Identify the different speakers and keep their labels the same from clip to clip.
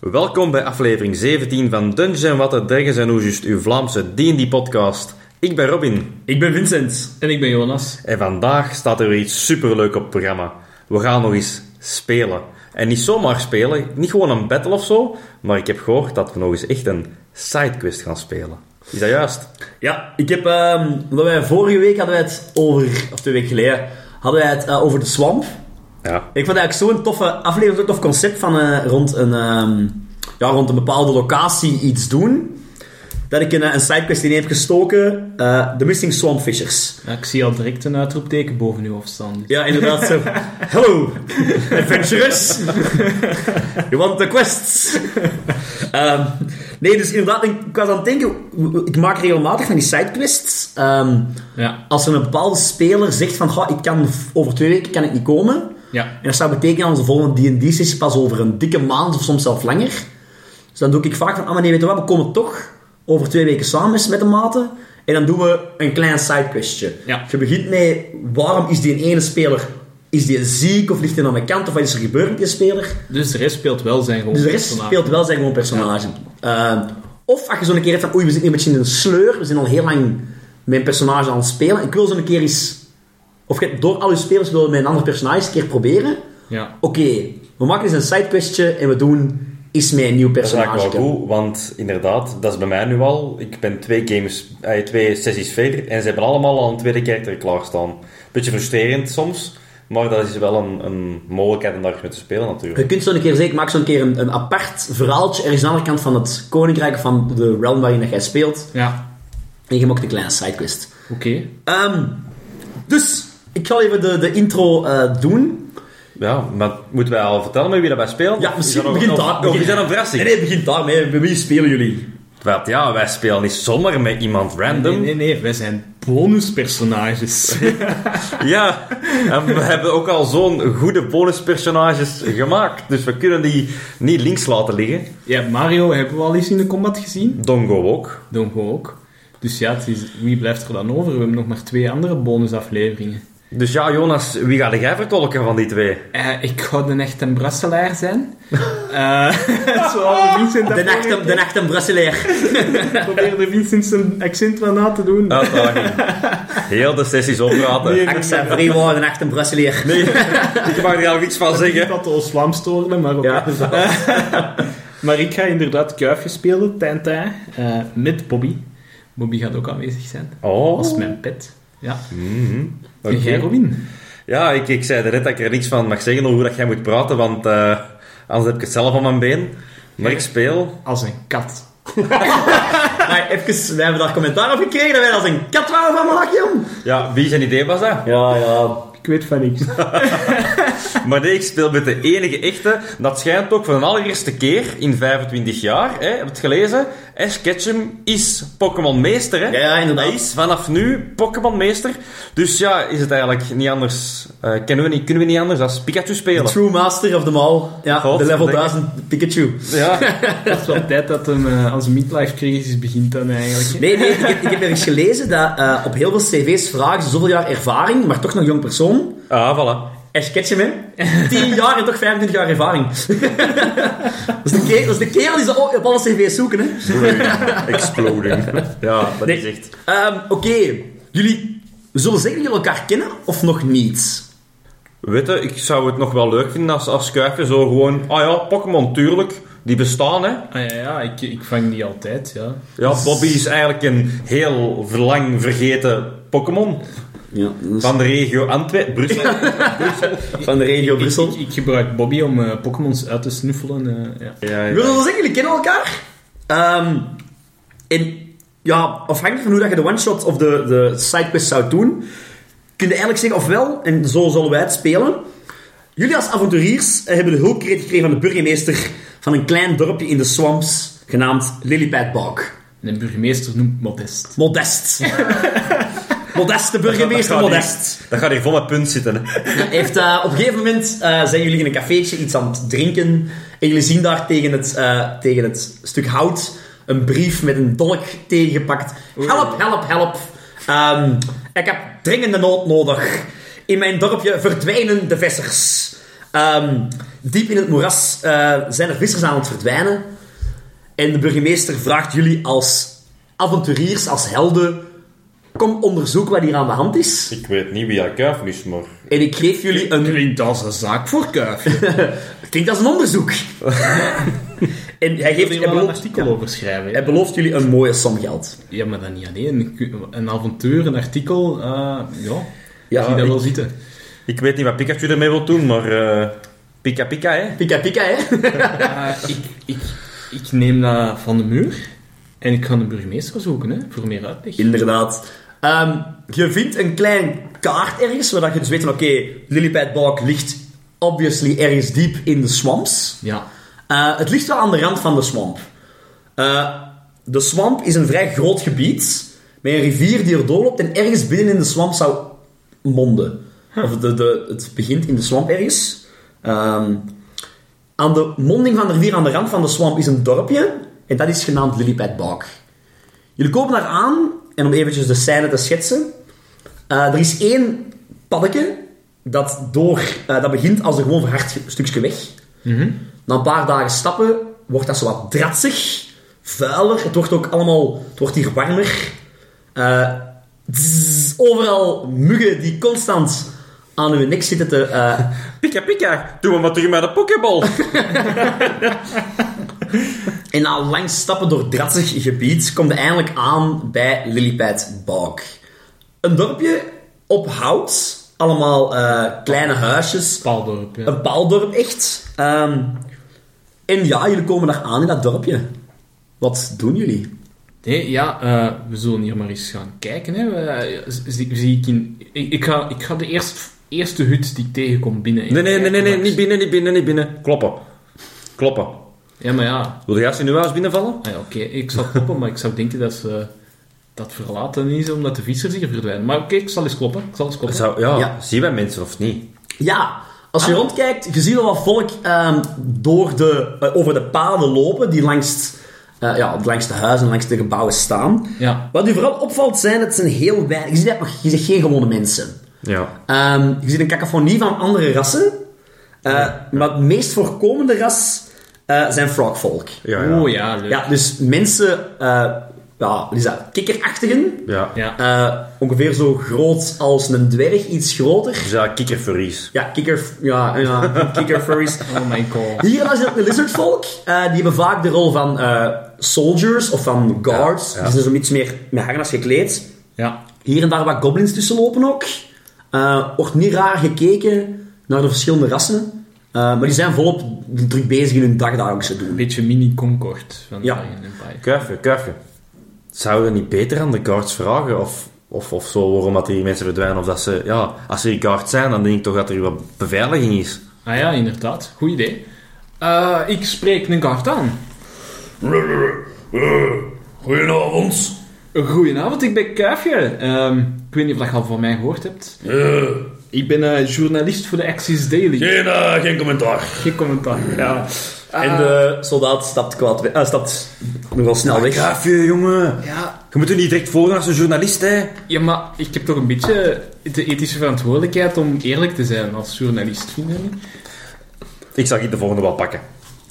Speaker 1: Welkom bij aflevering 17 van Dungeon Watten, Dragons en Oejust, uw Vlaamse D&D-podcast. Ik ben Robin
Speaker 2: Ik ben Vincent.
Speaker 3: En ik ben Jonas.
Speaker 1: en vandaag staat er weer iets superleuk op het programma. We gaan nog eens spelen. En niet zomaar spelen, niet gewoon een battle of zo, maar ik heb gehoord dat we nog eens echt een sidequest gaan spelen. Is dat juist?
Speaker 2: Ja, ik heb... ehm, omdat wij vorige week hadden wij het over... Of twee weken geleden. Hadden wij het eh, over de swamp.
Speaker 1: Ja.
Speaker 2: Ik vond het eigenlijk zo'n toffe aflevering. Zo'n tof concept van eh, rond, een, ehm, ja, rond een bepaalde locatie iets doen. Dat ik een, eh, een sidequest in heb gestoken. eh The Missing Swampfishers.
Speaker 3: Ja, ik zie al direct een uitroepteken boven uw hoofd staan.
Speaker 2: Ja, inderdaad. zo. Hello, adventurers. You want the quests? Ehm, nee, dus inderdaad, ik ik was aan het denken... Ik maak regelmatig van die sidequests. ehm
Speaker 3: Ja,
Speaker 2: Als er een bepaalde speler zegt van, "Goh, ik kan over twee weken kan ik niet komen.
Speaker 3: ja.
Speaker 2: En dat zou betekenen dat onze volgende D&D-sessie pas over een dikke maand of soms zelfs langer. Dus dan doe ik vaak van, ah maar nee, weet je wat, we komen toch over twee weken samen eens met de maten. En dan doen we een klein sidequestje.
Speaker 3: Ja.
Speaker 2: Je begint met, waarom is die ene speler, is die ziek of ligt hij aan de kant of wat is er gebeurd met die speler?
Speaker 3: Dus de rest speelt wel zijn gewoon
Speaker 2: Dus de rest
Speaker 3: personage.
Speaker 2: speelt wel zijn gewoon personage. Ehm, of als je zo'n keer hebt van, oei, we zitten een beetje in een sleur, we zijn al heel lang mijn personage aan het spelen, ik wil zo'n keer eens, of je- door al je spelers willen mijn ander personage eens een keer proberen.
Speaker 3: Ja.
Speaker 2: Oké, we maken eens een sidequestje en we doen eens met een nieuw
Speaker 1: Dat is eigenlijk
Speaker 2: personage.
Speaker 1: wel goed, want inderdaad, dat is bij mij nu al. Ik ben twee games, eh, twee sessies verder en ze hebben allemaal al een tweede character klaarstaan. Beetje frustrerend soms, maar dat is wel een, een mogelijkheid om daar mee te spelen natuurlijk.
Speaker 2: Je kunt zo'n keer zeggen, maak zo'n keer een, een apart verhaaltje ergens aan de andere kant van het koninkrijk van de realm waarin dat jij speelt.
Speaker 3: Ja,
Speaker 2: En je maakt een kleine sidequest.
Speaker 3: oké.
Speaker 2: Ehm, dus, ik ga even de, de intro eh, doen.
Speaker 1: Ja, maar moeten wij al vertellen met wie dat wij spelen?
Speaker 2: Ja,
Speaker 1: Of
Speaker 2: misschien
Speaker 1: is dat nog-
Speaker 2: begint
Speaker 1: of-
Speaker 2: daar. oh,
Speaker 1: Of is dat een verrassing?
Speaker 2: Nee, nee, begint daarmee. Bij wie spelen jullie?
Speaker 1: Wat, ja, wij spelen niet zomaar met iemand random.
Speaker 3: Nee, nee, nee, wij zijn bonuspersonages.
Speaker 1: Ja, en we hebben ook al zo'n goede bonuspersonages gemaakt, dus we kunnen die niet links laten liggen.
Speaker 3: ja, Mario hebben we al eens in de combat gezien.
Speaker 1: Dongo ook.
Speaker 3: Dongo ook. Dus ja, het is, wie blijft er dan over? We hebben nog maar twee andere bonusafleveringen.
Speaker 1: Dus ja, Jonas, wie ga jij vertolken van die twee?
Speaker 3: Eh, ik ga de echte Brusselaar zijn. Eh, zoals Vincent dat
Speaker 2: De nacht,
Speaker 3: probeerde.
Speaker 2: de nacht een Brusselair.
Speaker 3: Ik probeerde Vincent zijn accent wel na te doen.
Speaker 1: Uitdaging. Heel de sessies oppraten.
Speaker 3: Nee.
Speaker 2: Axa, Vreewa, de nacht een Brusselaar.
Speaker 1: Nee, ik mag er al iets van
Speaker 3: Niet
Speaker 1: zeggen.
Speaker 3: dat we ons Vlaams storen, maar... op-
Speaker 2: Ja.
Speaker 3: maar ik ga inderdaad Kuifje spelen, Tintin, eh, met Bobby. Bobby gaat ook aanwezig zijn. Als
Speaker 1: Oh.
Speaker 3: mijn pet. Ja.
Speaker 1: Mhm. Oké.
Speaker 3: En jij, Robin?
Speaker 1: Ja, ik, ik zei net dat ik er niks van mag zeggen over hoe dat jij moet praten, want eh, anders heb ik het zelf aan mijn been. Maar ik speel...
Speaker 3: Als een kat.
Speaker 2: Maar even, wij hebben daar commentaar op gekregen dat wij als een kat waren van maken, jong.
Speaker 1: Ja, wie zijn idee was dat?
Speaker 2: Ja, ja.
Speaker 3: Ik weet van niks.
Speaker 1: Maar nee, ik speel met de enige echte. Dat schijnt ook voor de allereerste keer in 25 jaar. Hè, heb je het gelezen? Ash Ketchum is Pokémon Meester. Hè?
Speaker 2: Ja, ja, inderdaad.
Speaker 1: Hij is vanaf nu Pokémon Meester. Dus ja, is het eigenlijk niet anders... eh, kunnen, we niet, kunnen we niet anders dan Pikachu
Speaker 2: The
Speaker 1: spelen?
Speaker 2: true master of them all. Ja,
Speaker 1: God,
Speaker 2: de level
Speaker 1: denk-
Speaker 2: 1000 Pikachu.
Speaker 1: Ja.
Speaker 3: Het is wel tijd dat hem eh, als een midlife crisis begint dan eigenlijk. hè.
Speaker 2: Nee, nee, ik heb, ik heb ergens gelezen dat eh, op heel veel cv's vragen ze zoveel jaar ervaring, maar toch nog jong persoon.
Speaker 1: Ah, voilà.
Speaker 2: Ash Ketchum, hè? 10 jaar en toch 25 jaar ervaring. dat, is de kerel, dat is de kerel die ze op op alle cv's zoeken, hè?
Speaker 1: Exploding. Ja, dat is
Speaker 2: Nee.
Speaker 1: echt...
Speaker 2: Ehm, Oké, jullie zullen zeggen dat jullie elkaar kennen of nog niet?
Speaker 1: Weet je, ik zou het nog wel leuk vinden als, als Kuifje zo gewoon... Ah ja, Pokémon, tuurlijk. Die bestaan, hè.
Speaker 3: Ah ja, ja ik, ik vang die altijd, ja.
Speaker 1: Ja, Bobby is eigenlijk een heel lang vergeten Pokémon.
Speaker 2: Ja,
Speaker 1: Van de regio Antwerpen, Brussel.
Speaker 2: van de regio
Speaker 3: Ik, ik, ik gebruik Bobby om eh Pokémons uit te snuffelen. eh, ja.
Speaker 1: Ja,
Speaker 2: Ik wil wel zeggen, jullie kennen elkaar. Ehm, en ja, afhankelijk van hoe dat je de one-shot of de, de sidequest zou doen, kun je eigenlijk zeggen, ofwel, en zo zullen wij het spelen, jullie als avonturiers eh, hebben de hulpkreet gekregen van de burgemeester van een klein dorpje in de swamps, genaamd Lilypadbog.
Speaker 3: De burgemeester noemt Modest.
Speaker 2: Modest. Modest, de burgemeester, Modest.
Speaker 1: Dat gaat hier vol met punt zitten. hè.
Speaker 2: heeft, eh, op een gegeven moment eh, zijn jullie in een cafeetje iets aan het drinken. En jullie zien daar tegen het, eh, tegen het stuk hout een brief met een dolk tegengepakt. Help, help, help. Ehm, ik heb dringende nood nodig. In mijn dorpje verdwijnen de vissers. Ehm, diep in het moeras eh, zijn er vissers aan het verdwijnen. En de burgemeester vraagt jullie als avonturiers, als helden... Kom onderzoek wat hier aan de hand is.
Speaker 1: Ik weet niet wie haar kuif is, maar...
Speaker 2: En ik geef jullie een...
Speaker 3: Klinkt als een zaak voor kuifje.
Speaker 2: Klinkt als een onderzoek. en hij,
Speaker 3: Ik
Speaker 2: geeft,
Speaker 3: wil
Speaker 2: hij,
Speaker 3: er wel een
Speaker 2: belooft,
Speaker 3: artikel over schrijven.
Speaker 2: hij
Speaker 3: hè.
Speaker 2: belooft jullie een mooie som geld.
Speaker 3: Ja, maar dan niet alleen. Een avontuur, een artikel, eh, ja.
Speaker 2: Ja,
Speaker 3: Ik zie dat
Speaker 2: ik-
Speaker 3: wel zitten.
Speaker 1: Ik weet niet wat Pikachu ermee wil doen, maar... eh, pika pika, hè?
Speaker 2: Pika pika, hè?
Speaker 3: Eh, ik, ik, ik neem dat van de muur en ik ga de burgemeester zoeken hè, voor meer uitleg.
Speaker 2: Inderdaad. Ehm, je vindt een klein kaart ergens, zodat je dus weet van oké, Lillipad Balk ligt obviously ergens diep in de swamps.
Speaker 3: Ja,
Speaker 2: Eh, het ligt wel aan de rand van de swamp. Eh, de swamp is een vrij groot gebied met een rivier die er doorloopt en ergens binnen in de swamp zou monden. Of de, de, het begint in de swamp ergens. Ehm, aan de monding van de rivier, aan de rand van de swamp, is een dorpje. En dat is genaamd Lillipad Balk. Jullie komen daar aan, en om eventjes de scène te schetsen. eh, er is één paddeke dat, door, eh, dat begint als een gewoon verhard ge- stukje weg. Na een paar dagen stappen wordt dat zo wat dratsig, vuiler. Het wordt ook allemaal, het wordt hier warmer. Eh, zzz, overal muggen die constant aan uw nek zitten te... eh,
Speaker 1: Pika pika, doe me maar terug met de pokeball.
Speaker 2: En na lang stappen door drassig gebied komt hij eindelijk aan bij Lillipad Balk. Een dorpje op hout, allemaal eh, kleine huisjes,
Speaker 3: Paaldorp. Ja.
Speaker 2: een paaldorp echt. Ehm, en ja, jullie komen daar aan in dat dorpje. Wat doen jullie?
Speaker 3: Nee, ja, eh, we zullen hier maar eens gaan kijken. Hè. We- eh, zie, zie ik, in, ik, ik ga, ik ga de eerst, eerste hut die ik tegenkom binnen.
Speaker 1: Nee, nee, nee, nee, nee, niet binnen, niet binnen, niet binnen. Kloppen. Kloppen.
Speaker 3: Ja, maar ja.
Speaker 1: Wil jij als in uw huis binnenvallen?
Speaker 3: Ah ja, Oké, ik zal kloppen, maar ik zou denken dat ze dat verlaten is omdat de vissers hier verdwijnen. Maar oké, ik zal eens kloppen. Ik zal eens kloppen.
Speaker 1: Zou, ja,
Speaker 2: Ja.
Speaker 1: zien wij mensen of niet?
Speaker 2: Ja, als
Speaker 1: Ah.
Speaker 2: je rondkijkt, je ziet al wat volk ehm, door de, eh, over de paden lopen die langs, eh, ja, langs de huizen, langs de gebouwen staan.
Speaker 3: Ja.
Speaker 2: Wat u vooral opvalt zijn, dat zijn heel weinig... Je ziet, dat nog, je ziet geen gewone mensen.
Speaker 1: Ja.
Speaker 2: Ehm, je ziet een cacophonie van andere rassen. Eh, Maar het meest voorkomende ras eh, zijn frogvolk.
Speaker 1: Ja, ja.
Speaker 3: Oh ja, leuk.
Speaker 2: Ja, dus mensen... eh ja, wat is dat? Kikkerachtigen.
Speaker 1: Ja.
Speaker 3: Ja.
Speaker 2: Eh, ongeveer zo groot als een dwerg, iets groter.
Speaker 1: Dus ja, kikkerverries.
Speaker 2: Ja, kikker... Ja, ja kikkerfurries.
Speaker 3: Oh my god.
Speaker 2: Hier is het de lizardvolk. Eh, die hebben vaak de rol van eh, soldiers of van guards.
Speaker 1: Ja, ja.
Speaker 2: Die zijn zo'n iets meer met harnas gekleed.
Speaker 3: Ja.
Speaker 2: Hier en daar wat goblins tussen lopen ook. Eh, wordt niet raar gekeken naar de verschillende rassen. Eh, maar die zijn volop druk bezig in hun dagdagelijkse
Speaker 3: Een
Speaker 2: doen.
Speaker 3: beetje mini-Concord van
Speaker 2: Ja.
Speaker 3: Dragon Empire.
Speaker 1: Kuifje, kuifje. Zouden we niet beter aan de guards vragen? Of, of, of zo, waarom dat die mensen verdwijnen? Of dat ze... Ja, als er guards zijn, dan denk ik toch dat er wat beveiliging is.
Speaker 3: Ah ja, inderdaad. Goed idee. Eh, ik spreek een kaart aan.
Speaker 4: Goedenavond.
Speaker 3: Goedenavond, ik ben Kuifje. Ehm, ik weet niet of dat je al van mij gehoord hebt.
Speaker 4: Eh,
Speaker 3: Ik ben eh, journalist voor de Axis Daily.
Speaker 4: geen, eh, geen commentaar.
Speaker 3: Geen commentaar. Ja.
Speaker 2: En de soldaat stapt, kwaad we- eh, stapt nogal snel weg.
Speaker 1: Kuifje, jongen.
Speaker 3: Ja.
Speaker 1: Je moet er niet direct voor als een journalist, hè.
Speaker 3: ja, maar ik heb toch een beetje de ethische verantwoordelijkheid om eerlijk te zijn als journalist, vind je niet?
Speaker 1: Ik zal hier de volgende wel pakken.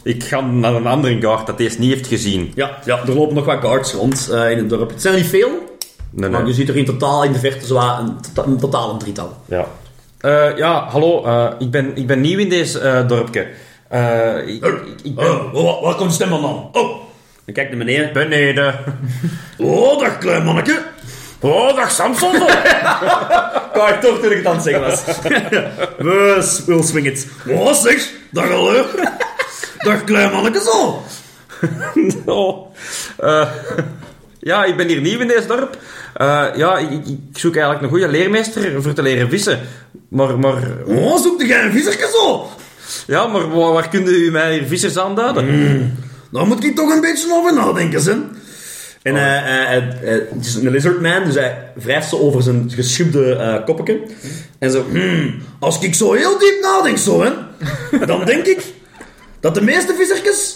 Speaker 1: Ik ga naar een andere guard dat deze niet heeft gezien.
Speaker 2: Ja, ja, er lopen nog wat guards rond eh, in het dorp. Het zijn er niet veel,
Speaker 1: Nee,
Speaker 2: maar je
Speaker 1: nee.
Speaker 2: ziet er in totaal in de verte zo wat een, tota- een totaal een drietal.
Speaker 1: Ja. Eh, ja, hallo. eh, ik, ben, ik ben nieuw in deze eh, dorpje. Eh, ik, ik, ik ben...
Speaker 4: Eh, wa- waar komt stemmen dan? Oh,
Speaker 2: Dan kijkt de meneer.
Speaker 1: Beneden.
Speaker 4: oh, dag klein manneke.
Speaker 1: Oh, dag Samson.
Speaker 2: Kijk, toch toen ik het aan het zeggen was. We will swing it.
Speaker 4: Oh, zeg. Dag hallo. dag klein manneke zo.
Speaker 1: Oh. Eh, ja, ik ben hier nieuw in deze dorp. Eh, ja, ik, ik- ik zoek eigenlijk een goede leermeester voor te leren vissen. Maar, maar,
Speaker 4: Oh, zoekt jij een visserke zo?
Speaker 1: ja, maar waar, waar kunt u mij hier vissers aanduiden?
Speaker 4: Daar moet ik toch een beetje over nadenken, zeg.
Speaker 2: En eh, eh, eh, eh, het is een lizard man, dus hij wrijft ze over zijn geschubde eh koppetje. En zo...
Speaker 4: Hmm, als ik zo heel diep nadenk zo, hè, dan denk ik dat de meeste visserkes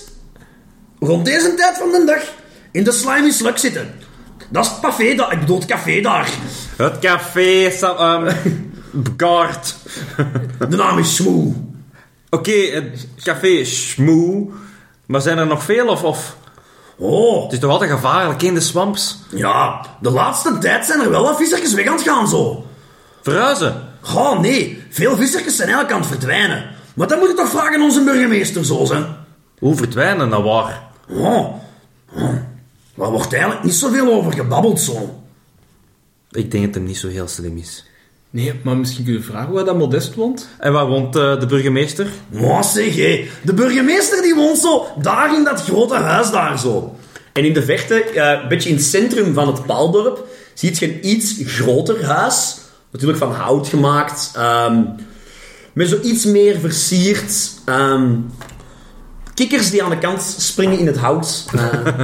Speaker 4: rond deze tijd van de dag in de slimy slak zitten.
Speaker 5: Dat is het café daar. Ik bedoel, het café daar.
Speaker 1: Het café ehm, Sam... Guard.
Speaker 5: De naam is Smoe.
Speaker 1: Oké, het café Schmoe. Maar zijn er nog veel of, of...
Speaker 5: Oh,
Speaker 1: Het is toch altijd gevaarlijk in de swamps?
Speaker 5: ja. De laatste tijd zijn er wel wat vissertjes weg aan het gaan, zo.
Speaker 1: Verhuizen.
Speaker 5: Oh, nee. Veel vissertjes zijn eigenlijk aan het verdwijnen. Maar dat moet je toch vragen aan onze burgemeester, zo, hè.
Speaker 1: Hoe verdwijnen nou waar?
Speaker 5: Oh, oh. Daar wordt eigenlijk niet zoveel over gebabbeld, zo.
Speaker 1: Ik denk dat hem niet zo heel slim is.
Speaker 3: Nee, maar misschien kun je vragen waar dat modest woont.
Speaker 1: En waar woont eh, de burgemeester?
Speaker 5: Maar zeg, hé. De burgemeester die woont zo daar in dat grote huis daar, zo.
Speaker 2: En in de verte, eh, een beetje in het centrum van het paaldorp, ziet je een iets groter huis. Natuurlijk van hout gemaakt. ehm, met zo iets meer versierd. ehm, kikkers die aan de kant springen in het hout. Eh,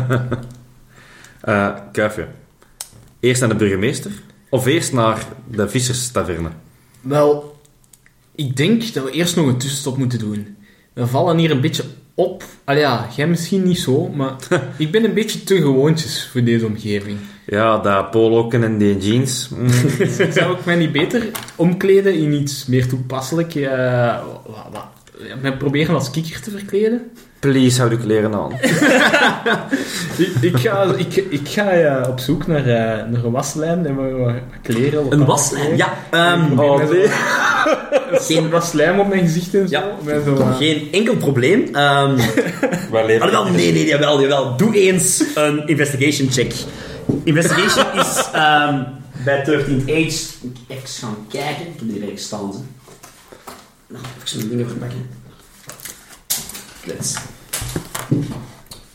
Speaker 1: Eh kuifje. Eerst naar de burgemeester? Of eerst naar de visserstaverne?
Speaker 3: Wel, ik denk dat we eerst nog een tussenstop moeten doen. We vallen hier een beetje op. Al ja, jij misschien niet zo, maar ik ben een beetje te gewoontjes voor deze omgeving.
Speaker 1: Ja, dat poloken en die jeans. Mm.
Speaker 3: Zou ik mij niet beter omkleden in iets meer toepasselijk? eh, wat- wat- ja, mij proberen als kikker te verkleden?
Speaker 1: Please, houd uw kleren aan.
Speaker 3: Ik, ik ga, ik, ik ga eh, op zoek naar, eh, naar een waslijm en wat- wat- wat kleren.
Speaker 2: een waslijn, ja. ehm,
Speaker 3: Um,
Speaker 1: Oh, nee.
Speaker 3: Geen waslijm op mijn gezicht en zo.
Speaker 2: Ja.
Speaker 3: om mij zo, eh,
Speaker 2: geen enkel probleem. Ehm
Speaker 1: Waar leven
Speaker 2: Alhoewel, nee, nee, jawel, jawel. Doe eens een investigation check. Investigation is ehm, bij 13 Age. Moet ik even gaan kijken. Ik heb die ergens staan. Hè. Nou, even mijn dingen verpakken. Klets.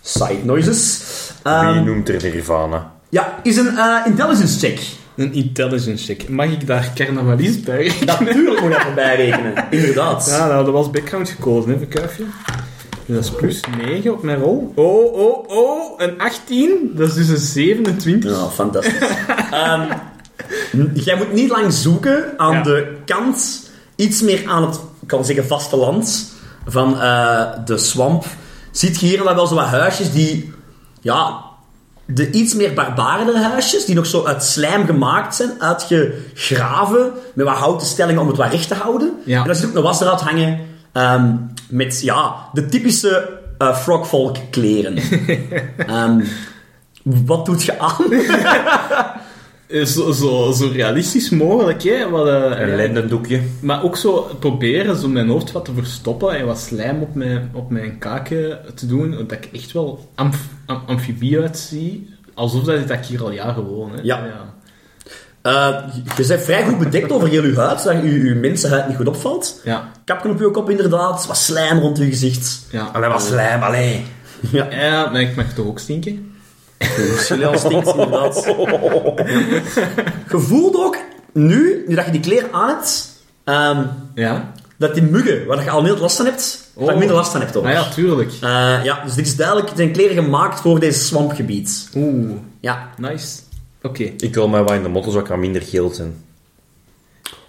Speaker 2: Side noises. Ehm,
Speaker 1: Wie noemt er Nirvana?
Speaker 2: ja, is een eh, intelligence check.
Speaker 3: Een intelligence check. Mag ik daar carnavalist bij?
Speaker 2: Natuurlijk moet je dat erbij rekenen. Inderdaad.
Speaker 3: Ja, nou, dat was background gekozen, hè, verkuifje. Dus dat is plus 9 op mijn rol. Oh, oh, oh, een 18. Dat is dus een 27.
Speaker 2: Nou, fantastisch. Ehm, n- jij moet niet lang zoeken aan
Speaker 3: Ja.
Speaker 2: de kant, iets meer aan het, ik kan zeggen, vasteland van eh, de swamp. Ziet je hier en daar wel zo wat huisjes die, ja, de iets meer barbaarder huisjes, die nog zo uit slijm gemaakt zijn, uitgegraven, met wat houten stellingen om het wat recht te houden.
Speaker 3: Ja.
Speaker 2: En daar zit ook een wasdraad hangen ehm, met, ja, de typische eh, frogfolk kleren. Ehm, wat doet je aan?
Speaker 3: Eh, Zo, zo, zo realistisch mogelijk, hè. Wat, eh,
Speaker 1: Een lendendoekje.
Speaker 3: maar ook zo proberen zo mijn hoofd wat te verstoppen en wat slijm op mijn, op mijn kaken te doen. Dat ik echt wel amf, am- amfibie uitzie. Alsof dat ik hier al jaren woon, hè.
Speaker 2: Ja. Eh, je bent vrij goed bedekt over heel je huid, zodat je, je mensenhuid niet goed opvalt.
Speaker 3: Ja.
Speaker 2: Kapje op je kop inderdaad, wat slijm rond je gezicht.
Speaker 3: Ja.
Speaker 1: Allee, wat slijm, allee.
Speaker 3: Ja, maar ik mag toch ook stinken?
Speaker 2: Chileel stinkt inderdaad. Je voelt ook, nu, nu dat je die kleren aan hebt, ehm,
Speaker 3: Ja.
Speaker 2: dat die muggen, waar je al minder last van hebt, dat je
Speaker 3: Oh.
Speaker 2: minder last van hebt ook.
Speaker 3: Ah ja, tuurlijk.
Speaker 2: Eh, ja, dus dit is duidelijk, het zijn kleren gemaakt voor deze swampgebied.
Speaker 3: Oeh,
Speaker 2: Ja,
Speaker 3: nice. Oké.
Speaker 1: Ik wil mij wel in de motorzak aan minder geel zijn.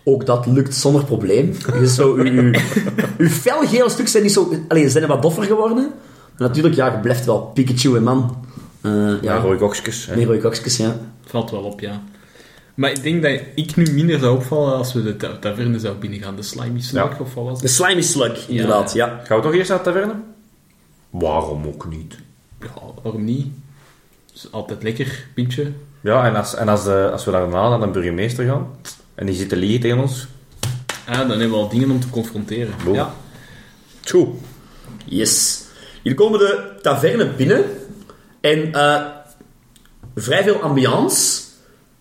Speaker 2: ook dat lukt zonder probleem. Je zo, uw, uw, uw felgele stuk zijn niet zo... Allee, zijn wat doffer geworden. Maar natuurlijk, ja, je blijft wel Pikachu en man. Eh,
Speaker 1: Ja,
Speaker 2: ja,
Speaker 1: rooi kokskes. hè.
Speaker 2: meer rode kokjes, ja.
Speaker 3: Valt wel op, ja. Maar ik denk dat ik nu minder zou opvallen als we de ta- taverne zou binnengaan. De slimy snack
Speaker 1: Ja.
Speaker 3: of wat was
Speaker 2: De
Speaker 3: het?
Speaker 2: slimy slug, inderdaad, ja.
Speaker 1: Gaan we toch eerst naar de taverne? Waarom ook niet?
Speaker 3: Ja, waarom niet? Is altijd lekker, pintje.
Speaker 1: Ja, en als, en als, eh, als we daarna naar de burgemeester gaan, en die zit te liegen tegen ons, oh.
Speaker 3: Ah, dan hebben we al dingen om te confronteren.
Speaker 1: boe.
Speaker 2: Ja.
Speaker 1: Tjoe.
Speaker 2: Yes. Jullie komen de taverne binnen. En eh, vrij veel ambiance.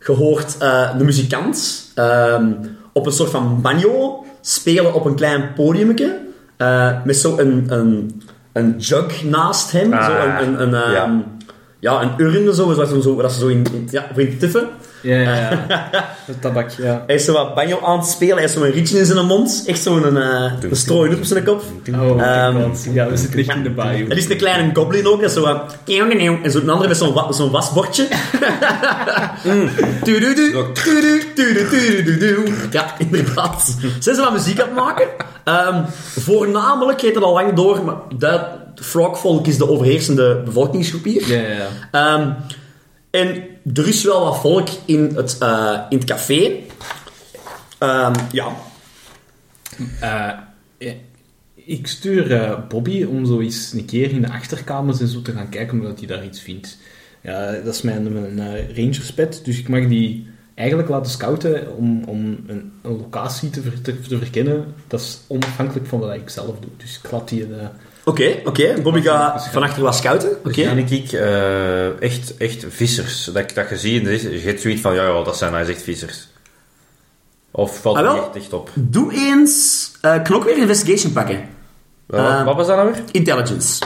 Speaker 2: Je hoort eh, de muzikant ehm, op een soort van banjo spelen op een klein podiumje. eh, met zo'n een, een, een jug naast hem.
Speaker 1: Ah,
Speaker 2: zo een, een, een, ehm,
Speaker 1: ja.
Speaker 2: ja, een urne zo, zoals ze zo, dat ze zo in, in- ja, voor in tiffen.
Speaker 3: Ja, ja, ja. Het tabak, ja.
Speaker 2: Hij is zo wat banjo aan het spelen. Hij heeft zo'n rietje in zijn mond. Echt zo'n eh, een strooien op zijn kop.
Speaker 3: Oh,
Speaker 2: Ehm,
Speaker 3: my god. ja, we zitten echt in de bayou.
Speaker 2: Het is een kleine goblin ook, dat is zo wat... En zo'n andere met zo'n wa- zo'n wasbordje. Mm. Tududu, tudu, tudu, tudu, tudu. Ja, inderdaad. Zijn ze wat muziek aan het maken? Ehm, voornamelijk heet het al lang door, maar dat frogvolk is de overheersende bevolkingsgroep hier.
Speaker 3: Ja, ja, ja.
Speaker 2: Ehm, en er is wel wat volk in het, eh, in het café. Ehm, ja,
Speaker 3: Eh, eh, ik stuur eh, Bobby om zo eens een keer in de achterkamers en zo te gaan kijken omdat hij daar iets vindt. Ja, dat is mijn, mijn eh, rangerspet, dus ik mag die eigenlijk laten scouten om, om een, een locatie te, ver- te, te verkennen. Dat is onafhankelijk van wat ik zelf doe. Dus ik laat die... eh,
Speaker 2: Oké, oké. Bobby gaat van achter wat scouten. Oké.
Speaker 1: Ken Dus ik eh, echt, echt vissers. Dat, ik- dat je ziet, en er is- je hebt zoiets van, ja, ja, dat zijn nou eens echt vissers. Of valt
Speaker 2: Ah,
Speaker 1: het
Speaker 2: wel.
Speaker 1: niet echt, echt op?
Speaker 2: Doe eens... eh knok weer investigation pakken.
Speaker 1: Wel,
Speaker 2: Eh.
Speaker 1: wat was dat nou weer?
Speaker 2: Intelligence.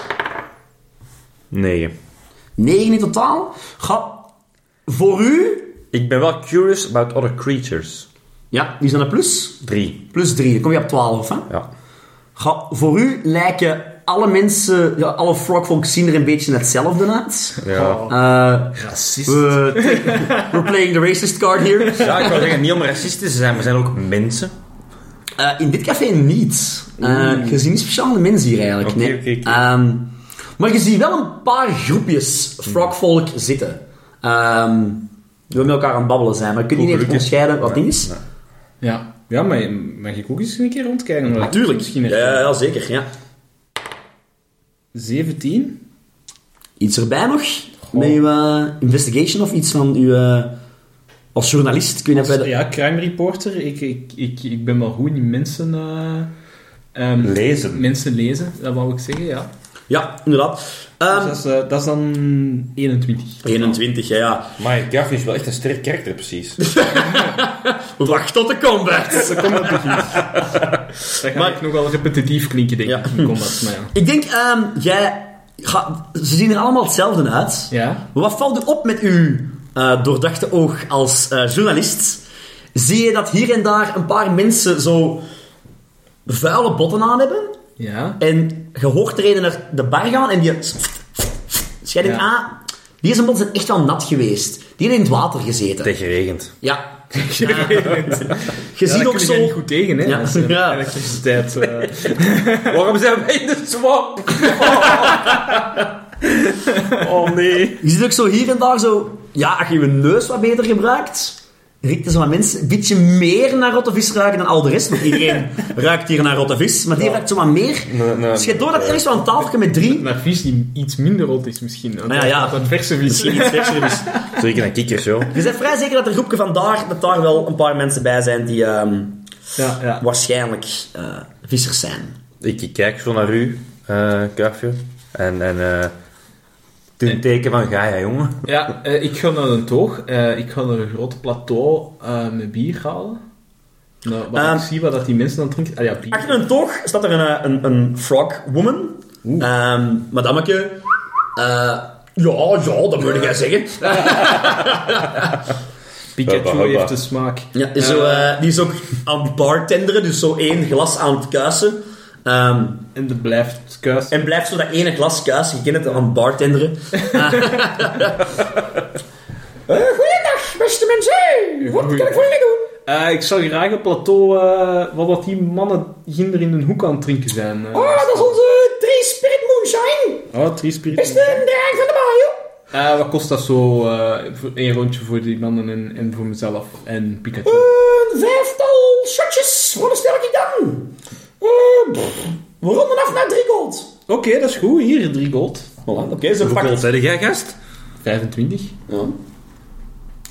Speaker 1: Nee.
Speaker 2: 9 in totaal. Ga voor u...
Speaker 1: Ik ben wel curious about other creatures.
Speaker 2: Ja, die is dan een plus.
Speaker 1: Drie.
Speaker 2: Plus 3, dan kom je op 12, hè?
Speaker 1: Ja.
Speaker 2: Ga, voor u lijken alle mensen, ja, alle frogfolk zien er een beetje hetzelfde uit.
Speaker 1: Ja.
Speaker 2: Eh,
Speaker 3: Racist.
Speaker 2: we, we're playing the racist card here.
Speaker 1: ja, ik wou zeggen, niet om racistisch te zijn, maar zijn ook mensen.
Speaker 2: Eh, in dit café niet. Eh je ziet niet speciale mensen hier eigenlijk.
Speaker 1: Oké,
Speaker 2: nee.
Speaker 1: oké, oké.
Speaker 2: Ehm, maar je ziet wel een paar groepjes frogvolk zitten. Ehm die met elkaar aan het babbelen zijn, maar je kunt niet echt
Speaker 1: Gelukkig.
Speaker 2: onderscheiden wat ding is.
Speaker 3: Ja, ja maar mag ik ook eens een keer rondkijken? Omdat ik Misschien er-
Speaker 2: zeker. Ja.
Speaker 3: 17?
Speaker 2: Iets erbij nog? Met uw eh, investigation of iets van uw... eh, als journalist, kun je dat bij de...
Speaker 3: Ja, crime reporter. Ik, ik, ik, ik ben wel goed in mensen... eh, ehm,
Speaker 1: Lezen.
Speaker 3: Mensen lezen, dat wou ik zeggen, ja.
Speaker 2: Ja, inderdaad. Ehm,
Speaker 3: Dus dat, is, eh, dat is dan 21.
Speaker 2: 21, ja, ja.
Speaker 1: Maar Gavin is wel echt een sterk karakter, precies.
Speaker 2: Dus, eh. Wacht tot de combat!
Speaker 3: Dat gaat
Speaker 2: Maar-
Speaker 3: echt nogal repetitief klinken, denk ik,
Speaker 2: Ja.
Speaker 3: in combat. Maar ja.
Speaker 2: Ik denk, ehm, jij... ga- ze zien er allemaal hetzelfde uit.
Speaker 3: ja.
Speaker 2: Maar Wat valt er op met uw eh, doordachte oog als eh, journalist? Zie je dat hier en daar een paar mensen zo vuile botten aan hebben?
Speaker 3: Ja.
Speaker 2: En je hoort er een naar de bar gaan en die... Dus jij denkt,
Speaker 3: Ja.
Speaker 2: ah, die zijn botten zijn echt wel nat geweest. Die hebben in het water gezeten.
Speaker 1: Tegen regent.
Speaker 2: Ja. Je
Speaker 3: Je
Speaker 2: ziet ook
Speaker 3: niet
Speaker 2: zo...
Speaker 3: goed tegen, hè.
Speaker 2: Ja.
Speaker 3: Dat is, eh,
Speaker 2: Ja.
Speaker 3: Elektriciteit. eh,
Speaker 1: Waarom zijn wij in de swamp? Oh nee.
Speaker 2: Je ziet ook zo hier en daar zo... Ja, als je je neus wat beter gebruikt... Riekt er zo wat mensen een beetje meer naar rotte vis ruiken dan al de rest. Want iedereen ruikt hier naar rotte vis. Maar die ruikt zo wat meer.
Speaker 1: Nee, nee.
Speaker 2: Dus je hebt door dat ergens wel een tafeltje met drie...
Speaker 3: maar vis die iets minder rot is misschien.
Speaker 2: Nou ja, ja.
Speaker 3: Dat verse vis.
Speaker 2: Misschien iets verser is.
Speaker 1: Zeker naar kikkers, joh.
Speaker 2: Je bent vrij zeker dat er groepje van daar... Dat daar wel een paar mensen bij zijn die ehm,
Speaker 3: Ja, ja.
Speaker 2: waarschijnlijk eh, vissers zijn.
Speaker 1: Ik, ik kijk zo naar u, eh Kuifje. En, en eh doe een teken van Gaia, jongen.
Speaker 3: Ja, eh, ik ga naar een toog. Eh, ik ga naar een groot plateau eh met bier halen. Nou, wat
Speaker 2: Ehm.
Speaker 3: ik zie wat dat die mensen dan drinken. Ah ja, bier.
Speaker 2: Achter een toog staat er een, eh, een, een frog woman. Ehm madameke. Eh, ja, ja, dat moet jij zeggen.
Speaker 3: Pikachu
Speaker 1: Hubba, hubba.
Speaker 3: heeft de smaak.
Speaker 2: Ja, is zo, eh, die is ook aan het bartenderen, dus zo één glas aan het kuisen. Ehm,
Speaker 3: En dat blijft kuis.
Speaker 2: en blijft zo dat ene glas kuisen, je kent het, aan het bartenderen. Ah. Eh, goeiedag, beste mensen! Wat kan ik voor jullie doen?
Speaker 3: Eh, ik zou graag een plateau eh, wat dat die mannen ginder in een hoek aan het drinken zijn. eh.
Speaker 2: Oh, dat is onze Three Spirit Moonshine!
Speaker 3: Oh, drie spirit.
Speaker 2: Is de draak van de Mario?
Speaker 3: Eh, wat kost dat zo? eh voor één rondje voor die mannen en, en voor mezelf en Pikachu.
Speaker 2: Eh. Een vijftal shotjes, wat stel ik dan? Eh, pff, we ronden af naar drie gold.
Speaker 3: Oké, dat is goed. Hier, drie gold.
Speaker 2: Oké, ze
Speaker 1: Hoeveel
Speaker 2: pakken...
Speaker 1: zei jij, gast?
Speaker 3: 25.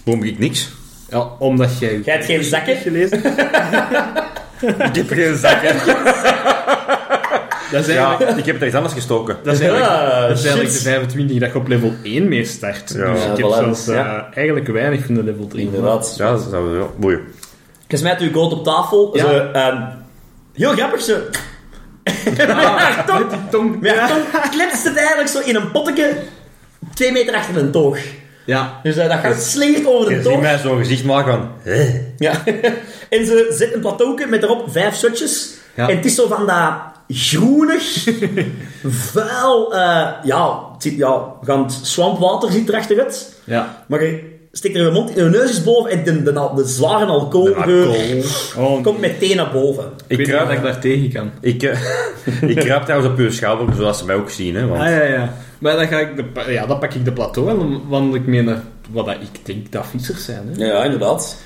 Speaker 1: Waarom ik niks?
Speaker 3: Ja, omdat jij...
Speaker 2: Jij hebt geen zakken?
Speaker 3: gelezen.
Speaker 1: Ik heb geen zakken.
Speaker 3: Dat is
Speaker 1: Ja,
Speaker 3: eigenlijk...
Speaker 1: ik heb het ergens anders gestoken.
Speaker 3: Dat is eigenlijk,
Speaker 2: Ah,
Speaker 3: dat is eigenlijk de
Speaker 2: shit.
Speaker 3: 25 dat je op level 1 mee start.
Speaker 1: Ja.
Speaker 3: dus ik heb
Speaker 2: Ja, voilà,
Speaker 3: zelfs eh,
Speaker 2: ja.
Speaker 3: eigenlijk weinig van de level 3.
Speaker 2: Inderdaad.
Speaker 1: Ja, dat zou wel boeien.
Speaker 2: Je smijt uw gold op tafel.
Speaker 3: Ja.
Speaker 2: Zo, ehm, heel grappig, ze...
Speaker 3: Ah.
Speaker 2: Haar tong-
Speaker 3: Die tong...
Speaker 2: Met haar tong kletst het eigenlijk zo in een potteke twee meter achter een toog.
Speaker 3: Ja.
Speaker 2: Dus eh, dat gaat slingert over de
Speaker 1: Je ziet
Speaker 2: toog.
Speaker 1: mij zo'n gezicht maken van... hè?
Speaker 2: Ja. en ze zet een plateauke met daarop vijf shotjes.
Speaker 3: Ja.
Speaker 2: En het is zo van dat groenig, vuil... eh, ja, het zit, ja, want swampwater zit erachteruit.
Speaker 3: Ja.
Speaker 2: Maar je steekt er je mond, je neus is boven en de, de, de, zware alcoholgeur
Speaker 3: Oh,
Speaker 2: komt meteen naar boven.
Speaker 1: Ik
Speaker 3: Ik weet niet of ik
Speaker 1: kruip,
Speaker 3: daar tegen kan.
Speaker 1: ik, eh, ik kruip trouwens op uw schouder, zodat ze mij ook zien. Hè, want
Speaker 3: Ah ja, ja. Maar dan ga ik de, pa- ja, dan pak ik de plateau en dan wandel ik mee naar wat dat ik denk dat vissers zijn. Hè?
Speaker 2: Ja, inderdaad.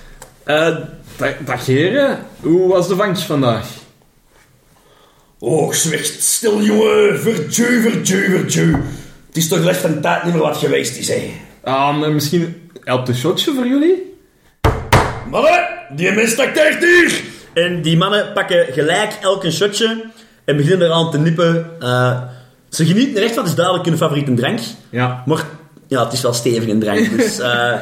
Speaker 3: Eh, da- dag heren, hoe was de vangst vandaag?
Speaker 2: Oh, zwicht, stil jongen, vertjeu, vertjeu, vertjeu. Het is toch recht van tijd niet meer wat geweest is, hè.
Speaker 3: Ah, maar misschien helpt een shotje voor jullie?
Speaker 2: Mannen, die mens tacteert hier! En die mannen pakken gelijk elk een shotje en beginnen eraan te nippen. Eh, ze genieten er echt van, het is duidelijk hun favoriete drank.
Speaker 3: Ja.
Speaker 2: Maar ja, het is wel stevig een drank, dus... eh,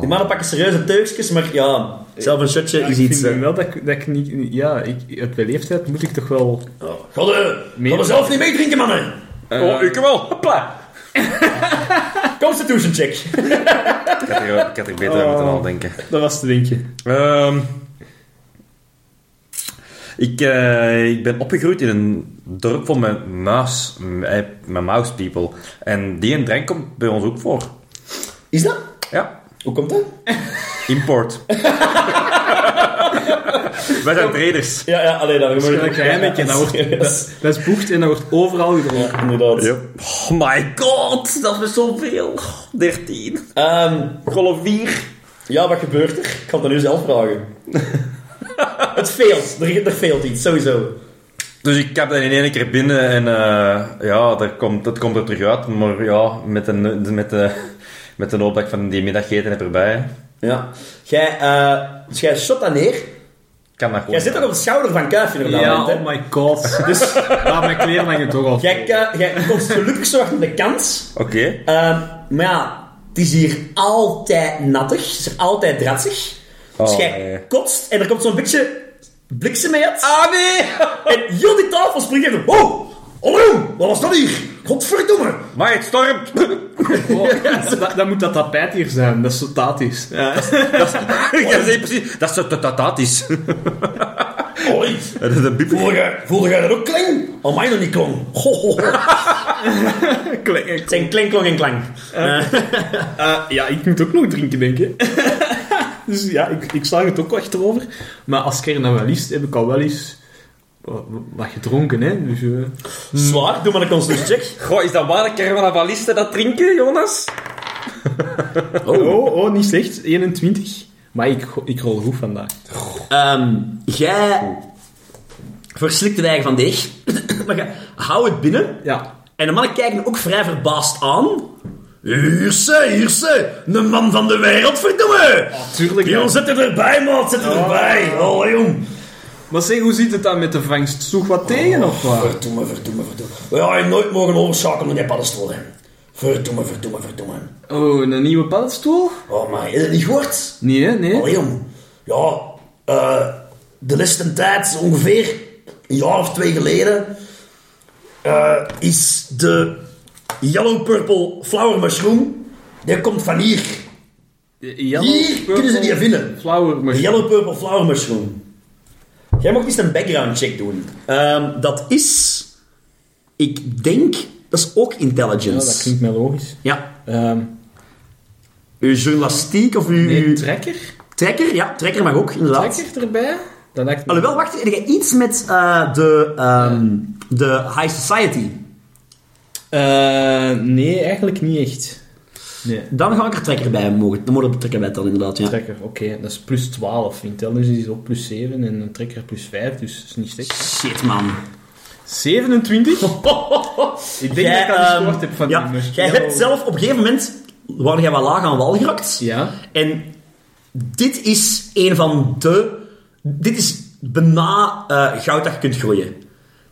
Speaker 2: Die mannen pakken serieuze teugjes, maar ja, zelf een shotje
Speaker 3: Ja,
Speaker 2: is
Speaker 3: ik
Speaker 2: iets...
Speaker 3: vind
Speaker 2: eh,
Speaker 3: nu wel dat ik, dat ik niet... niet- Ja, ik, op mijn leeftijd moet ik toch wel...
Speaker 2: Oh, Godde,
Speaker 3: Meer-
Speaker 2: gaan we zelf niet meedrinken, mannen!
Speaker 1: Oh, ik wel. Hopla.
Speaker 2: Constitution check.
Speaker 1: Ik had er, ik had er beter aan moeten nadenken.
Speaker 3: Dat was te dingetje.
Speaker 1: Ehm ik, eh, ik ben opgegroeid in een dorp van mijn muis, mijn- mijn mouse eh, people. En die en drank komt bij ons ook voor.
Speaker 2: Is dat?
Speaker 1: Ja,
Speaker 2: Hoe komt dat?
Speaker 1: import. Wij zijn traders.
Speaker 2: Ja, ja, alleen dat.
Speaker 3: Dat is een beetje, dat, wordt, dat, dat is boekt en dat wordt overal gedronken.
Speaker 2: Inderdaad.
Speaker 1: Oh my god, dat is zoveel. 13.
Speaker 2: Ehm,
Speaker 1: Golf 4.
Speaker 2: ja, wat gebeurt er? Ik kan het nu zelf vragen. het veelt. Er, er veelt iets, sowieso.
Speaker 1: Dus ik heb dat in één keer binnen en eh, ja, dat komt, dat komt er terug uit. Maar ja, met een, met de, met een hoop dat ik van die middageten heb erbij.
Speaker 2: Ja. Jij, eh, dus jij shot dat neer.
Speaker 1: Kan dat
Speaker 2: Jij
Speaker 1: gewoon.
Speaker 2: zit toch op de schouder van Kuifje op dat
Speaker 3: Ja,
Speaker 2: moment, hè?
Speaker 3: oh my god. Dus, ja, mijn kleren hangen toch al.
Speaker 2: Jij, eh, jij komt gelukkig zo achter de kans.
Speaker 1: Oké.
Speaker 2: Ehm, maar ja, het is hier altijd nattig. Het is hier altijd drassig. dus
Speaker 1: Oh,
Speaker 2: jij
Speaker 1: nee.
Speaker 2: kotst en er komt zo'n beetje bliksem uit.
Speaker 1: Ah nee!
Speaker 2: En heel die tafel springt even... Wow! Hallo! Wat was dat hier? Godverdomme!
Speaker 1: Maar het stormt!
Speaker 3: Oh, dat, dat moet dat tapijt hier zijn, dat is zo tatisch.
Speaker 1: dat is precies... Dat is zo tatatisch.
Speaker 2: Hoi!
Speaker 1: Dat is een biep.
Speaker 2: Voelde jij, voelde jij dat ook kling? Al mij nog niet klong. Ho, ho, ho. Het zijn klink, klong en klank.
Speaker 3: Eh, ja, ik moet ook nog drinken, denk ik. dus ja, ik, ik sla het ook wel achterover. Maar als ik er nou wel is, heb ik al wel eens eh, wat gedronken, hè. Dus, eh,
Speaker 2: Zwaar, doe maar een constitution check.
Speaker 1: Goh, is dat waar de carnavalisten dat drinken, Jonas?
Speaker 3: oh. oh, niet slecht. 21. Maar ik, go- ik rol goed vandaag.
Speaker 2: Ehm, jij verslikt de eigen van deeg. maar jij- hou het binnen.
Speaker 3: Ja.
Speaker 2: En de mannen kijken ook vrij verbaasd aan. Hierse, hierse, de man van de wereld, verdomme!
Speaker 3: Tuurlijk.
Speaker 2: Jong, zet het erbij, maat, zet het erbij. Oh, jong.
Speaker 3: Maar zeg, hoe ziet het dan met de vangst? Zoeg
Speaker 2: Oh.
Speaker 3: wat tegen, of wat?
Speaker 2: Verdomme, verdomme, verdomme. We hadden nooit mogen overschakelen naar die paddenstoel, hè. Verdomme, verdomme, verdomme.
Speaker 3: Oh, een nieuwe paddenstoel?
Speaker 2: Oh, maar is het niet gehoord?
Speaker 3: Nee, hè? nee.
Speaker 4: Ah,
Speaker 2: Oh, jong. Ja, eh, de laatste tijd, ongeveer een jaar of twee geleden, eh, is de Yellow Purple Flower Mushroom, die komt van hier.
Speaker 3: Yellow
Speaker 2: Hier kunnen ze die vinden.
Speaker 3: eh, Flower
Speaker 2: De
Speaker 3: machine.
Speaker 2: Yellow Purple Flower Mushroom. Jij mag eens een background check doen. Ehm, dat is, ik denk, dat is ook
Speaker 3: Ja,
Speaker 2: intelligence.
Speaker 3: Oh, dat klinkt mij logisch.
Speaker 2: Ja.
Speaker 3: Ehm
Speaker 2: Uw journalistiek of uw...
Speaker 3: nee,
Speaker 2: uw
Speaker 3: trekker?
Speaker 2: trekker? Ja, trekker mag ook, inderdaad.
Speaker 3: Trekker erbij? Dat lijkt me...
Speaker 2: Alhoewel, wacht, er gaat iets met eh, de, ehm, de high society.
Speaker 3: Eh, nee, eigenlijk niet echt. Nee.
Speaker 2: Dan ga ik er trekker bij mogen. Dan moet er op trekker bij dan inderdaad, ja.
Speaker 3: Trekker, oké, dat is plus 12. Intelligence dus is ook plus 7 en een trekker plus 5, dus dat is niet slecht.
Speaker 2: Shit, man.
Speaker 3: 27? ik denk
Speaker 2: Jij,
Speaker 3: dat ik al
Speaker 2: ehm,
Speaker 3: gescoord heb van
Speaker 2: ja,
Speaker 3: die Oh. nummer.
Speaker 2: Jij hebt zelf op een gegeven moment... Waar jij wel laag aan wal geraakt.
Speaker 3: Ja.
Speaker 2: En dit is een van de... Dit is bijna eh, goud dat je kunt groeien.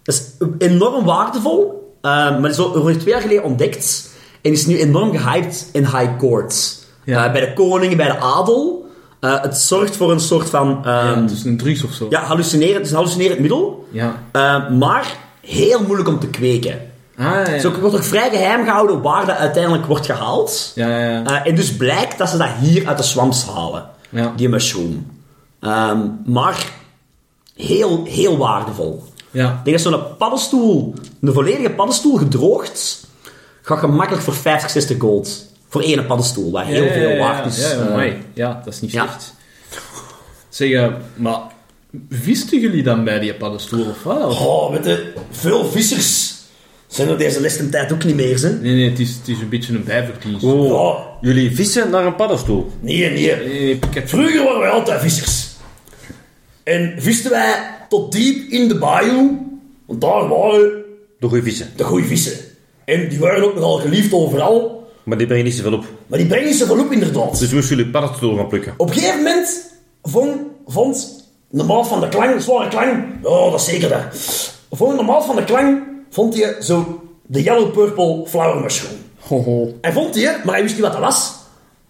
Speaker 2: Dat is enorm waardevol. eh, maar is al ongeveer twee jaar geleden ontdekt. En is nu enorm gehyped in high courts.
Speaker 3: Ja.
Speaker 2: Eh, bij de koning, bij de adel. Eh, het zorgt voor een soort van...
Speaker 3: Ja,
Speaker 2: ehm,
Speaker 3: het is een drugs of zo.
Speaker 2: ja, hallucineren. Het is een hallucinerend middel.
Speaker 3: Ja.
Speaker 2: Eh, maar heel moeilijk om te kweken.
Speaker 3: Ah, ja.
Speaker 2: Dus ook wordt ook vrij geheim gehouden waar dat uiteindelijk wordt gehaald.
Speaker 3: Ja, ja, ja.
Speaker 2: Eh, en dus blijkt dat ze dat hier uit de swamps halen.
Speaker 3: Ja.
Speaker 2: Die mushroom. Ehm, maar heel, heel waardevol.
Speaker 3: Ja.
Speaker 2: Ik denk dat zo'n paddenstoel, een volledige paddenstoel gedroogd, gaat gemakkelijk voor 50, 60 gold. Voor één paddenstoel, wat heel
Speaker 3: Ja, ja,
Speaker 2: veel
Speaker 3: ja,
Speaker 2: waard is.
Speaker 3: Ja, ja,
Speaker 2: Eh,
Speaker 3: amai. ja dat is niet
Speaker 2: ja.
Speaker 3: slecht. Zeg, eh, maar visten jullie dan bij die paddenstoel of wat?
Speaker 4: Oh, weet je, veel vissers Zijn er deze listentijd ook niet meer, hè?
Speaker 3: Nee, nee, het is, het is een beetje een bijverdienst.
Speaker 1: Oh,
Speaker 4: Ja.
Speaker 1: Jullie vissen naar een paddenstoel.
Speaker 4: Nee, nee.
Speaker 3: Nee, nee, ik heb
Speaker 4: Vroeger waren wij altijd vissers. En visten wij tot diep in de bayou, want daar waren
Speaker 1: Door goede vissen.
Speaker 4: de goeie vissen. En die waren ook nogal geliefd overal,
Speaker 1: Maar die brengen niet zoveel op.
Speaker 4: maar die brengen ze wel op inderdaad.
Speaker 1: Dus moesten jullie paddenstoel gaan plukken.
Speaker 4: Op een gegeven moment vond, vond de maat van de klang, zware klang, oh dat is zeker dat. Vond de maat van de klang, vond hij zo de yellow purple flower mushroom. Hij vond die, maar hij wist niet wat dat was.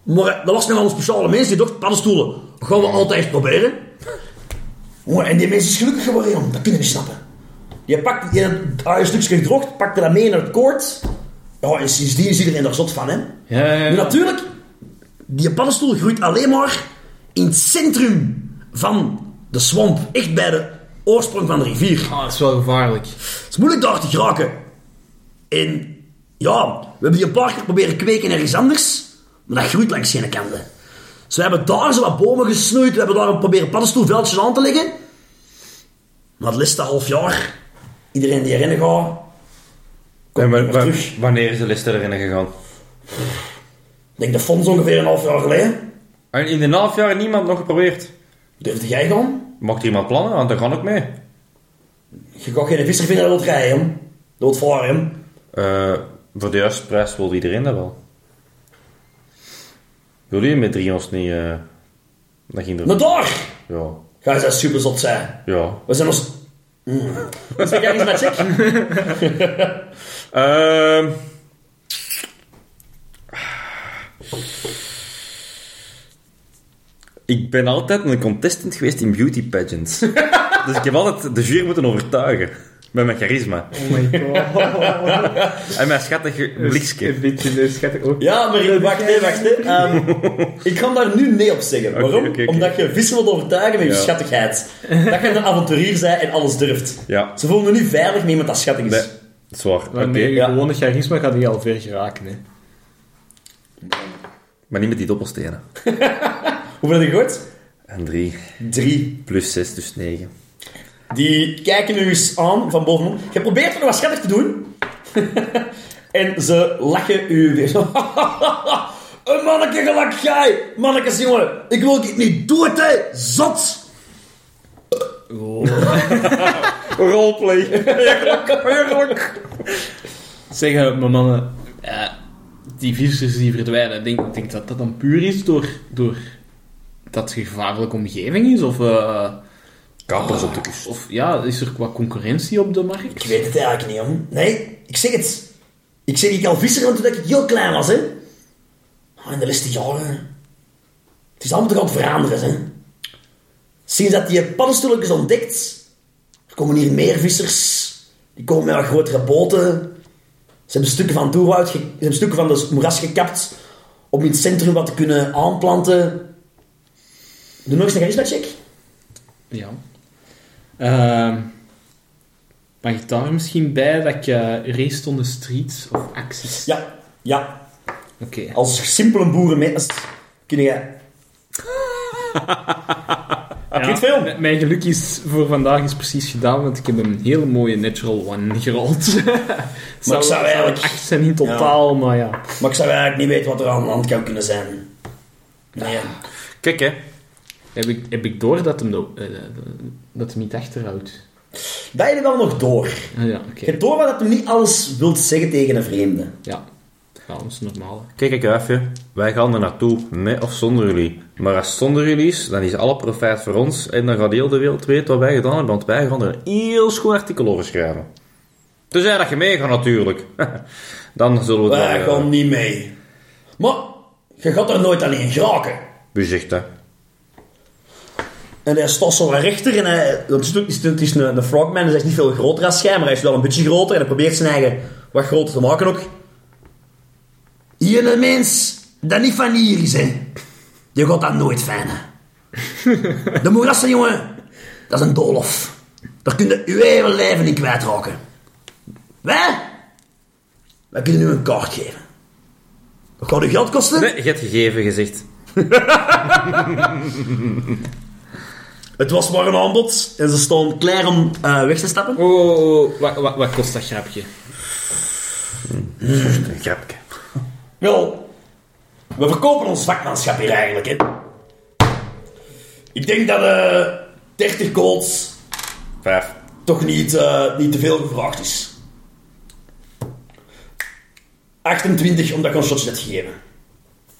Speaker 4: Maar dat was nou een speciale mens die dacht, paddenstoelen, gaan we altijd proberen. Jongen, en die mens is gelukkig geworden, jong. dat kun je niet snappen. Je pakt die had een stukje gedrocht, pakte dat mee naar het koord. Ja, en sindsdien is iedereen daar zot van, hè.
Speaker 3: Ja, ja,
Speaker 4: Nu,
Speaker 3: ja.
Speaker 4: natuurlijk, die paddenstoel groeit alleen maar in het centrum van de swamp. Echt bij de oorsprong van de rivier.
Speaker 3: Ah, dat is wel gevaarlijk.
Speaker 4: Het is moeilijk daar te geraken. En ja, we hebben die een paar keer proberen kweken ergens anders, maar dat groeit langs geen kanten. Dus we hebben daar zo wat bomen gesnoeid, we hebben daar proberen paddenstoelveldjes aan te leggen. Maar het laatste half jaar, iedereen die erin gaat,
Speaker 1: En wa-
Speaker 4: niet meer
Speaker 1: wa-
Speaker 4: terug.
Speaker 1: wanneer is de list erin gegaan?
Speaker 4: ik denk de fonds ongeveer een half jaar geleden,
Speaker 1: En in een half jaar niemand nog geprobeerd.
Speaker 4: durfde jij gaan?
Speaker 1: Mocht er iemand plannen, want dan gaan ook mee.
Speaker 4: Je gaat geen visser vinden dat wil rijden, hè? dat wil varen. hè?
Speaker 1: Eh, voor de juiste prijs wil iedereen dat wel. Wil je met drie ons niet... eh dat ging er...
Speaker 4: Maar daar
Speaker 1: Ja.
Speaker 4: ga je super zot zijn.
Speaker 1: Ja.
Speaker 4: We zijn ons... Mm. Zeg jij iets met check?
Speaker 1: Ehm. Ik ben altijd een contestant geweest in beauty pageants. dus ik heb altijd de jury moeten overtuigen. Met mijn charisma.
Speaker 3: Oh my god. Dus-
Speaker 1: En mijn schattig blikske.
Speaker 3: beetje eh, schattig ook.
Speaker 2: Ja, maar wacht, hè, wacht. Hè. Ehm, ik kan daar nu nee op zeggen.
Speaker 1: Oké,
Speaker 2: Waarom?
Speaker 1: oké, oké.
Speaker 2: Omdat je vissen wilt overtuigen met je
Speaker 1: Ja.
Speaker 2: schattigheid. Dat je een avonturier bent en alles durft.
Speaker 1: Ja,
Speaker 2: Ze voelen me niet veilig met iemand dat schattig is.
Speaker 1: nee. Dat is waar. Oké.
Speaker 3: nee,
Speaker 2: ja.
Speaker 3: gewone charisma gaat hier al ver geraken. Hè.
Speaker 1: Maar niet met die doppelstenen.
Speaker 2: Hoeveel heb je gehoord?
Speaker 1: En drie.
Speaker 2: Drie.
Speaker 1: Plus zes, dus negen.
Speaker 2: Die kijken nu eens aan van bovenop. Je probeert het nog wat schattig te doen. en ze lachen u weer.
Speaker 4: Een manneke gelak jij! Mannekes, jongen, ik wil dit niet doen, hè! Zot!
Speaker 1: Roleplay.
Speaker 3: Zeggen, mijn mannen, eh, die vissers die verdwijnen, denk ik denk dat dat dan puur is door, door dat het een gevaarlijke omgeving is? Of, eh, ah,
Speaker 1: Kapers op de kust.
Speaker 3: of ja, is er qua concurrentie op de markt?
Speaker 4: Ik weet het eigenlijk niet, jong. Nee, ik zeg het. Ik zeg, ik al visser want toen ik heel klein was, hè. Maar in de laatste jaren... Het is allemaal toch aan het veranderen, hè. Sinds dat die paddenstoelen is ontdekt... Er komen hier meer vissers. Die komen met wat grotere boten. Ze hebben stukken van, het oerwoud ge- ze hebben stukken van de moeras gekapt... om in het centrum wat te kunnen aanplanten. Doe nog eens een charisma-check.
Speaker 3: Ja. Ehm, mag ik daar misschien bij dat ik eh, race on the streets of acties?
Speaker 4: Ja, ja,
Speaker 3: Oké.
Speaker 4: Als simpele boerenmens kun je...
Speaker 3: Ja,
Speaker 4: Niet veel.
Speaker 3: m- Mijn geluk is voor vandaag is precies gedaan, want ik heb een hele mooie natural one gerold.
Speaker 4: zou eigenlijk-
Speaker 3: Acht zijn in totaal, maar ja.
Speaker 4: Maar ik zou eigenlijk niet weten wat er aan de hand kan kunnen zijn. Nee.
Speaker 1: Kijk hè.
Speaker 3: Heb ik, heb ik door dat hem, de- eh, de- dat hem niet achterhoudt?
Speaker 4: Dat heb je wel nog door.
Speaker 3: Ah, ja, oké.
Speaker 4: Je hebt door wat dat je niet alles wilt zeggen tegen een vreemde.
Speaker 3: Ja. Ja, dat is normaal.
Speaker 1: Kijk, kijk even. Wij gaan er naartoe, met of zonder jullie. Maar als zonder jullie is, dan is alle profijt voor ons. En dan gaat heel de wereld weten wat wij gedaan hebben. Want wij gaan er een heel schoon artikel over schrijven. Tenzij dat je meegaat natuurlijk. dan zullen we
Speaker 4: Wij
Speaker 1: het wel, eh,
Speaker 4: gaan niet mee. Maar je gaat er nooit alleen geraken.
Speaker 1: Wie zegt dat?
Speaker 4: En hij staat zo wat rechter en hij...
Speaker 2: Dat is, het is- het is een, een frogman, dus hij is niet veel groter als jij, maar hij is wel een beetje groter. En hij probeert zijn eigen wat groter te maken ook.
Speaker 4: Hier een mens dat niet van hier is, hè. Je gaat dat nooit fijnen. De moerassen, jongen, dat is een doolhof. Daar kun je je hele leven in kwijtraken. Wij? Wij kunnen u een kaart geven. Dat gaat u geld kosten.
Speaker 1: Nee, je hebt gegeven, gezegd.
Speaker 4: Het was maar een aanbod. En ze staan klaar om eh, weg te stappen.
Speaker 3: Oh, oh, oh, wat, wat, wat kost dat grapje?
Speaker 1: Een grapje.
Speaker 4: Wel, we verkopen ons vakmanschap hier eigenlijk, hè. Ik denk dat eh 30 golds
Speaker 1: Vijf.
Speaker 4: toch niet, eh, niet te veel gevraagd is. 28, omdat ik ons shots net gegeven.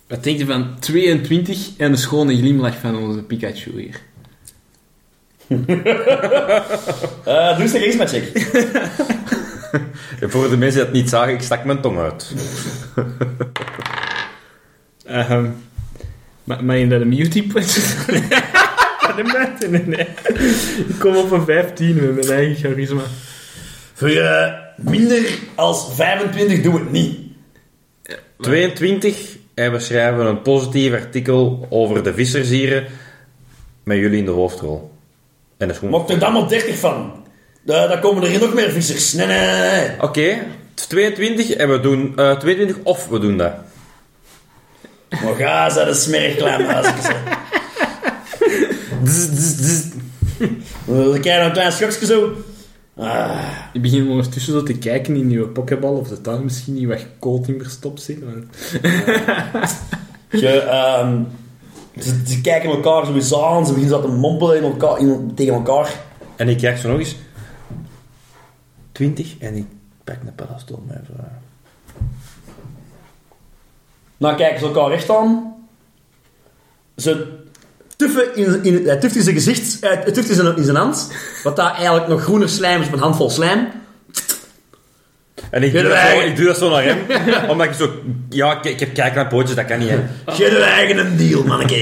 Speaker 3: Wat denk je van 22 en de schone glimlach van onze Pikachu hier?
Speaker 4: Eh, doe eens de charisma-check.
Speaker 1: Voor de mensen die dat niet zagen, ik stak mijn tong uit.
Speaker 3: Ehm, ma- mag je dat een beauty point? nee, nee, nee. Ik kom op een 15 met mijn eigen charisma.
Speaker 4: Voor eh, minder als 25 doe het niet.
Speaker 1: 22 en we schrijven een positief artikel over de vissersieren met jullie in de hoofdrol. En de schoen. Oké,
Speaker 4: Mocht er dan maar 30 van. Eh, dan komen er hier nog meer vissers. Nee, nee, nee, nee.
Speaker 1: 22 en we doen eh, 22 of we doen dat.
Speaker 4: Maar ga, ze dat smerig klein muisjes. Dan krijg je een klein schokje zo. Ah.
Speaker 3: Ik begin ondertussen zo te kijken in uw pokeball of dat daar misschien niet wat cold in verstopt zit. maar-
Speaker 4: Je, ehm, ze, ze kijken elkaar sowieso aan, ze beginnen zo te mompelen in elkaar, in- tegen elkaar.
Speaker 1: En ik krijg zo nog eens 20 en ik pak een paddenstoel eh. mee.
Speaker 4: Dan kijken ze elkaar recht aan. Ze tuffen in, in, hij tuft in zijn gezicht, eh, hij tuft in zijn, in zijn hand. Wat daar eigenlijk nog groener slijm is op een handvol slijm.
Speaker 1: En ik doe,
Speaker 4: Jullie
Speaker 1: dat zo,
Speaker 4: eigen-
Speaker 1: ik doe dat zo naar hem, omdat ik zo... Ja, ik, ik heb kijk naar pootjes, dat kan niet, hè.
Speaker 4: Geef je eigen een deal, manneke.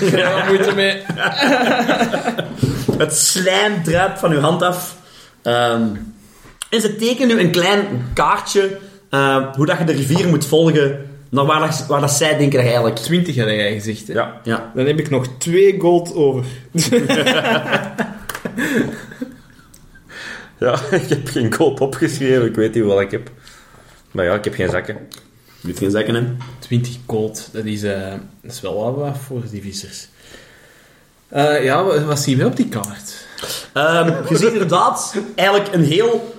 Speaker 3: Ja, wat moet je mee?
Speaker 4: Het slijm druipt van uw hand af. Ehm, en ze tekenen nu een klein kaartje ehm, hoe dat je de rivier moet volgen naar waar, dat, waar dat zij denken dat je eigenlijk...
Speaker 3: 20 had jij gezegd, hè?
Speaker 1: Ja.
Speaker 4: Ja.
Speaker 3: Dan heb ik nog 2 gold over.
Speaker 1: Ja, ik heb geen koop opgeschreven, ik weet niet wat ik heb. Maar ja, ik heb geen zakken.
Speaker 4: Je moet geen zakken, hè.
Speaker 3: 20 gold, dat is, eh, dat is wel wat, wat voor die vissers. Eh, ja, wa- wat zien we op die kaart?
Speaker 4: Ehm, je ziet inderdaad eigenlijk een heel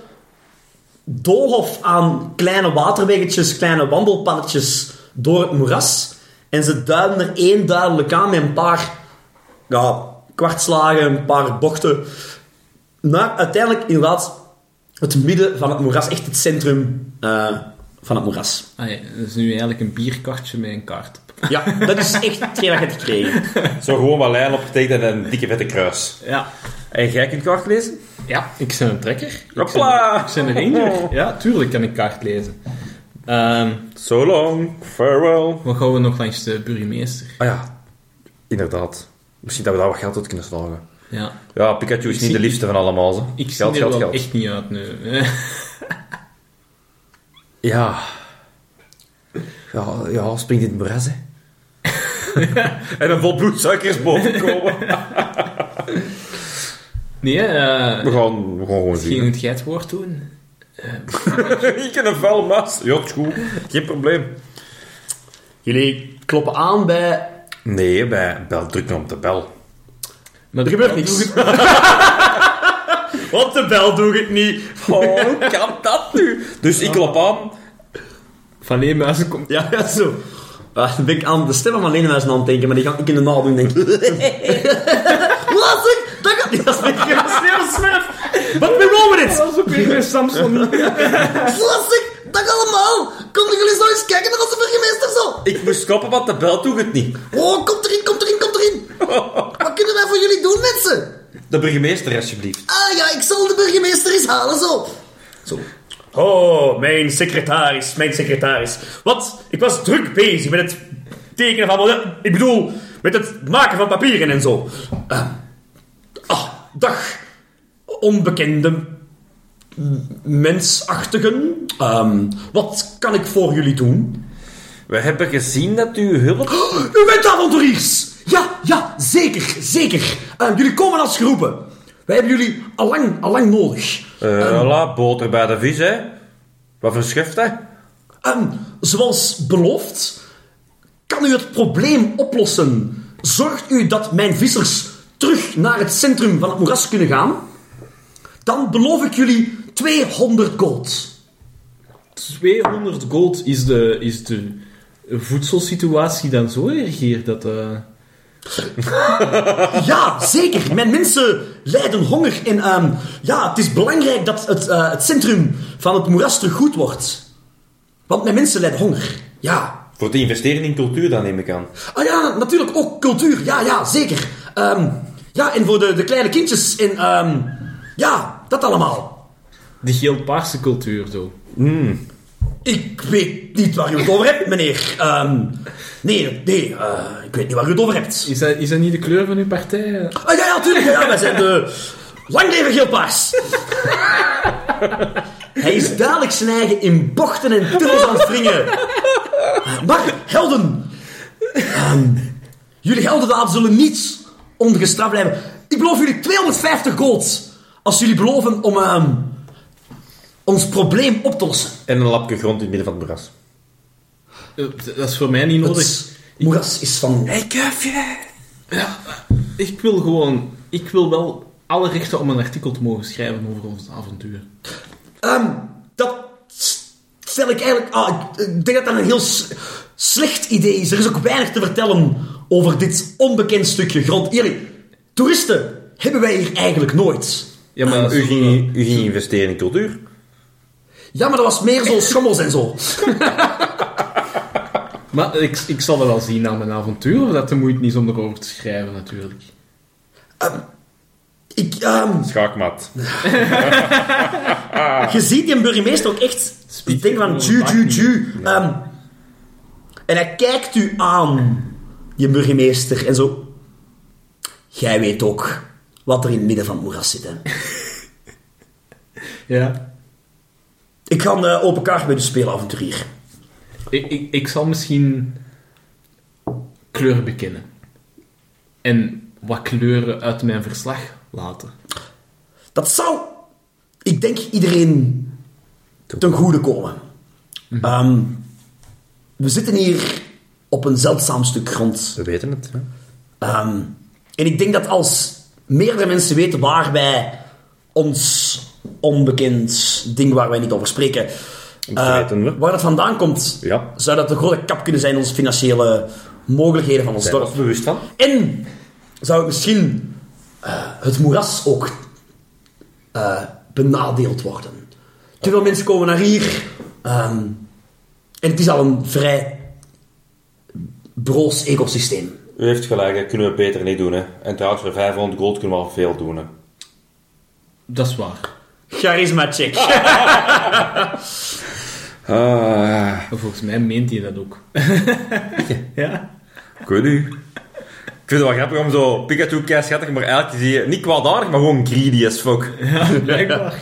Speaker 4: doolhof aan kleine waterweggetjes, kleine wandelpaddetjes door het moeras. En ze duiden er één duidelijk aan met een paar ja, kwartslagen, een paar bochten. Naar uiteindelijk inderdaad het midden van het moeras, echt het centrum eh, van het moeras.
Speaker 3: Ah, ja, dat is nu eigenlijk een bierkartje met een kaart op.
Speaker 4: Ja, dat is echt hetgeen dat je hebt gekregen.
Speaker 1: Zo gewoon wat lijn opgetekend en een dikke vette kruis.
Speaker 3: Ja,
Speaker 1: En jij kunt kaart lezen?
Speaker 3: ja ik ben een trekker. Ik ben,
Speaker 1: Hopla!
Speaker 3: ik ben een ranger. Ja, tuurlijk kan ik kaart lezen. Ehm,
Speaker 1: So long, farewell.
Speaker 3: wat gaan we nog langs de burgemeester?
Speaker 1: Ah ja, inderdaad. Misschien dat we daar wat geld uit kunnen slagen.
Speaker 3: Ja,
Speaker 1: Ja, Pikachu is niet
Speaker 3: zie-
Speaker 1: de liefste van allemaal, ze.
Speaker 3: ik zie
Speaker 1: geld,
Speaker 3: er
Speaker 1: geld,
Speaker 3: wel
Speaker 1: geld.
Speaker 3: echt niet uit nu.
Speaker 1: Ja. Ja, ja, springt in het moeras, hè. en een vol bloedsuikers bovenkomen.
Speaker 3: nee, eh,
Speaker 1: We gaan, we gaan gewoon
Speaker 3: misschien
Speaker 1: zien.
Speaker 3: het geitwoord doen.
Speaker 1: Ik ken een vuil mas. Ja, het is goed. Geen probleem.
Speaker 4: Jullie kloppen aan bij...
Speaker 1: Nee, bij bel, druk nou op de bel.
Speaker 3: Maar
Speaker 4: Er gebeurt niks. Op de bel doe ik niet.
Speaker 1: Oh, hoe kan dat nu? Dus ik klop aan.
Speaker 3: Van Leemuizen komt...
Speaker 4: Ja, ja, zo. Ah, dan ben ik aan de stem van mijn aan het denken, maar die ga ik in de naal doen, denk ik. Wat? zeg? Dat gaat niet. Dat is mijn sneeuw smurf. Wat ben je over dit?
Speaker 3: was ook weer Samson.
Speaker 4: Wat? zeg? Dat allemaal. Kom jullie zo eens kijken naar onze burgemeester zo.
Speaker 1: Ik moest koppen, want de bel doet het niet.
Speaker 4: Oh, kom erin, kom erin, kom erin. Wat kunnen wij voor jullie doen, mensen?
Speaker 1: De burgemeester, alsjeblieft.
Speaker 4: Ah ja, ik zal de burgemeester eens halen zo. Zo. Oh, mijn secretaris, mijn secretaris. Wat? Ik was druk bezig met het tekenen van... model- Ik bedoel, met het maken van papieren en zo. Ah, ah, dag, onbekende mensachtigen. Ehm, wat kan ik voor jullie doen?
Speaker 1: We hebben gezien dat u hulp...
Speaker 4: Oh, U bent avonturiers! Ja, ja, zeker, zeker. Eh, jullie komen als groepen. Wij hebben jullie allang, allang nodig.
Speaker 1: Eh, voilà, boter bij de vis, hè. Wat verschuft, hè?
Speaker 4: Ehm, zoals beloofd, kan u het probleem oplossen. Zorgt u dat mijn vissers terug naar het centrum van het moeras kunnen gaan. dan beloof ik jullie 200 gold.
Speaker 3: 200 gold is de, Eh, is de voedselsituatie dan zo erg hier dat... eh,
Speaker 4: Ja, zeker. Mijn mensen lijden honger. En ehm, ja, het is belangrijk dat het, eh, het centrum van het moeras terug goed wordt. Want mijn mensen lijden honger. Ja.
Speaker 1: Voor te investeren in cultuur, dan neem ik aan.
Speaker 4: Ah ja, natuurlijk ook cultuur. Ja, ja, zeker. Ehm, ja, en voor de, de kleine kindjes. En ehm, ja, dat allemaal.
Speaker 3: de geel-paarse cultuur, zo.
Speaker 4: Ik weet niet waar u het over hebt, meneer. Ehm, nee, nee, eh, ik weet niet waar u het over hebt.
Speaker 3: Is dat, is dat niet de kleur van uw partij? Eh,
Speaker 4: Ah ja, ja, tuurlijk. Ja, ja, wij zijn de... Lang leven Geelpaars. Hij is duidelijk zijn eigen in bochten en tunnels aan het wringen. Maar, helden. ehm, jullie heldendaad zullen niet ongestraft blijven. Ik beloof jullie 250 gold. Als jullie beloven om ehm, ons probleem op te lossen.
Speaker 1: En een lapje grond in het midden van het moeras.
Speaker 3: Eh, d- Dat is voor mij niet nodig.
Speaker 4: Het moeras is van...
Speaker 3: Hey, kuifje! Ja, ik wil gewoon... Ik wil wel alle rechten om een artikel te mogen schrijven over ons avontuur.
Speaker 4: Ehm, dat stel ik eigenlijk. Ah, ik, ik denk dat dat een heel s- slecht idee is. Er is ook weinig te vertellen over dit onbekend stukje grond. Eerlijk, toeristen hebben wij hier eigenlijk nooit.
Speaker 3: Ja, maar...
Speaker 1: U ging, u ging investeren in cultuur.
Speaker 4: Ja, maar dat was meer zo schommels en zo.
Speaker 3: Maar ik, ik zal dat wel zien na mijn avontuur, of dat de moeite niet is om erover te schrijven, natuurlijk.
Speaker 4: Ehm, Ik, ehm,
Speaker 1: Schaakmat.
Speaker 4: je ziet die burgemeester ook echt
Speaker 3: Speech
Speaker 4: denken van
Speaker 3: gewoon
Speaker 4: ju,
Speaker 3: een
Speaker 4: ju,
Speaker 3: bak
Speaker 4: ju. Ehm, en hij kijkt u aan, die burgemeester, en zo. Jij weet ook wat er in het midden van het moeras zit, hè.
Speaker 3: Ja.
Speaker 4: Ik ga een eh, open kaart met u spelen, avonturier.
Speaker 3: Ik, ik, ik zal misschien kleuren bekennen. En wat kleuren uit mijn verslag laten.
Speaker 4: Dat zou, ik denk, iedereen ten goede komen.
Speaker 1: Mhm.
Speaker 4: Ehm, we zitten hier op een zeldzaam stuk grond.
Speaker 1: We weten het. Hè?
Speaker 4: Ehm, en ik denk dat als meerdere mensen weten waar wij ons onbekend ding waar wij niet over spreken, eh,
Speaker 1: weten we.
Speaker 4: waar dat vandaan komt,
Speaker 1: Ja.
Speaker 4: zou dat een grote kap kunnen zijn in onze financiële mogelijkheden van ons
Speaker 1: Zijn we
Speaker 4: dorp.
Speaker 1: ons bewust van?
Speaker 4: En zou het misschien eh, het moeras ook eh, benadeeld worden. Te veel mensen komen naar hier. ehm, en het is al een vrij broos ecosysteem.
Speaker 1: U heeft gelijk, dat kunnen we beter niet doen. Hè? En trouwens, voor 500 gold kunnen we al veel doen. Hè?
Speaker 3: Dat is waar.
Speaker 4: Charisma check.
Speaker 1: Ah,
Speaker 3: En volgens mij meent hij dat ook. ja?
Speaker 1: ik weet u. Ik vind het wel grappig om zo Pikachu kei schattig, maar eigenlijk zie je niet kwaadaardig, maar gewoon greedy as fuck.
Speaker 3: Ja, blijkbaar.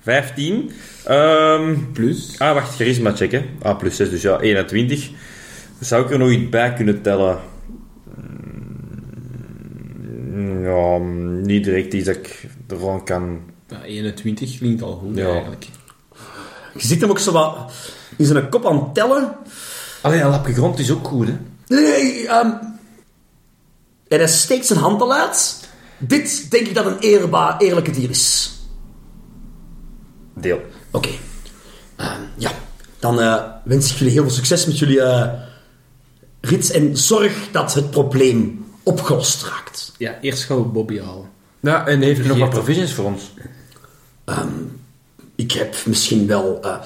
Speaker 1: 15. Ehm,
Speaker 3: Plus.
Speaker 1: ah, wacht, charisma check hè. Ah, plus 6, dus ja, 21. Zou ik er nog iets bij kunnen tellen? Mm, Ja, niet direct iets dat ik ervan kan
Speaker 3: Ja, 21 klinkt al goed
Speaker 1: Ja.
Speaker 3: eigenlijk.
Speaker 4: Je ziet hem ook zo wat in zijn kop aan het tellen.
Speaker 1: Alleen een lapje grond is ook goed, hè?
Speaker 4: Nee, nee, ehm, en hij steekt zijn hand al uit. Dit denk ik dat een eerbaar, eerlijke dier is.
Speaker 1: Deel.
Speaker 4: Oké. Ehm, ja. Dan eh, wens ik jullie heel veel succes met jullie eh rit. En zorg dat het probleem opgelost raakt.
Speaker 3: Ja, eerst gaan we Bobby halen.
Speaker 1: Ja, en heeft u nog wat provisions voor ons?
Speaker 4: Ik heb misschien wel... eh,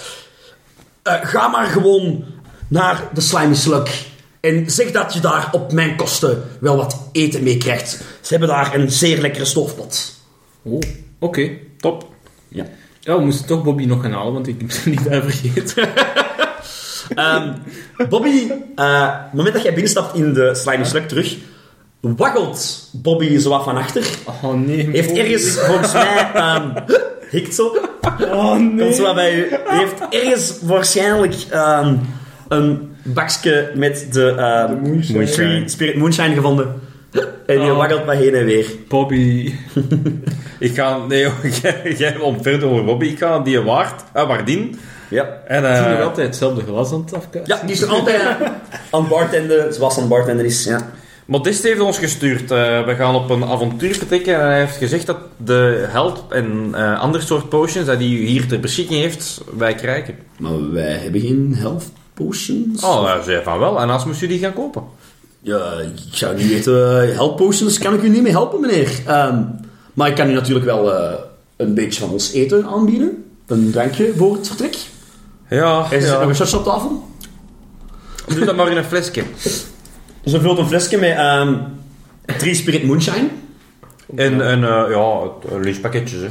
Speaker 4: eh, ga maar gewoon naar de Slimy Slug. En zeg dat je daar op mijn kosten wel wat eten mee krijgt. Ze hebben daar een zeer lekkere stoofpot.
Speaker 3: Oh, oké. Top.
Speaker 4: Ja.
Speaker 3: Ja, we moesten toch Bobby nog gaan halen, want ik heb ze niet daar vergeten.
Speaker 4: Ehm, Bobby, eh, op het moment dat jij binnenstapt in de Slimy Slug terug... Waggelt Bobby zo wat van achter.
Speaker 3: Oh nee.
Speaker 4: Heeft
Speaker 3: Bobby.
Speaker 4: ergens, volgens mij, ehm hikt zo.
Speaker 3: Oh nee.
Speaker 4: Komt zo wat bij u. Heeft ergens waarschijnlijk ehm, een bakje met de, ehm,
Speaker 3: moonshine.
Speaker 4: Free Spirit Moonshine gevonden. En die
Speaker 3: Oh.
Speaker 4: waggelt maar heen en weer.
Speaker 3: Bobby.
Speaker 1: Ik ga... Nee, joh, jij jij ontfermt over Bobby. Ik ga die waard... Ah, waardin.
Speaker 4: Ja.
Speaker 1: En,
Speaker 3: Is
Speaker 1: eh,
Speaker 3: hij nog altijd hetzelfde glas aan het afkuisen?
Speaker 4: Ja, die is nog altijd eh, aan het bartenden, zoals aan het bartenden is. Ja.
Speaker 1: Modest heeft ons gestuurd. Eh, we gaan op een avontuur vertrekken. En hij heeft gezegd dat de help en eh, ander soort potions dat hij hier ter beschikking heeft, wij krijgen.
Speaker 4: Maar wij hebben geen health potions.
Speaker 1: Oh, nou, zei van wel. En als moest u die gaan kopen?
Speaker 4: Ja, ik zou niet weten. eh, Help potions kan ik u niet mee helpen, meneer. Ehm, maar ik kan u natuurlijk wel eh, een beetje van ons eten aanbieden. Een drankje voor het vertrek.
Speaker 1: Ja,
Speaker 4: Er zit nog
Speaker 1: ja.
Speaker 4: een shotje op tafel.
Speaker 1: doe dat maar in een flesje.
Speaker 4: Ze vult een flesje met drie spirit moonshine.
Speaker 1: En, en eh, ja, lunchpakketjes. Hè.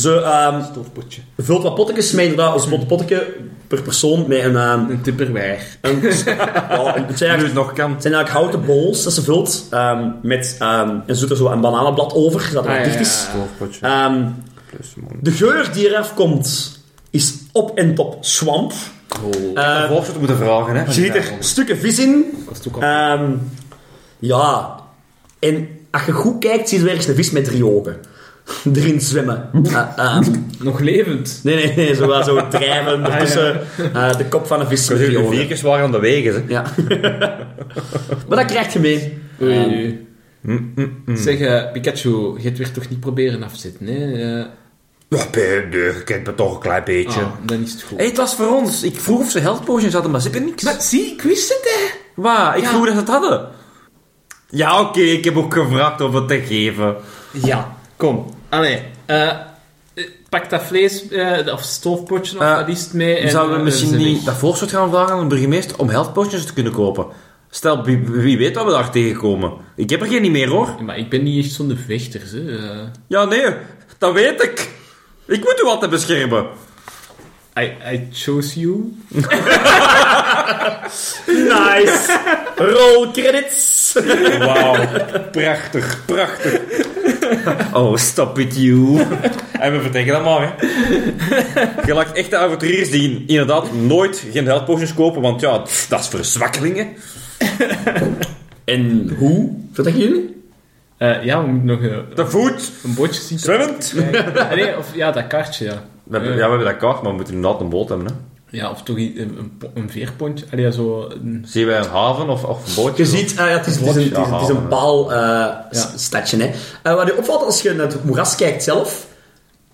Speaker 4: Ze ehm,
Speaker 3: Stofpotje.
Speaker 4: vult wat pottekes mee, inderdaad, als wat pottekje per persoon met een... ehm,
Speaker 3: Een tipperware.
Speaker 4: een ja, het zijn
Speaker 1: Nu
Speaker 4: eigenlijk
Speaker 1: het nog kan.
Speaker 4: Het zijn eigenlijk houten bols dat ze vult ehm, met... ehm en ze doet er zo een bananenblad over, dat
Speaker 3: Ah,
Speaker 4: het
Speaker 3: ja,
Speaker 4: dicht
Speaker 3: ja,
Speaker 4: is.
Speaker 3: ja.
Speaker 1: Stofpotje.
Speaker 4: Ehm,
Speaker 1: plus mooi.
Speaker 4: de geur die eraf komt is op en top swamp.
Speaker 3: Oh,
Speaker 4: Eh,
Speaker 1: Uh, Voorzitter moeten vragen, hè?
Speaker 4: je ziet er stukken vis in.
Speaker 3: dat is toch al...
Speaker 4: Ehm, ja. En als je goed kijkt, zie je ergens een vis met drie ogen. Erin zwemmen. Eh, ehm,
Speaker 3: Nog levend.
Speaker 4: Nee, nee, nee, zo, wel zo
Speaker 3: Ah,
Speaker 4: drijven ertussen. eh, de kop van een vis. met drie ogen.
Speaker 1: Vier keer zwaar aan de wegen, hè?
Speaker 4: Ja. maar dat krijg je mee.
Speaker 3: Oei, oei. Ehm,
Speaker 1: Mm,
Speaker 3: Zeg, eh, Pikachu, je het weer toch niet proberen afzetten, hè? Eh,
Speaker 1: Ja, per deur, ik ken me toch een klein beetje.
Speaker 3: ah, dan is het goed.
Speaker 1: Hé, het was voor ons. Ik vroeg of ze health potions hadden, maar ze hebben niks.
Speaker 3: Maar zie, ik wist het, hè?
Speaker 1: Waar? Ik
Speaker 3: Ja.
Speaker 1: vroeg dat ze het hadden. Ja, oké, ik heb ook gevraagd om het te geven.
Speaker 3: Ja, kom. Allee. eh, eh, pak dat vlees, eh, of stoofpotje, of
Speaker 1: Eh,
Speaker 3: wat is het mee? en,
Speaker 1: Zouden we
Speaker 3: eh,
Speaker 1: misschien
Speaker 3: zijn weg.
Speaker 1: niet dat voorschot gaan vragen aan de burgemeester om health potions te kunnen kopen? Stel, wie, wie weet wat we daar tegenkomen. Ik heb er geen meer, hoor.
Speaker 3: Ja, Maar ik ben niet echt zo'n vechter, hè? eh.
Speaker 1: Ja, nee, dat weet ik. Ik moet u altijd beschermen.
Speaker 3: I, I chose you.
Speaker 4: Nice. Roll credits.
Speaker 1: Wauw, prachtig, prachtig. Oh, stop it, you. En we vertrekken dan maar, hè. Je laat echte avonturiers die inderdaad nooit geen health potions kopen, want ja, pff, dat is voor zwakkelingen.
Speaker 4: En hoe? Vertrekken jullie?
Speaker 3: Eh, ja, we moeten nog eh,
Speaker 1: Te voet,
Speaker 3: een bootje zien. te-
Speaker 1: zwemmend.
Speaker 3: Eh, nee, of ja, dat kaartje, ja.
Speaker 1: We hebben, ja, we hebben dat kaart, maar we moeten inderdaad een boot hebben, hè.
Speaker 3: Ja, of toch i- een, een, po- een veerpontje. Allee, ja, zo... Een,
Speaker 1: Zien wij een haven of, of een bootje?
Speaker 4: Je ziet, eh, ja, het, is, het, is een, het, is, het is een paal eh, s- stadje. Hè. Eh, wat je opvalt als je naar het moeras kijkt zelf.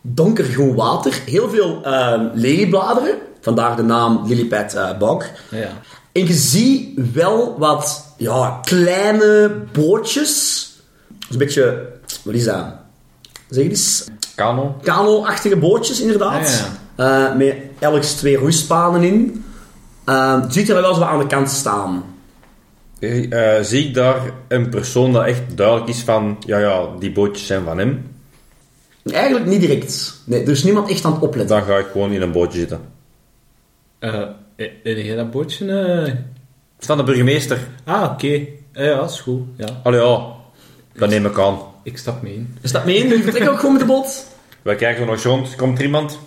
Speaker 4: Donkergroen water. Heel veel eh, leliebladeren. Vandaar de naam Lilipad eh Bog.
Speaker 3: ja.
Speaker 4: En je ziet wel wat ja, kleine bootjes. Dat is een beetje... Wat is dat? Zeg het eens.
Speaker 1: Kano.
Speaker 4: Kano-achtige bootjes, inderdaad. Eh, met elk twee roeispanen in. Eh, het ziet er wel zo wat aan de kant staan.
Speaker 1: Eh, eh, zie ik daar een persoon dat echt duidelijk is van, ja, ja, die bootjes zijn van hem.
Speaker 4: Eigenlijk niet direct. Nee, er is niemand echt aan het opletten.
Speaker 1: Dan ga ik gewoon in een bootje zitten.
Speaker 3: Eh, eh, heb jij dat bootje? eh?
Speaker 1: Van de burgemeester.
Speaker 3: Ah, oké. Eh, ja, is goed. Ja,
Speaker 1: Allee, ja, dat neem ik aan.
Speaker 3: ik stap mee in.
Speaker 4: Is dat mee? Jullie vertrekken ook gewoon met de boot?
Speaker 1: Wij kijken nog eens rond. Komt er iemand?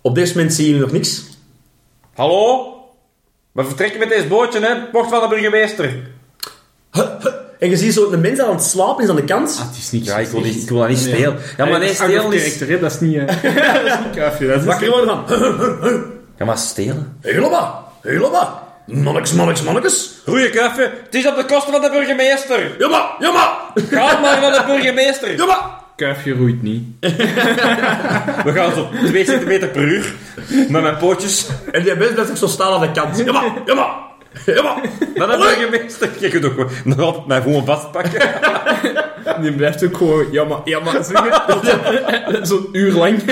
Speaker 4: Op dit moment zien jullie nog niks.
Speaker 1: Hallo? We vertrekken met deze bootje, hè? Het Mocht van de burgemeester.
Speaker 4: En je ziet zo een mens dat aan het slapen is aan de kant.
Speaker 3: Ah, het is niet...
Speaker 1: Ja, ik wil, die, ik wil dat niet
Speaker 3: Nee.
Speaker 1: stelen. Ja, maar nee, stelen is...
Speaker 3: Character, hè, dat is niet... eh, dat is niet kuifje, dat is...
Speaker 4: Wakker worden van...
Speaker 1: Ja, maar stelen?
Speaker 4: Helemaal, helemaal. Mannekes, mannekes, mannekes.
Speaker 1: Goeie kuifje, het is op de kosten van de burgemeester.
Speaker 4: Jamma, jamma,
Speaker 1: Ga maar naar de burgemeester.
Speaker 4: jamma.
Speaker 3: Kuifje roeit niet.
Speaker 1: We gaan zo 2 centimeter per uur. Met mijn pootjes.
Speaker 4: En die mens blijft ook zo staan aan de kant. Jamma, jamma, jamma.
Speaker 1: Naar de burgemeester. Je kunt ook gewoon- nog altijd mijn voeten vastpakken.
Speaker 3: Die blijft ook gewoon... Ja, maar... Ja, maar... zingen. Zo'n uur lang.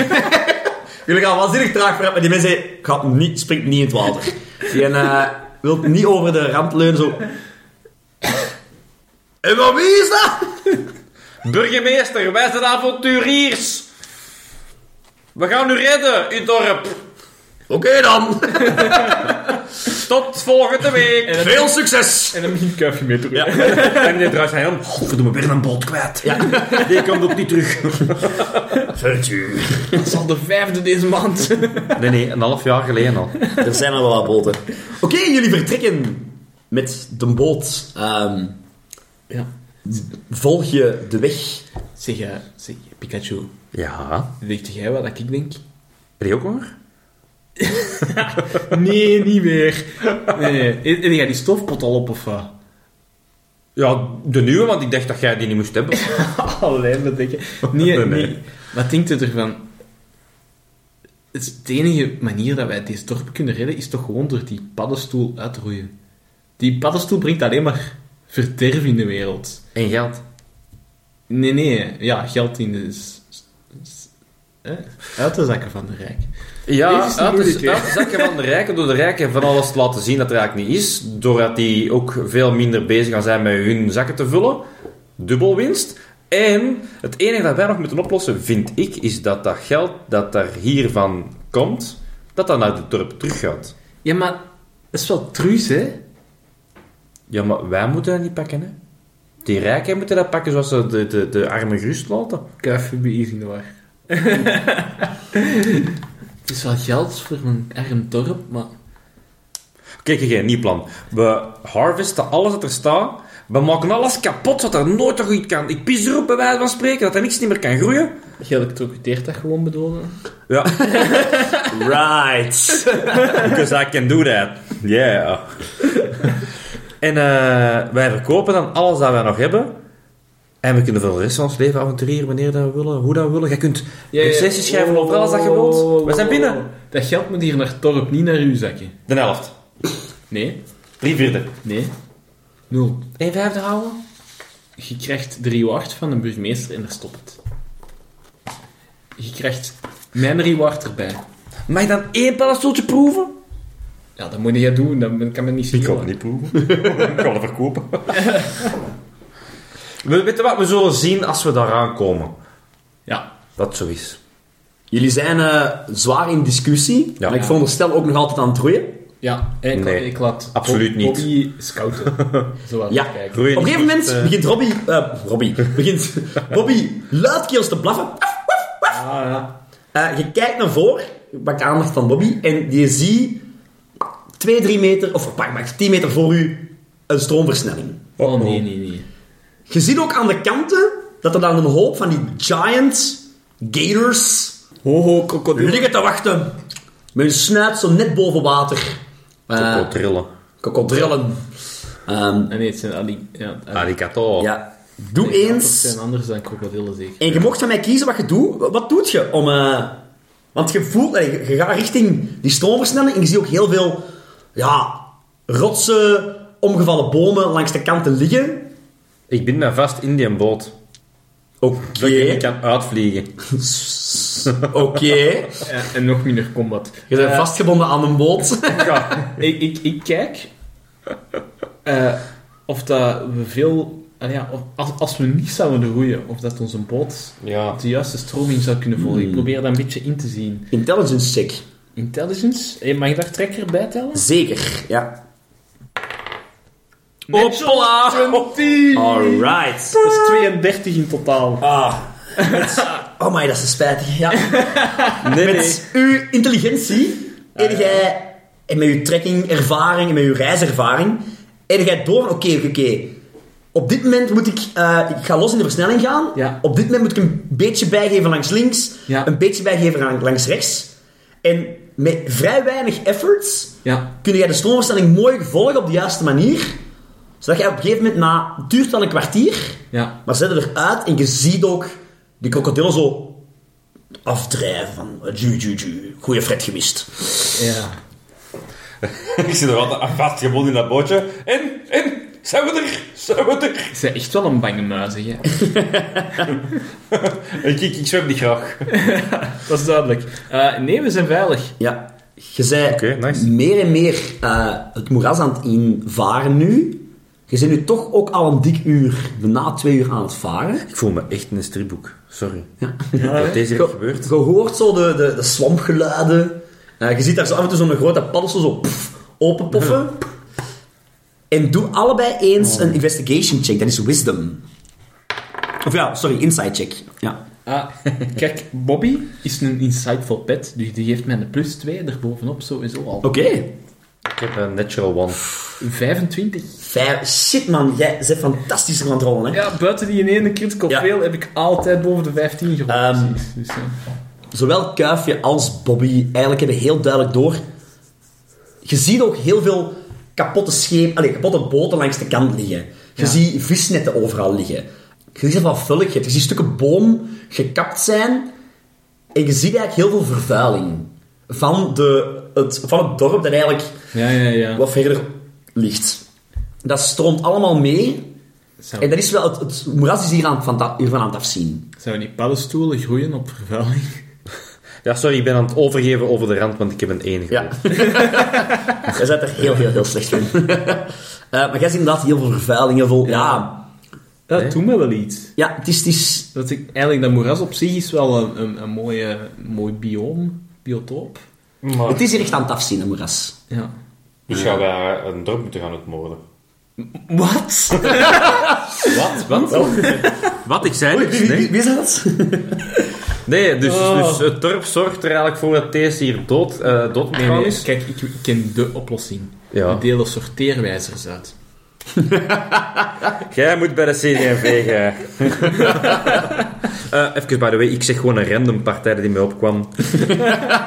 Speaker 4: Jullie gaan waanzinnig traag vooruit, maar die mensen zei, gaat niet, springt niet in het water. Die eh, wil niet over de rand leunen, zo... En van wie is dat?
Speaker 1: Burgemeester, wij zijn avonturiers. We gaan u redden, uw dorp.
Speaker 4: Oké dan,
Speaker 1: Tot volgende week.
Speaker 4: veel succes!
Speaker 3: En dan begint Kuifje mee te roeien.
Speaker 1: En die draait zijn om. Godverdomme, weer een boot kwijt. Die komt ook niet terug.
Speaker 4: Virtue.
Speaker 3: Dat is al de vijfde deze maand.
Speaker 1: Nee, nee, een half jaar geleden al.
Speaker 4: Er zijn al wel wat boten. Oké, jullie vertrekken met de boot. Ehm,
Speaker 3: Ja.
Speaker 4: volg je de weg.
Speaker 3: Zeg, eh, zeg Pikachu,
Speaker 1: Ja.
Speaker 3: weet jij wat ik denk?
Speaker 1: Ben je ook honger?
Speaker 3: Nee, niet meer. Nee, nee. Heb jij die stofpot al op of wat?
Speaker 1: Ja, de nieuwe, want ik dacht dat jij die niet moest hebben.
Speaker 3: Alleen maar denken. Nee,
Speaker 1: Nee,
Speaker 3: nee,
Speaker 1: nee.
Speaker 3: Wat denkt u ervan? Het is de enige manier dat wij dit dorp kunnen redden, is toch gewoon door die paddenstoel uitroeien. Die paddenstoel brengt alleen maar verderf in de wereld.
Speaker 1: En geld.
Speaker 3: Nee, nee, ja, geld in de... s- s- eh, uit de zakken van de rijk. Deze
Speaker 1: Ja,
Speaker 3: is niet
Speaker 1: uit
Speaker 3: moeilijk,
Speaker 1: de,
Speaker 3: hè?
Speaker 1: uit de zakken van de rijken, door de rijken van alles te laten zien dat er eigenlijk niet is. Doordat die ook veel minder bezig gaan zijn met hun zakken te vullen. Dubbel winst. En het enige dat wij nog moeten oplossen, vind ik, is dat dat geld dat daar hiervan komt, dat dat naar het dorp teruggaat.
Speaker 3: Ja, maar dat is wel truus, hè?
Speaker 1: Ja, maar wij moeten dat niet pakken, hè. Die rijken moeten dat pakken zoals ze de, de, de armen gerust laten.
Speaker 3: Ik heb even bij in de war. Het is wel geld voor een arm dorp, maar...
Speaker 1: Kijk, geen nieuw plan. We harvesten alles wat er staat. We maken alles kapot, zodat er nooit nog iets kan. Ik pis erop bij wijze van spreken, dat er niks niet meer kan groeien.
Speaker 3: Geëlectrocuteerd dat gewoon bedoelde?
Speaker 1: Ja,
Speaker 4: Right.
Speaker 1: because I can do that. Yeah. en eh, wij verkopen dan alles dat wij nog hebben. En we kunnen voor de rest van ons leven avontureren wanneer dat we willen, hoe dat we willen. Jij kunt recensies schrijven over alles dat je wilt. We zijn binnen.
Speaker 3: Dat geld moet hier naar het dorp, niet naar uw zakje.
Speaker 1: De helft.
Speaker 3: Nee,
Speaker 1: Drie vierde.
Speaker 3: nee. Nul.
Speaker 1: Eén vijfde houden.
Speaker 3: Je krijgt de reward van de burgemeester en daar stopt het. Je krijgt mijn reward erbij.
Speaker 1: Mag ik dan één paddenstoeltje proeven?
Speaker 3: Ja, dat moet jij doen, dat kan men niet zien.
Speaker 1: niet proeven. ik kan het verkopen. we weten wat we zullen zien als we daar aankomen.
Speaker 3: Ja,
Speaker 1: Dat zo is.
Speaker 4: Jullie zijn eh, zwaar in discussie.
Speaker 1: Ja.
Speaker 4: En ik veronderstel ook nog altijd aan het roeien.
Speaker 3: ja. En ik,
Speaker 1: Nee,
Speaker 3: ik laat
Speaker 1: absoluut
Speaker 3: Bob-
Speaker 1: niet.
Speaker 3: Bobby scouten. Zoals
Speaker 4: Ja,
Speaker 3: ik kijk.
Speaker 1: Groeien
Speaker 4: Op een gegeven
Speaker 1: niet
Speaker 4: moment
Speaker 1: echt, eh,
Speaker 4: begint Robbie... eh, Robbie. begint Bobby luidkeels te blaffen.
Speaker 3: Ah, ja.
Speaker 4: Eh, je kijkt naar voren, je pakt aandacht van Bobby en je ziet twee, drie meter, of pak maar 10 meter voor u, een stroomversnelling.
Speaker 3: Oh, nee, nee, nee.
Speaker 4: Je ziet ook aan de kanten dat er dan een hoop van die giant gators
Speaker 3: Ho, ho, krokodil.
Speaker 4: liggen te wachten. Met hun snuit zo net boven water.
Speaker 1: Tot wel
Speaker 4: Eh
Speaker 1: trillen.
Speaker 4: Kokodrillen. Ehm,
Speaker 3: Ah, Nee, het zijn al die... Ja, al die-
Speaker 1: Ah, Arigato.
Speaker 4: Eh, ja. Doe
Speaker 3: dat
Speaker 4: eens...
Speaker 3: zijn anders dan krokodillen, zeker.
Speaker 4: En je mocht van mij kiezen wat je doet. Wat doet je om... eh, want je voelt... eh, Je, je gaat richting die stroomversnelling en je ziet ook heel veel... Ja, rotsen, omgevallen bomen langs de kanten liggen.
Speaker 1: Ik ben daar vast in die boot.
Speaker 4: Oké.
Speaker 1: Dat ik niet kan uitvliegen.
Speaker 4: Oké.
Speaker 3: Ja, en nog minder combat.
Speaker 4: Je bent
Speaker 3: Eh,
Speaker 4: vastgebonden aan een boot.
Speaker 3: ik, ik, ik kijk eh, of dat we veel... ah ja, of- als, als we niet zouden roeien, of dat onze boot
Speaker 1: Ja.
Speaker 3: de juiste stroming zou kunnen volgen. Ik probeer dat een beetje in te zien.
Speaker 4: Intelligence check.
Speaker 3: Intelligence? Eh, Mag je daar trekker bij tellen?
Speaker 4: Zeker, ja.
Speaker 1: Hopla!
Speaker 3: 20!
Speaker 4: Alright.
Speaker 3: Dat is 32 in totaal.
Speaker 4: Ah. Oh my, dat is spijtig. Ja.
Speaker 1: Nee, nee.
Speaker 4: Met uw intelligentie en, jij, en met uw trekking, ervaring en met uw reiservaring, en jij door van, oké, oké, oké. Op dit moment moet ik, eh, ik ga los in de versnelling gaan.
Speaker 3: Ja.
Speaker 4: Op dit moment moet ik een beetje bijgeven langs links,
Speaker 3: Ja.
Speaker 4: een beetje bijgeven aan- langs rechts. En met vrij weinig efforts
Speaker 3: Ja.
Speaker 4: kun jij de stroomversnelling mooi volgen op de juiste manier. Zodat jij op een gegeven moment na, het duurt wel een kwartier,
Speaker 3: Ja.
Speaker 4: maar zet eruit en je ziet ook die krokodillen zo afdrijven van eh, ju, ju, ju, goeie fret gemist.
Speaker 3: Ja.
Speaker 1: Ik zit er altijd vastgebonden in dat bootje. En, en, zijn we er? Zijn we er?
Speaker 3: Ze zijn echt wel een bange muizen, hè.
Speaker 1: Ik, ik, ik zwem niet graag.
Speaker 3: Dat is duidelijk. Eh, nee, we zijn veilig.
Speaker 4: Ja, je bent
Speaker 1: Oké, nice.
Speaker 4: meer en meer eh, het moeras aan het invaren nu. Je bent nu toch ook al een dik uur, na twee uur aan het varen.
Speaker 1: Ik voel me echt in een stripboek. Sorry.
Speaker 4: Ja.
Speaker 1: Dat deze hier gebeurt.
Speaker 4: Je hoort zo de, de, de swampgeluiden. Eh, je ziet daar zo af en toe zo'n grote paddenstoel zo pff, openpoffen. En doe allebei eens een investigation check. Dat is wisdom. Of ja, sorry, insight check. Ja.
Speaker 3: Ah, kijk, Bobby is een insightful pet, dus die geeft mij een plus 2 erbovenop sowieso al.
Speaker 4: Oké.
Speaker 1: Ik heb een natural one.
Speaker 3: 25.
Speaker 4: Vijf. Shit man, jij bent fantastisch aan het rollen. Hè?
Speaker 3: Ja, buiten die ene critical
Speaker 4: Ja.
Speaker 3: fail heb ik altijd boven de 15 gerold.
Speaker 4: Ehm.
Speaker 3: precies. Dus, ja.
Speaker 4: Zowel Kuifje als Bobby eigenlijk hebben heel duidelijk door. Je ziet ook heel veel kapotte schepen, allee, kapotte boten langs de kant liggen. Je Je ziet visnetten overal liggen. Je ziet wat vulligheid. Je ziet stukken boom gekapt zijn. En je ziet eigenlijk heel veel vervuiling van, de, het, van het dorp dat eigenlijk
Speaker 3: Ja, ja, ja.
Speaker 4: wat verder ligt. Dat stroomt allemaal mee.
Speaker 3: Zou,
Speaker 4: En dat is wel... Het, het moeras is hier aan, het van, ta- hiervan aan het afzien.
Speaker 3: zou die paddenstoelen groeien op vervuiling?
Speaker 1: Ja, sorry, ik ben aan het overgeven over de rand, want ik heb een één
Speaker 4: Ja. Jij bent er heel, heel, heel slecht in. Eh, maar jij ziet inderdaad heel veel vervuiling, heel veel... Ja,
Speaker 3: Dat
Speaker 1: Nee.
Speaker 3: doet me wel iets.
Speaker 4: ja het, is, het is...
Speaker 3: Dat ik, eigenlijk, dat moeras op zich is wel een, een, een mooie, mooi bioom, biotoop.
Speaker 1: Maar...
Speaker 4: Het is hier echt aan het afzien, dat moeras.
Speaker 3: Ja.
Speaker 1: Dus gaan wij een dorp moeten gaan uitmoorden.
Speaker 4: Wat?
Speaker 1: Wat? Wat? Wat? Ik zei niks,
Speaker 4: Wie,
Speaker 1: nee.
Speaker 4: wie is dat?
Speaker 1: Nee, dus, dus het dorp zorgt er eigenlijk voor dat deze hier dood, eh dood moet
Speaker 3: Nee,
Speaker 1: gaan
Speaker 3: nee,
Speaker 1: is.
Speaker 3: Kijk, ik, ik ken de oplossing.
Speaker 1: Ja.
Speaker 3: We delen sorteerwijzers uit.
Speaker 1: Jij moet bij de CD&V gaan. Eh, even, by the way, ik zeg gewoon een random partij die mij opkwam.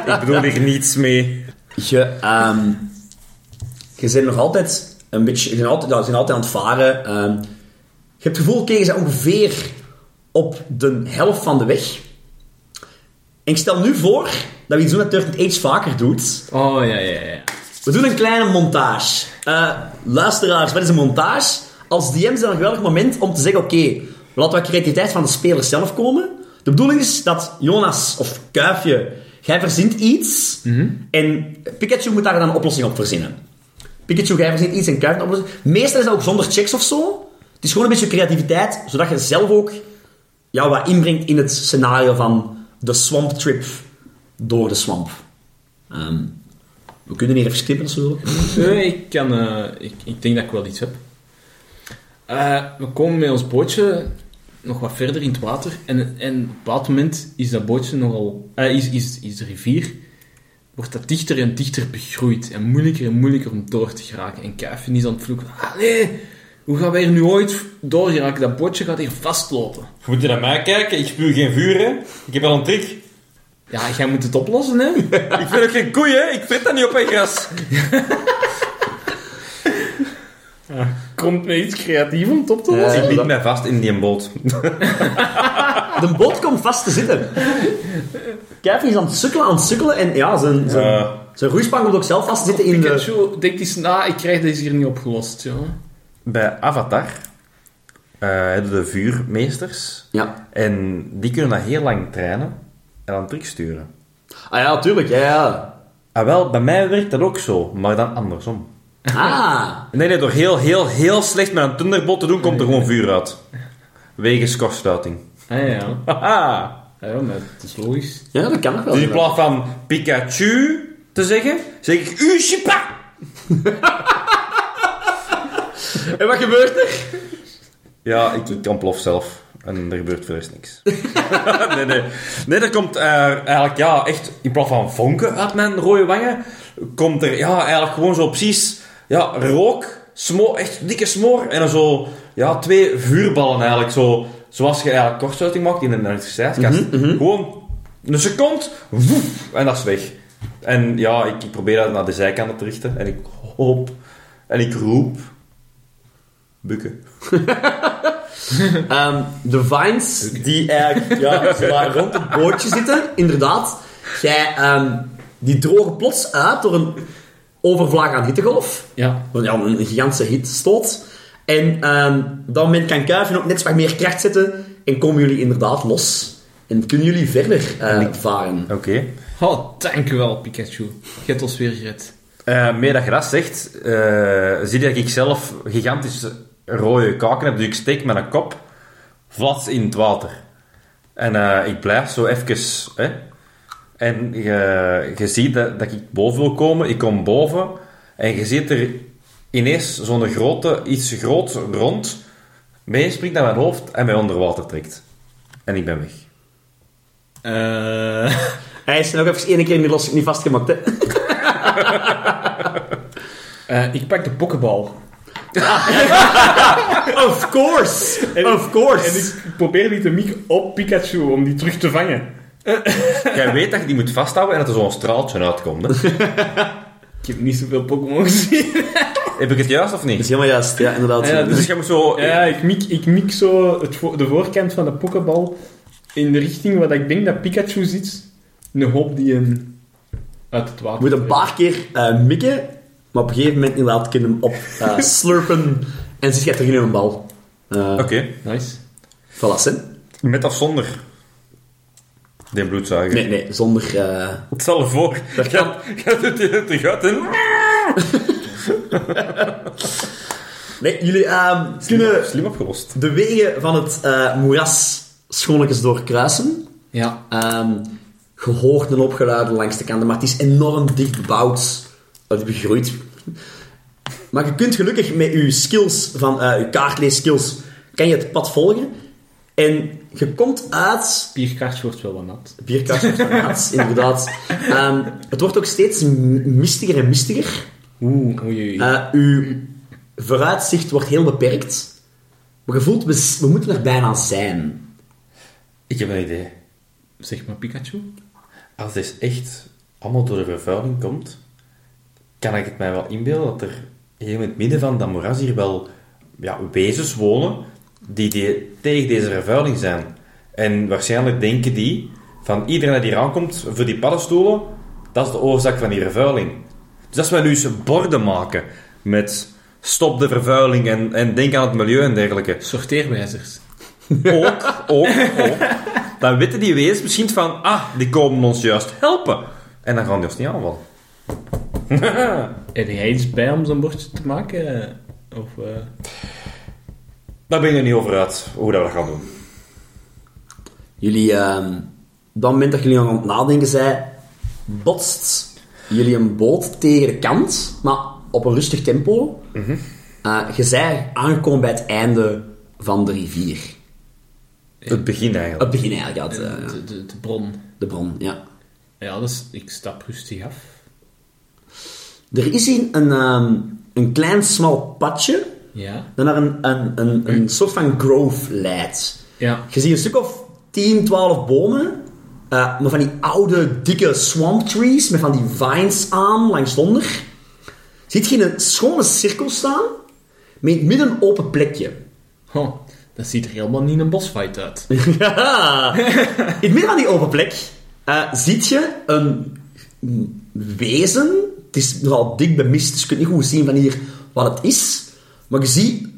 Speaker 1: ik bedoel hier niets mee.
Speaker 4: Je, ehm, je bent nog altijd een beetje... Je bent altijd, ja, je bent altijd aan het varen. ehm. je hebt het gevoel, oké, je bent ongeveer op de helft van de weg. En ik stel nu voor dat we iets doen dat Turtle Age vaker doet.
Speaker 3: Oh, ja, ja, ja.
Speaker 4: We doen een kleine montage. Eh, luisteraars, wat is een montage? Als DM is dat een geweldig moment om te zeggen: oké, laten we creativiteit van de speler zelf komen. De bedoeling is dat Jonas of Kuifje, jij verzint iets en Pikachu moet daar dan een oplossing op verzinnen. Pikachu, jij verzint iets en Kuifje een oplossing. Meestal is dat ook zonder checks of zo. Het is gewoon een beetje creativiteit, zodat je zelf ook ja, wat inbrengt in het scenario van de swamp trip door de swamp. Ehm, we kunnen hier even skippen als we willen.
Speaker 3: Nee, ik, kan, eh, ik, ik denk dat ik wel iets heb. Eh, we komen met ons bootje nog wat verder in het water. En, en op een bepaald moment is dat bootje nogal... eh, is, is, is de rivier... Wordt dat dichter en dichter begroeid. En moeilijker en moeilijker om door te geraken. En Kuifje is aan het vloeken. Allee, hoe gaan wij er nu ooit door geraken? Dat bootje gaat hier vastlopen.
Speaker 1: Je moet je naar mij kijken, ik spuw geen vuur, hè. Ik heb al een trick.
Speaker 3: Ja, jij moet het oplossen, hè?
Speaker 1: Ik ben ook geen koei, hè. Ik pret dat niet op mijn gras.
Speaker 3: Komt met iets creatiefs om het op te lossen.
Speaker 1: ik bind mij vast in die boot.
Speaker 4: De boot komt vast te zitten. Kevin is aan het sukkelen, aan het sukkelen. En ja, zijn, zijn,
Speaker 1: Eh.
Speaker 4: zijn roeispang komt ook zelf vast te zitten in de...
Speaker 3: Pikachu, denk eens na, ik krijg deze hier niet opgelost, jongen.
Speaker 1: Bij Avatar eh, hebben de vuurmeesters.
Speaker 4: Ja.
Speaker 1: En die kunnen dat heel lang trainen en aan trick sturen.
Speaker 4: Ah ja, tuurlijk. Ja, ja.
Speaker 1: Ah wel, bij mij werkt dat ook zo, maar dan andersom.
Speaker 4: Ah.
Speaker 1: Nee, nee, door heel, heel, heel slecht met een thunderbolt te doen, komt er gewoon vuur uit. Wegens kortsluiting.
Speaker 3: Ah ja,
Speaker 1: Haha!
Speaker 3: ah, ja maar het is logisch.
Speaker 4: Ja, dat kan nog wel.
Speaker 1: Dus in plaats van Pikachu te zeggen, zeg ik Uchipa!
Speaker 4: En wat gebeurt er?
Speaker 1: Ja, ik, ik ontplof zelf. En er gebeurt verder niks. nee, nee. Nee, er komt eh, eigenlijk, ja, echt in plaats van vonken uit mijn rode wangen, komt er, ja, eigenlijk gewoon zo precies, ja, rook, smo echt dikke smoor, en dan zo, ja, twee vuurballen eigenlijk, zo, zoals je eigenlijk kortsluiting maakt in een elektriciteitskast. Gewoon een seconde, woef, en dat is weg. En ja, ik, ik probeer dat naar de zijkanten te richten, en ik hoop, en ik roep, bukken.
Speaker 4: Ehm, de vines die eigenlijk ja, zo daar rond het bootje zitten, inderdaad. Jij, ehm, die drogen plots uit door een overvlaag aan hittegolf.
Speaker 3: Ja.
Speaker 4: Want ja, een gigantische hitstoot. En ehm, op dat moment kan Kuiven ook net wat meer kracht zetten. En komen jullie inderdaad los. En kunnen jullie verder eh, varen.
Speaker 1: Oké.
Speaker 3: Oh, dankjewel Pikachu. Je hebt ons weer gered.
Speaker 1: Eh meer dat je dat zegt, eh, zie je dat ik zelf gigantische rode kaken heb. Dus ik steek mijn kop vlak in het water. En eh, ik blijf zo even... Hè, en je, je ziet dat, dat ik boven wil komen. Ik kom boven. En je ziet er ineens zo'n grote, iets groot, rond... meespringt naar mijn hoofd en mij onder water trekt. En ik ben weg.
Speaker 3: Eh
Speaker 4: Hij is nog even één keer niet, los, niet vastgemaakt. Hè?
Speaker 3: eh, ik pak de pokkenbal.
Speaker 4: Of course! of
Speaker 3: En
Speaker 4: course!
Speaker 3: Dus ik probeer die te mikken op Pikachu om die terug te vangen.
Speaker 1: Jij weet dat je die moet vasthouden en dat er zo'n straaltje uitkomt. Hè?
Speaker 3: Ik heb niet zoveel Pokémon gezien.
Speaker 1: Heb ik het juist of
Speaker 4: Dat is
Speaker 1: niet?
Speaker 4: helemaal juist, ja, inderdaad.
Speaker 3: Ja,
Speaker 1: Dus je moet zo...
Speaker 3: Ja, ik mik, ik mik zo het vo- de voorkant van de pokebal in de richting waar ik denk dat Pikachu zit. In de hoop die hem uit het water
Speaker 4: Je moet een
Speaker 3: trekt.
Speaker 4: paar keer eh, mikken, maar op een gegeven moment inderdaad kun je hem op eh, slurpen en zit je terug in een bal. Eh
Speaker 1: Oké.
Speaker 3: Nice.
Speaker 4: Voilà, Sim.
Speaker 1: Met of zonder? Die bloedzuiger.
Speaker 4: Nee, nee, zonder... eh,
Speaker 1: Stel je voor, gaat gaat het hier terug uit in.
Speaker 4: Nee, jullie eh, kunnen
Speaker 1: Slim opgelost.
Speaker 4: de wegen van het eh, moeras schoonlijkjes doorkruisen.
Speaker 3: Ja.
Speaker 4: Ehm gehoord en opgeluiden langs de kanten, maar het is enorm dicht bebouwd. Het begroeid. Maar je kunt gelukkig met je skills, van eh je kaartleeskills, kan je het pad volgen. En je komt uit
Speaker 3: Bierkaart wordt wel wat nat.
Speaker 4: Bierkastje van Maats, inderdaad. Ehm, het wordt ook steeds m- mistiger en mistiger.
Speaker 3: Oeh, oei, oei.
Speaker 4: Eh, uw vooruitzicht wordt heel beperkt. Maar je voelt, we, s- we moeten er bijna zijn.
Speaker 1: Ik heb een idee.
Speaker 3: Zeg maar Pikachu.
Speaker 1: Als dit echt allemaal door de vervuiling komt, kan ik het mij wel inbeelden dat er hier in het midden van dat moeras hier wel ja, wezens wonen die, die tegen deze vervuiling zijn. En waarschijnlijk denken die van iedereen die hier aankomt voor die paddenstoelen, dat is de oorzaak van die vervuiling. Dus als wij nu eens borden maken met stop de vervuiling en, en denk aan het milieu en dergelijke.
Speaker 3: Sorteerwijzers.
Speaker 1: Ook, ook, ook. Dan weten die wezens misschien van, ah, die komen ons juist helpen. En dan gaan die ons niet aanvallen.
Speaker 3: Heb jij iets bij om zo'n bordje te maken? Of, eh,
Speaker 1: Daar ben je niet over uit, hoe dat we dat gaan doen.
Speaker 4: Jullie, ehm, op dat moment dat jullie nog aan het nadenken zijn, botst jullie een boot tegen de kant, maar op een rustig tempo. Eh, je zij aangekomen bij het einde van de rivier.
Speaker 1: Het begin eigenlijk.
Speaker 4: Het begin eigenlijk, ja, het, eh, ja,
Speaker 3: de, de, de bron.
Speaker 4: de bron, ja.
Speaker 3: Ja, dus ik stap rustig af.
Speaker 4: Er is hier een, ehm, een klein smal padje
Speaker 3: Ja.
Speaker 4: dat naar een, een, een, een soort van grove leidt.
Speaker 3: Ja.
Speaker 4: Je ziet een stuk of 10, 12 bomen, eh, maar van die oude, dikke swamp trees met van die vines aan langs onder. Ziet je in een schone cirkel staan met in het midden een open plekje.
Speaker 3: Ho, dat ziet er helemaal niet een bosfight uit.
Speaker 4: Ja. Ah. In het midden van die open plek eh ziet je een wezen. Het is nogal dik bemist, dus je kunt niet goed zien van hier wat het is. Maar je ziet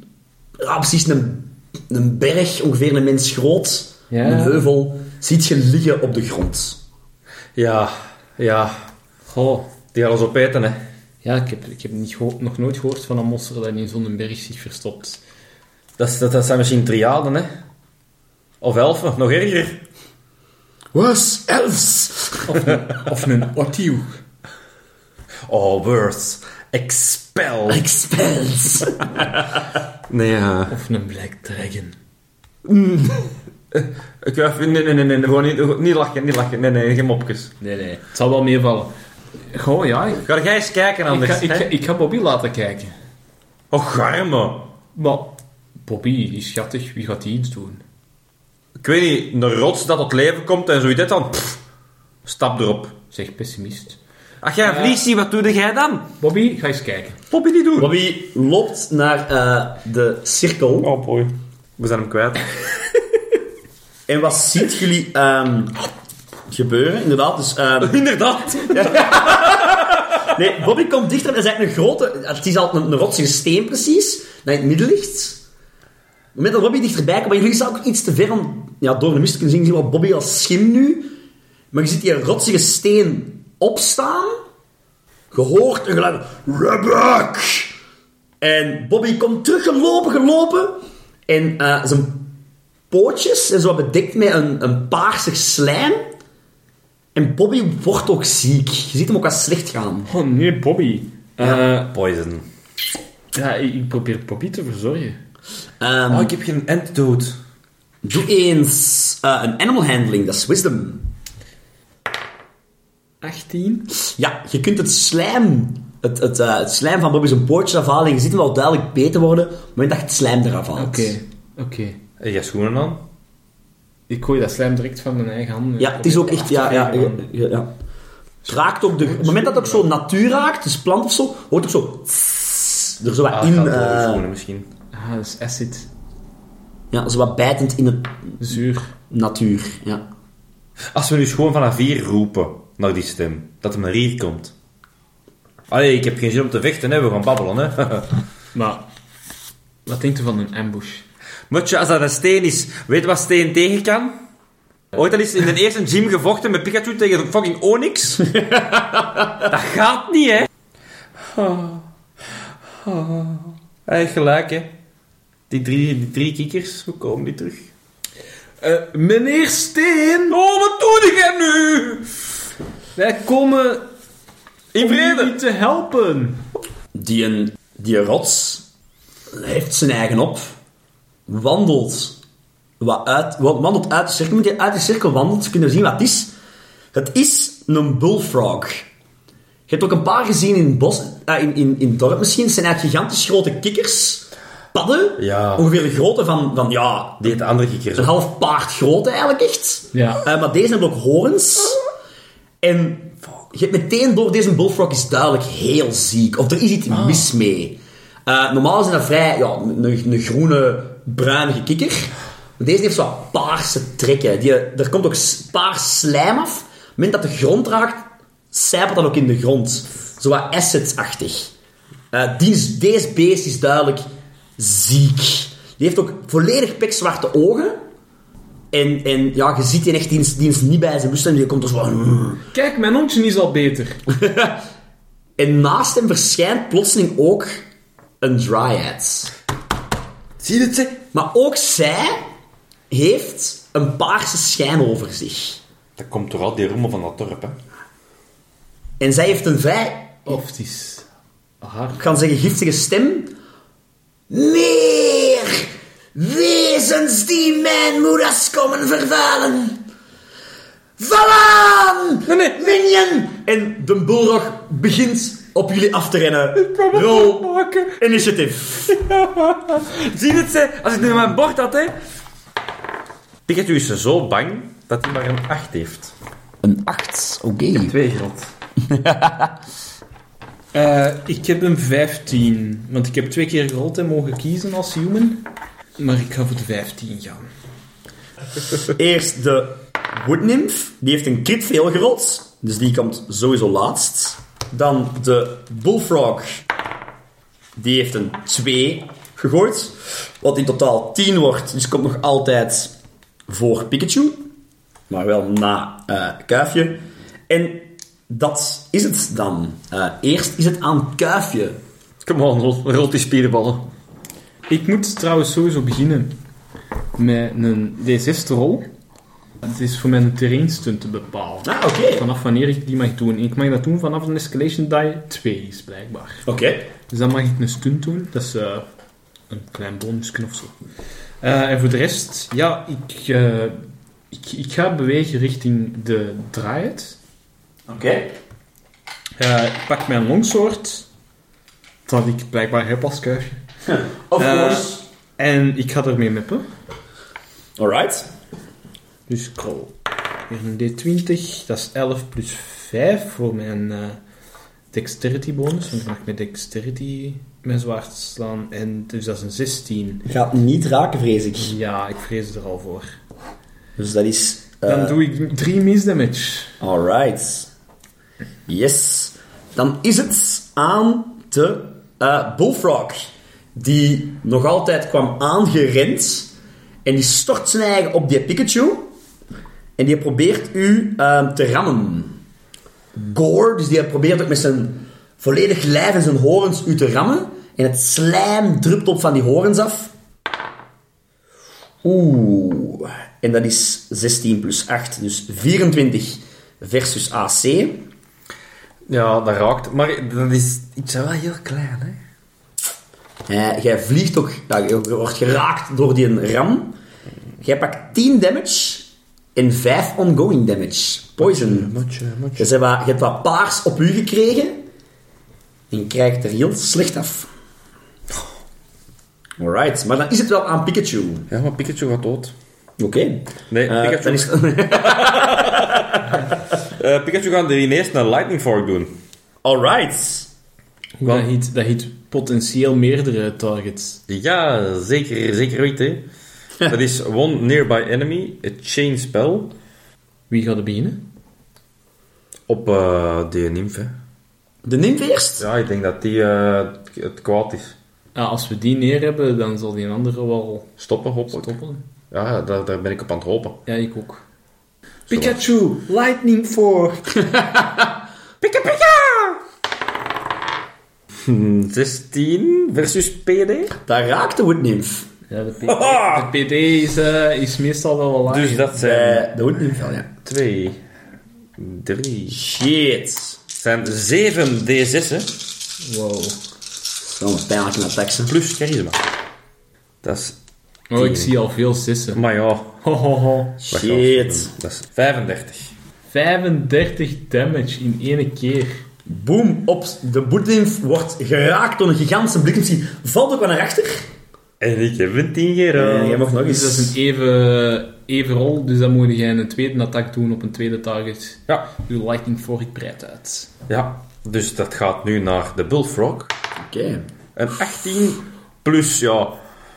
Speaker 4: ja, precies een, een berg, ongeveer een mens groot,
Speaker 3: Ja.
Speaker 4: een heuvel, ziet je liggen op de grond.
Speaker 1: Ja, ja.
Speaker 3: Goh.
Speaker 1: Die gaan ons opeten, hè.
Speaker 3: Ja, ik heb, ik heb niet geho- nog nooit gehoord van een monster dat in zo'n berg zich verstopt.
Speaker 1: Dat, is- dat, dat zijn misschien triaden, hè. Of elfen, nog erger.
Speaker 4: Was elves!
Speaker 3: Of een, of een otieuw.
Speaker 1: Oh, words. Expel.
Speaker 4: Expels!
Speaker 1: Nee, eh. ja.
Speaker 3: Of een black dragon.
Speaker 1: Ik wou even- Nee, nee, nee, nee. Gewoon niet, niet lachen, niet lachen. Nee, nee, geen mopjes.
Speaker 3: Nee, nee. Het zal wel meevallen. Goh, ja. Ik,
Speaker 1: Ga jij eens kijken
Speaker 3: ik, ga,
Speaker 1: anders,
Speaker 3: ik, ga,
Speaker 1: hè.
Speaker 3: ik ga Bobby laten kijken.
Speaker 1: Och, garme.
Speaker 3: Maar Bobby is schattig. Wie gaat die iets doen?
Speaker 1: Ik weet niet, een rots dat tot leven komt en zoiets dan. Pff, stap erop.
Speaker 3: Zeg pessimist.
Speaker 1: Ach jij ja. vliegt, wat doe jij dan?
Speaker 3: Bobby, ga eens kijken.
Speaker 1: Poppy die doen.
Speaker 4: Bobby loopt naar eh, de cirkel.
Speaker 1: Oh boy. We zijn hem kwijt.
Speaker 4: En wat ziet jullie ehm, gebeuren? Inderdaad, dus... ehm,
Speaker 1: Inderdaad.
Speaker 4: Nee, Bobby komt dichter en is eigenlijk een grote... Het is al een, een rotsige steen precies, dat in het midden ligt. Op het moment dat Bobby dichterbij komt, maar jullie staan ook iets te ver om... Ja, door de mist te kunnen zien, zien we Bobby als schim nu. Maar je ziet die rotsige steen opstaan. Je hoort een geluid... Rebek! En Bobby komt terug gelopen, gelopen. En eh, zijn pootjes zijn zo bedekt met een, een paarsig slijm. En Bobby wordt ook ziek. Je ziet hem ook wat slecht gaan.
Speaker 3: Oh nee, Bobby. Ja,
Speaker 1: Eh, Poison.
Speaker 3: ja ik, ik probeer Bobby te verzorgen.
Speaker 4: Ehm,
Speaker 1: Oh, ik heb geen antidote.
Speaker 4: Doe eens eh, een animal handling, dat is wisdom.
Speaker 3: 18.
Speaker 4: Ja, je kunt het slijm, het, het, eh, het slijm van Bobby's poortje afhalen en je ziet hem wel duidelijk beter worden op het moment dat je het slijm eraf haalt.
Speaker 3: Oké, oké.
Speaker 1: Heb Eh, jij schoenen aan?
Speaker 3: Ik gooi dat slijm direct van mijn eigen handen.
Speaker 4: Ja, het is ook echt, ja, ja, ja, ja, ja. Het raakt ook de, op het moment dat het ook zo natuur raakt, dus plant of zo, hoort ook zo... tss. iets er zo wat
Speaker 1: Ah,
Speaker 4: in...
Speaker 1: het gaat wel
Speaker 4: eh,
Speaker 1: overvoeren misschien.
Speaker 3: Ah, dat is acid.
Speaker 4: ja, zo wat bijtend in de
Speaker 3: Zuur.
Speaker 4: natuur. Ja.
Speaker 1: Als we nu gewoon vanaf hier roepen naar die stem, dat hem naar hier komt. Allee, ik heb geen zin om te vechten, hè. we gaan babbelen. Hè.
Speaker 3: Maar, wat denkt u van een ambush?
Speaker 1: Mutje, als dat een steen is, weet je wat steen tegen kan? Ooit al eens in de eerste gym gevochten met Pikachu tegen de fucking Onyx? dat gaat niet, hè? Ah. Hij heeft gelijk, hè? Die drie, die drie kikkers, hoe komen die terug? Eh,
Speaker 3: meneer Steen!
Speaker 1: Oh, wat doe ik hem nu?
Speaker 3: Wij komen
Speaker 1: In
Speaker 3: om
Speaker 1: vrede!
Speaker 3: jullie te helpen.
Speaker 4: Die, een, die rots heeft zijn eigen op, wandelt, wat uit, wat- wandelt uit de cirkel. Moet je uit de cirkel wandelt, kunnen we zien wat het is. Het is een bullfrog. Je hebt ook een paar gezien in het bos, eh, in, in, in het dorp misschien. Het zijn eigenlijk gigantisch grote kikkers. Padden.
Speaker 1: Ja.
Speaker 4: Ongeveer de grootte van, van ja,
Speaker 1: Die heeft de andere kikkers
Speaker 4: een half paard groot eigenlijk echt.
Speaker 3: Ja.
Speaker 4: Eh, maar deze hebben ook horens. En je hebt meteen door deze bullfrog is duidelijk heel ziek. Of er is iets mis mee. Eh, normaal is dat vrij ja, een, een groene, bruinige kikker. Maar deze heeft zo'n paarse trekken. Die, er komt ook s- paars slijm af. Op het moment dat de grond raakt, sijpelt dat ook in de grond. Zo wat assets-achtig. Eh, die is- deze beest is duidelijk ziek. Die heeft ook volledig pikzwarte ogen. En, en ja, je ziet die echt, die is, die is niet bij zijn bewustzijn. Die komt er zo... van- "Hmm."
Speaker 3: Kijk, mijn hondje is al beter.
Speaker 4: En naast hem verschijnt plotseling ook een dryad.
Speaker 1: Zie je het, zeg?
Speaker 4: Maar ook zij heeft een paarse schijn over zich.
Speaker 1: Dat komt door al die rommel van dat dorp, hè?
Speaker 4: En zij heeft een vrij,
Speaker 3: Of het is haar.
Speaker 4: ik kan zeggen, giftige stem. Meer wezens die mijn moeras komen vervuilen. Val aan!
Speaker 1: Nee, nee.
Speaker 4: Minion! En de bulldog begint op jullie af te rennen. Rol
Speaker 1: maken.
Speaker 4: initiatief.
Speaker 1: Zie je het, hè? Als ik nu mijn bord had, hè? Pikachu is zo bang dat hij maar een 8 heeft.
Speaker 4: Een 8, oké.
Speaker 1: Twee grond.
Speaker 3: Eh, ik heb een 15. Want ik heb twee keer gerold en mogen kiezen als human. Maar ik ga voor de 15 gaan.
Speaker 4: Eerst de Wood Nymph. Die heeft een crit veel gerold. Dus die komt sowieso laatst. Dan de Bullfrog. Die heeft een 2 gegooid. Wat in totaal 10 wordt. Dus komt nog altijd voor Pikachu. Maar wel na eh, Kuifje. En dat is het dan. Eh, eerst is het aan Kuifje.
Speaker 1: Come on, rol, rol die spierenballen.
Speaker 3: Ik moet trouwens sowieso beginnen met een D6 rol. Het is voor mij een terreinstunt te bepalen.
Speaker 4: Ah, oké.
Speaker 3: Vanaf wanneer ik die mag doen. Ik mag dat doen vanaf een escalation die 2 is, blijkbaar.
Speaker 4: Oké.
Speaker 3: Dus dan mag ik een stunt doen. Dat is eh, een klein bonusje of zo. Eh, en voor de rest, ja, ik, eh, ik, ik ga bewegen richting de draait.
Speaker 4: Oké.
Speaker 3: Eh, ik pak mijn longsword, dat ik blijkbaar heb als kuifje.
Speaker 4: Of
Speaker 3: Eh,
Speaker 4: course.
Speaker 3: En ik ga ermee meppen.
Speaker 4: Alright.
Speaker 3: Dus ik rol weer een D20. Dat is 11 plus 5 voor mijn eh, dexterity bonus. Want ik mag met dexterity mijn zwaard slaan. En dus dat is een 16.
Speaker 4: Gaat niet raken, vrees ik.
Speaker 3: Ja, ik vrees er al voor.
Speaker 4: Dus dat is... eh,
Speaker 3: Dan doe ik 3 misdamage.
Speaker 4: Alright. Yes. Dan is het aan de eh, Bullfrog. Die nog altijd kwam aangerend. En die stort zijn eigen op die Pikachu. En die probeert u ehm, te rammen. Gore, dus die probeert ook met zijn volledig lijf en zijn horens u te rammen. En het slijm drupt op van die horens af. Oeh, en dat is 16 plus 8, dus 24 versus AC.
Speaker 1: Ja, dat raakt. Maar dat is iets wel heel klein, hè?
Speaker 4: Eh, jij vliegt ook, ja, je wordt geraakt door die ram. Jij pakt 10 damage en 5 ongoing damage. Poison. Je, zei wat, je hebt wat paars op u gekregen en je krijgt er heel slecht af. Alright, maar dan is het wel aan Pikachu. Oké.
Speaker 1: Ja, maar Pikachu gaat dood. Nee,
Speaker 4: Eh,
Speaker 1: Pikachu,
Speaker 4: dan is,
Speaker 1: eh, Pikachu gaat er ineens een Lightning Fork doen.
Speaker 4: Alright.
Speaker 3: Hoe dat heet, dat heet potentieel meerdere targets.
Speaker 1: Ja, zeker, zeker weet hè. Dat is One Nearby Enemy, een chain spell,
Speaker 3: Wie gaat er beginnen?
Speaker 1: op eh die nimf, hè.
Speaker 2: De nimf eerst.
Speaker 1: Ja, ik denk dat die eh, het kwaad is.
Speaker 3: Ah, als we die neer hebben, dan zal die een andere wel
Speaker 1: Stoppen, hoppen.
Speaker 3: stoppen.
Speaker 1: Ja, daar, daar ben ik op aan het hopen.
Speaker 3: Ja, ik ook.
Speaker 4: Pikachu, Lightning Force.
Speaker 1: Pika pika! 16 Mm, versus PD.
Speaker 2: Daar raakte Woodnymph.
Speaker 3: Ja, de PD, de PD is, eh, is meestal wel laag.
Speaker 1: Dus dat zijn
Speaker 2: Eh de Woodnymph wel, ja.
Speaker 1: 2, 3.
Speaker 2: Shit.
Speaker 1: zijn 7 D6'en
Speaker 3: Wow.
Speaker 2: Zo'n pijnlijke attack, hè.
Speaker 1: plus charisma. Dat is.
Speaker 3: Oh, ik zie al veel sissen.
Speaker 1: Maar ja, wacht
Speaker 3: Ho, ho, ho.
Speaker 2: Shit.
Speaker 1: even. Dat is 35.
Speaker 3: 35 damage in één keer.
Speaker 2: Boom. Op de Woodnymph wordt geraakt door een gigantische bliksemsie. Valt ook wel naar achter.
Speaker 1: En ik heb een 10
Speaker 2: Ja,
Speaker 1: euro.
Speaker 2: jij mag nog
Speaker 3: Dus
Speaker 2: eens.
Speaker 3: dat is een even, even rol, dus dan moet jij een tweede attack doen op een tweede target.
Speaker 1: Ja,
Speaker 3: Doe Lightning voor ik breid uit.
Speaker 1: ja. Dus dat gaat nu naar de Bullfrog.
Speaker 2: Oké.
Speaker 1: Een 18 plus, ja,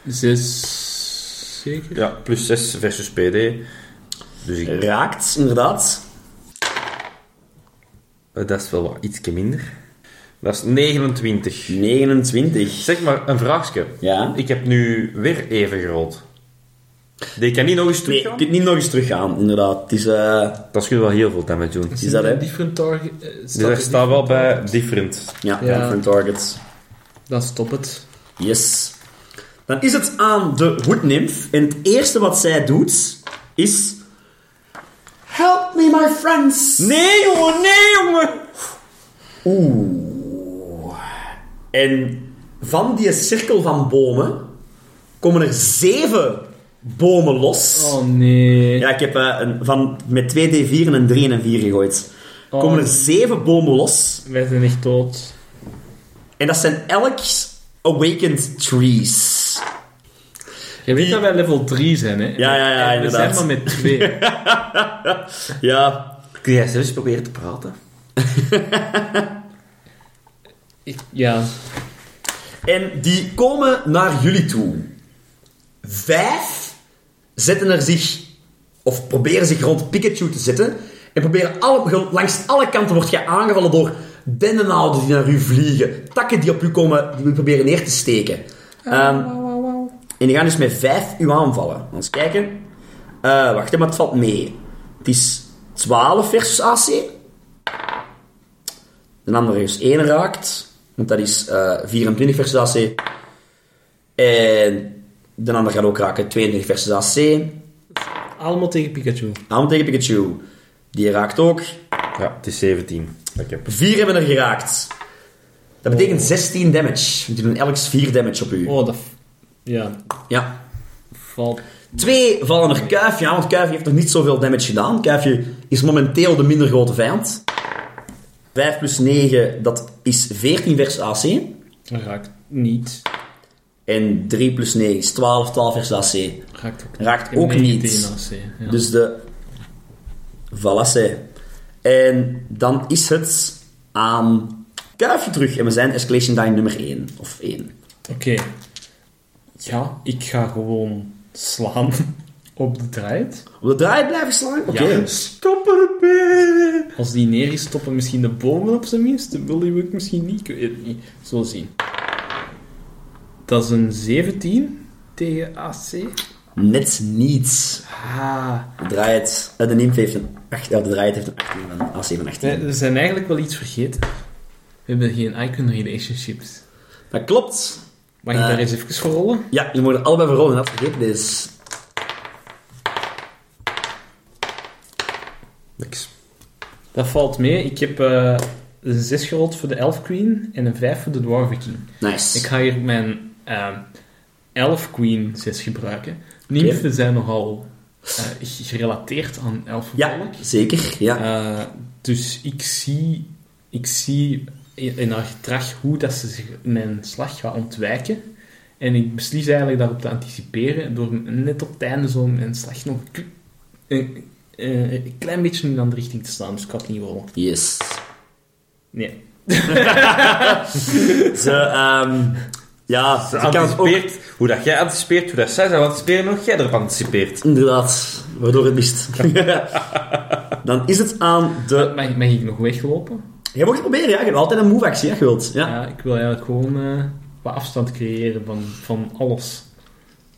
Speaker 3: Zes... Zeker?
Speaker 1: ja, plus 6 versus PD. Dus ik,
Speaker 2: Raakt, inderdaad.
Speaker 1: eh, dat is wel wat ietsje minder. Dat is 29.
Speaker 2: 29.
Speaker 1: Zeg maar, een vraagje.
Speaker 2: Ja.
Speaker 1: Ik heb nu weer even gerold. Die kan niet nog eens
Speaker 2: Nee,
Speaker 1: terug
Speaker 2: je kunt niet nog eens teruggaan, inderdaad. Het is, eh,
Speaker 1: Dat is wel heel veel damage doen.
Speaker 2: het is dat, hè.
Speaker 3: Een different target... eh, staat
Speaker 1: Dus daar
Speaker 3: er
Speaker 1: staat wel
Speaker 3: different
Speaker 1: bij different.
Speaker 2: Ja,
Speaker 3: Ja.
Speaker 2: different targets.
Speaker 3: target. Dan stop het.
Speaker 2: Yes. Dan is het aan de woodnymph. En het eerste wat zij doet, is... Help me, my friends.
Speaker 1: Nee, jongen, nee, jongen!
Speaker 2: En van die cirkel van bomen komen er zeven bomen los.
Speaker 3: Oh nee.
Speaker 2: Ja, ik heb eh, een, van, met 2d4 en een 3 en een 4 gegooid.
Speaker 3: Oh.
Speaker 2: Komen er zeven bomen los.
Speaker 3: Wij zijn echt dood.
Speaker 2: En dat zijn elk awakened trees.
Speaker 3: Je weet dat wij level 3 zijn, hè?
Speaker 2: Ja, ja, ja,
Speaker 3: En We zijn
Speaker 2: inderdaad.
Speaker 3: maar met 2.
Speaker 2: Ja.
Speaker 1: Kun jij zelfs proberen te praten?
Speaker 3: ja.
Speaker 2: En die komen naar jullie toe. Vijf zetten er zich, of proberen zich rond Pikachu te zetten. En proberen alle, langs alle kanten wordt jij aangevallen door dennenhouden die naar u vliegen. Takken die op u komen, die u proberen neer te steken. Ehm, En die gaan dus met vijf u aanvallen. Eens kijken. Eh, wacht, hè, maar het valt mee. Het is 12 versus AC. De andere is 1 raakt. Want dat is eh 24 versus AC. En de ander gaat ook raken. 22 versus AC.
Speaker 3: Allemaal tegen Pikachu.
Speaker 2: Aan tegen Pikachu. Die raakt ook.
Speaker 1: Ja, het is 17. Dat ik heb.
Speaker 2: 4 hebben er geraakt. Dat betekent 16 damage. Want die doen elk 4 damage op u.
Speaker 3: Oh, dat... f- Ja,
Speaker 2: Ja.
Speaker 3: valt...
Speaker 2: Twee vallen er Kuifje aan, want Kuifje heeft nog niet zoveel damage gedaan. Kuifje is momenteel de minder grote vijand. 5 plus 9, dat is 14 vers AC.
Speaker 3: Raakt niet.
Speaker 2: En 3 plus 9 is 12, 12 vers AC.
Speaker 3: Raakt ook niet.
Speaker 2: Raakt
Speaker 3: En
Speaker 2: ook
Speaker 3: negen
Speaker 2: niet.
Speaker 3: tegen AC, ja.
Speaker 2: Dus de... Voilà, zij. En dan is het aan Kuifje terug. En we zijn Escalation Dying nummer 1. Of 1.
Speaker 3: Oké. Ja, ik ga gewoon slaan op de draait.
Speaker 2: Op de draai blijven slaan? Oké.
Speaker 3: Ja.
Speaker 1: Stop ermee!
Speaker 3: Als die neer is, stoppen misschien de bomen op zijn minst. De wil ik misschien niet, ik weet het niet. Zo zien. Dat is een 17 tegen AC.
Speaker 2: Net niets.
Speaker 3: Ah.
Speaker 2: De draait... eh, De nimf heeft een... acht- Ja, de draait heeft een 18 van
Speaker 4: Ah,
Speaker 2: AC van 18.
Speaker 3: Nee, we zijn eigenlijk wel iets vergeten. We hebben geen icon relationships.
Speaker 2: Dat klopt.
Speaker 3: Mag ik
Speaker 2: Eh.
Speaker 3: daar eens even voor rollen?
Speaker 2: Ja, je moet er allebei voor rollen. Dat vergeet is.
Speaker 1: Niks.
Speaker 3: Dat valt mee. Ik heb eh, een 6 gerold voor de Elf Queen en een 5 voor de Dwarven King.
Speaker 2: Nice.
Speaker 3: Ik ga hier mijn eh, Elf Queen 6 gebruiken. Nymfen zijn nogal eh, gerelateerd aan
Speaker 2: Ja,
Speaker 3: elfenvolk.
Speaker 2: zeker. Ja.
Speaker 3: Eh, dus ik zie, ik zie in in haar gedrag hoe dat ze zich mijn slag gaat ontwijken. En ik beslis eigenlijk daarop te anticiperen door net op het einde zo mijn slag nog een, k- een, een- een klein beetje in de andere richting te slaan. Dus ik had niet rollen.
Speaker 2: Yes.
Speaker 3: Nee.
Speaker 4: Ze, ehm, ja,
Speaker 1: Ze
Speaker 4: je kan het ook...
Speaker 1: anticipeert hoe dat jij anticipeert, hoe dat zij zou anticiperen en hoe jij erop anticipeert.
Speaker 4: Inderdaad, waardoor het mist. Dan is het aan de...
Speaker 3: Mag, mag ik nog weglopen?
Speaker 4: Je mag het proberen, ja. Je hebt altijd een move-actie, ja, je wilt. Ja.
Speaker 3: Ja, ik wil eigenlijk gewoon eh, wat afstand creëren van, van alles.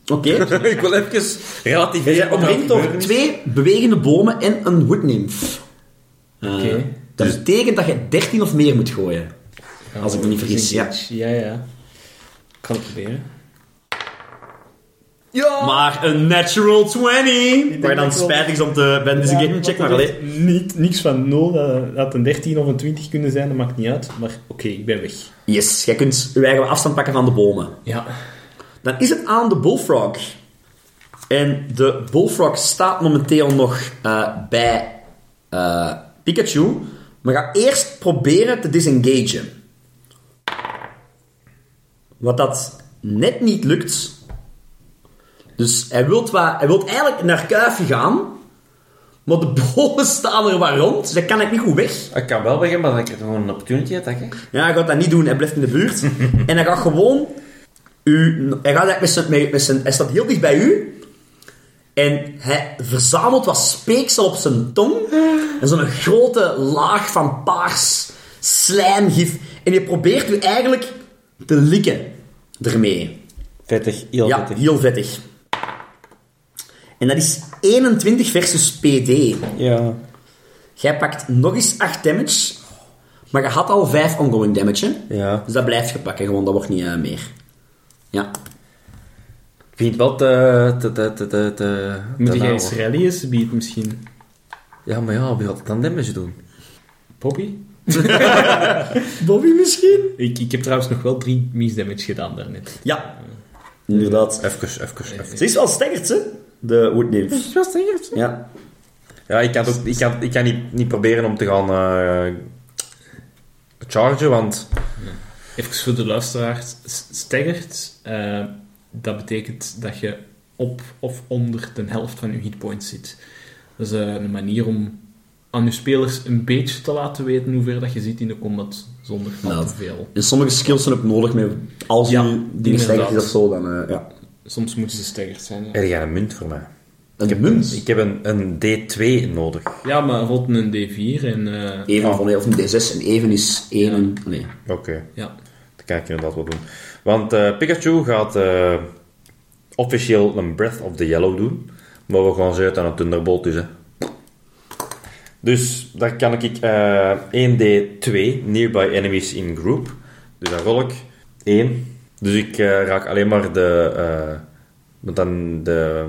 Speaker 4: Oké.
Speaker 1: ik wil even relatief...
Speaker 4: Je bent omringd door twee bewegende bomen en een woodnymph. Eh,
Speaker 3: Oké.
Speaker 4: Dat betekent dat je 13 of meer moet gooien.
Speaker 3: Ja,
Speaker 4: Als ik me niet
Speaker 3: dat is
Speaker 4: vergis,
Speaker 3: een
Speaker 4: ja.
Speaker 3: glitch. Ja, ja. Ik kan het proberen.
Speaker 4: Maar een natural 20! Waar je
Speaker 3: dat ik
Speaker 4: dan
Speaker 3: wel-
Speaker 4: spijtig is om te... Ben, dus ik check maar alleen.
Speaker 3: Niet, niks van 0, dat had een 13 of een 20 kunnen zijn, dat maakt niet uit. Maar oké, ik ben weg.
Speaker 4: Yes, jij kunt je eigen afstand pakken van de bomen.
Speaker 3: Ja.
Speaker 4: Dan is het aan de bullfrog. En de bullfrog staat momenteel nog eh, bij eh, Pikachu. Maar ga eerst proberen te disengagen. Wat dat net niet lukt. Dus hij wil hij wilt eigenlijk naar Kuifje gaan. Maar de bollen staan er waar rond. Dus hij kan eigenlijk niet goed weg.
Speaker 1: Ik kan wel beginnen, maar dan krijg je gewoon een opportunity attack, hè.
Speaker 4: Ja, hij gaat dat niet doen. Hij blijft in de buurt. en hij gaat gewoon... U, hij, gaat eigenlijk met zijn, met, met zijn, hij staat heel dicht bij u. En hij verzamelt wat speeksel op zijn tong. En zo'n grote laag van paars slijmgif. En je probeert u eigenlijk te likken ermee.
Speaker 1: Vettig, heel
Speaker 4: ja,
Speaker 1: vettig.
Speaker 4: heel vettig. En dat is 21 versus PD.
Speaker 1: Ja.
Speaker 4: Jij pakt nog eens 8 damage. Maar je had al 5 ongoing damage, hè?
Speaker 1: Ja.
Speaker 4: Dus dat blijft je pakken, gewoon, dat wordt niet eh, meer. Ja.
Speaker 1: Ik vind het wel te... te, te, te, te, te
Speaker 3: Moet
Speaker 1: te
Speaker 3: jij
Speaker 1: nauw,
Speaker 3: eens
Speaker 1: hoor.
Speaker 3: rallyen, ze biedt misschien.
Speaker 1: Ja, maar ja, wie gaat het dan damage doen?
Speaker 3: Poppy?
Speaker 4: Bobby misschien?
Speaker 3: Ik, ik heb trouwens nog wel drie misdamage gedaan daarnet.
Speaker 4: Ja, inderdaad.
Speaker 1: Even, even, even.
Speaker 4: Ze is wel stekkerd, hè? De Woodnymph.
Speaker 1: Just hier.
Speaker 4: Ja.
Speaker 1: Ja, ik kan, het ook, ik kan, ik kan niet, niet proberen om te gaan eh, chargen, want
Speaker 3: Even voor de luisteraar. S- Staggerd, eh, dat betekent dat je op of onder de helft van je hitpoints zit. Dat is eh, een manier om aan je spelers een beetje te laten weten hoe ver dat je zit in de combat zonder al
Speaker 4: Nou.
Speaker 3: te veel.
Speaker 4: En sommige skills zijn ook nodig, maar als je
Speaker 3: Ja,
Speaker 4: die stekkerd is
Speaker 3: inderdaad.
Speaker 4: of zo, dan... eh, ja.
Speaker 3: Soms moeten ze staggerd zijn. Ja,
Speaker 1: er gaat een munt voor mij.
Speaker 4: Een munt.
Speaker 1: Ik heb een, een D2 nodig.
Speaker 3: ja maar rot een D4 en... eh,
Speaker 4: Even van, of een D6 en even is 1. Nee.
Speaker 1: Oké,
Speaker 3: ja.
Speaker 1: dat kan ik inderdaad wel doen. Want eh, Pikachu gaat eh, officieel een Breath of the Yellow doen, maar we gaan ze uit aan een Thunderbolt dus, hè. Dus dan kan ik eh 1D2, Nearby Enemies in Group. Dus dan rol ik 1. Dus ik eh, raak alleen maar de... eh, want dan de...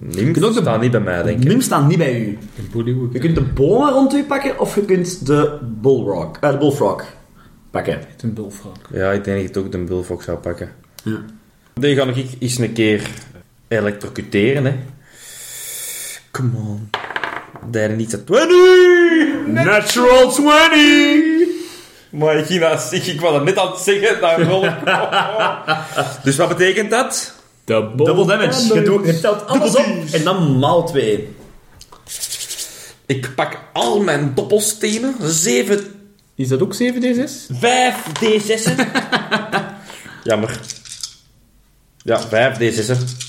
Speaker 1: Nimf
Speaker 4: kunt ook de-
Speaker 1: staan niet bij mij, denk ik.
Speaker 4: Nim staan niet bij u.
Speaker 3: Een bodyhook.
Speaker 4: Je kunt de bomen rond u pakken, of je kunt de bullrock, eh, de bullfrog pakken.
Speaker 3: Een bulfrog.
Speaker 1: Ja, ik denk dat ik het ook de Bullfox zou pakken.
Speaker 4: Ja.
Speaker 1: Die ga ik eens een keer elektrocuteren, hè. Come on. Daar niet dat 20!
Speaker 4: Natural 20!
Speaker 1: Maar ik, ging dat- ik, ik was dat net aan het zeggen, daar rol ik Dus wat betekent dat?
Speaker 3: Double,
Speaker 4: Double damage. Je, doet, je telt alles op en dan maal 2.
Speaker 1: Ik pak al mijn doppelstenen, 7,
Speaker 3: Is dat ook 7d6?
Speaker 1: 5 D6'en. Jammer. Ja, 5 D6'en.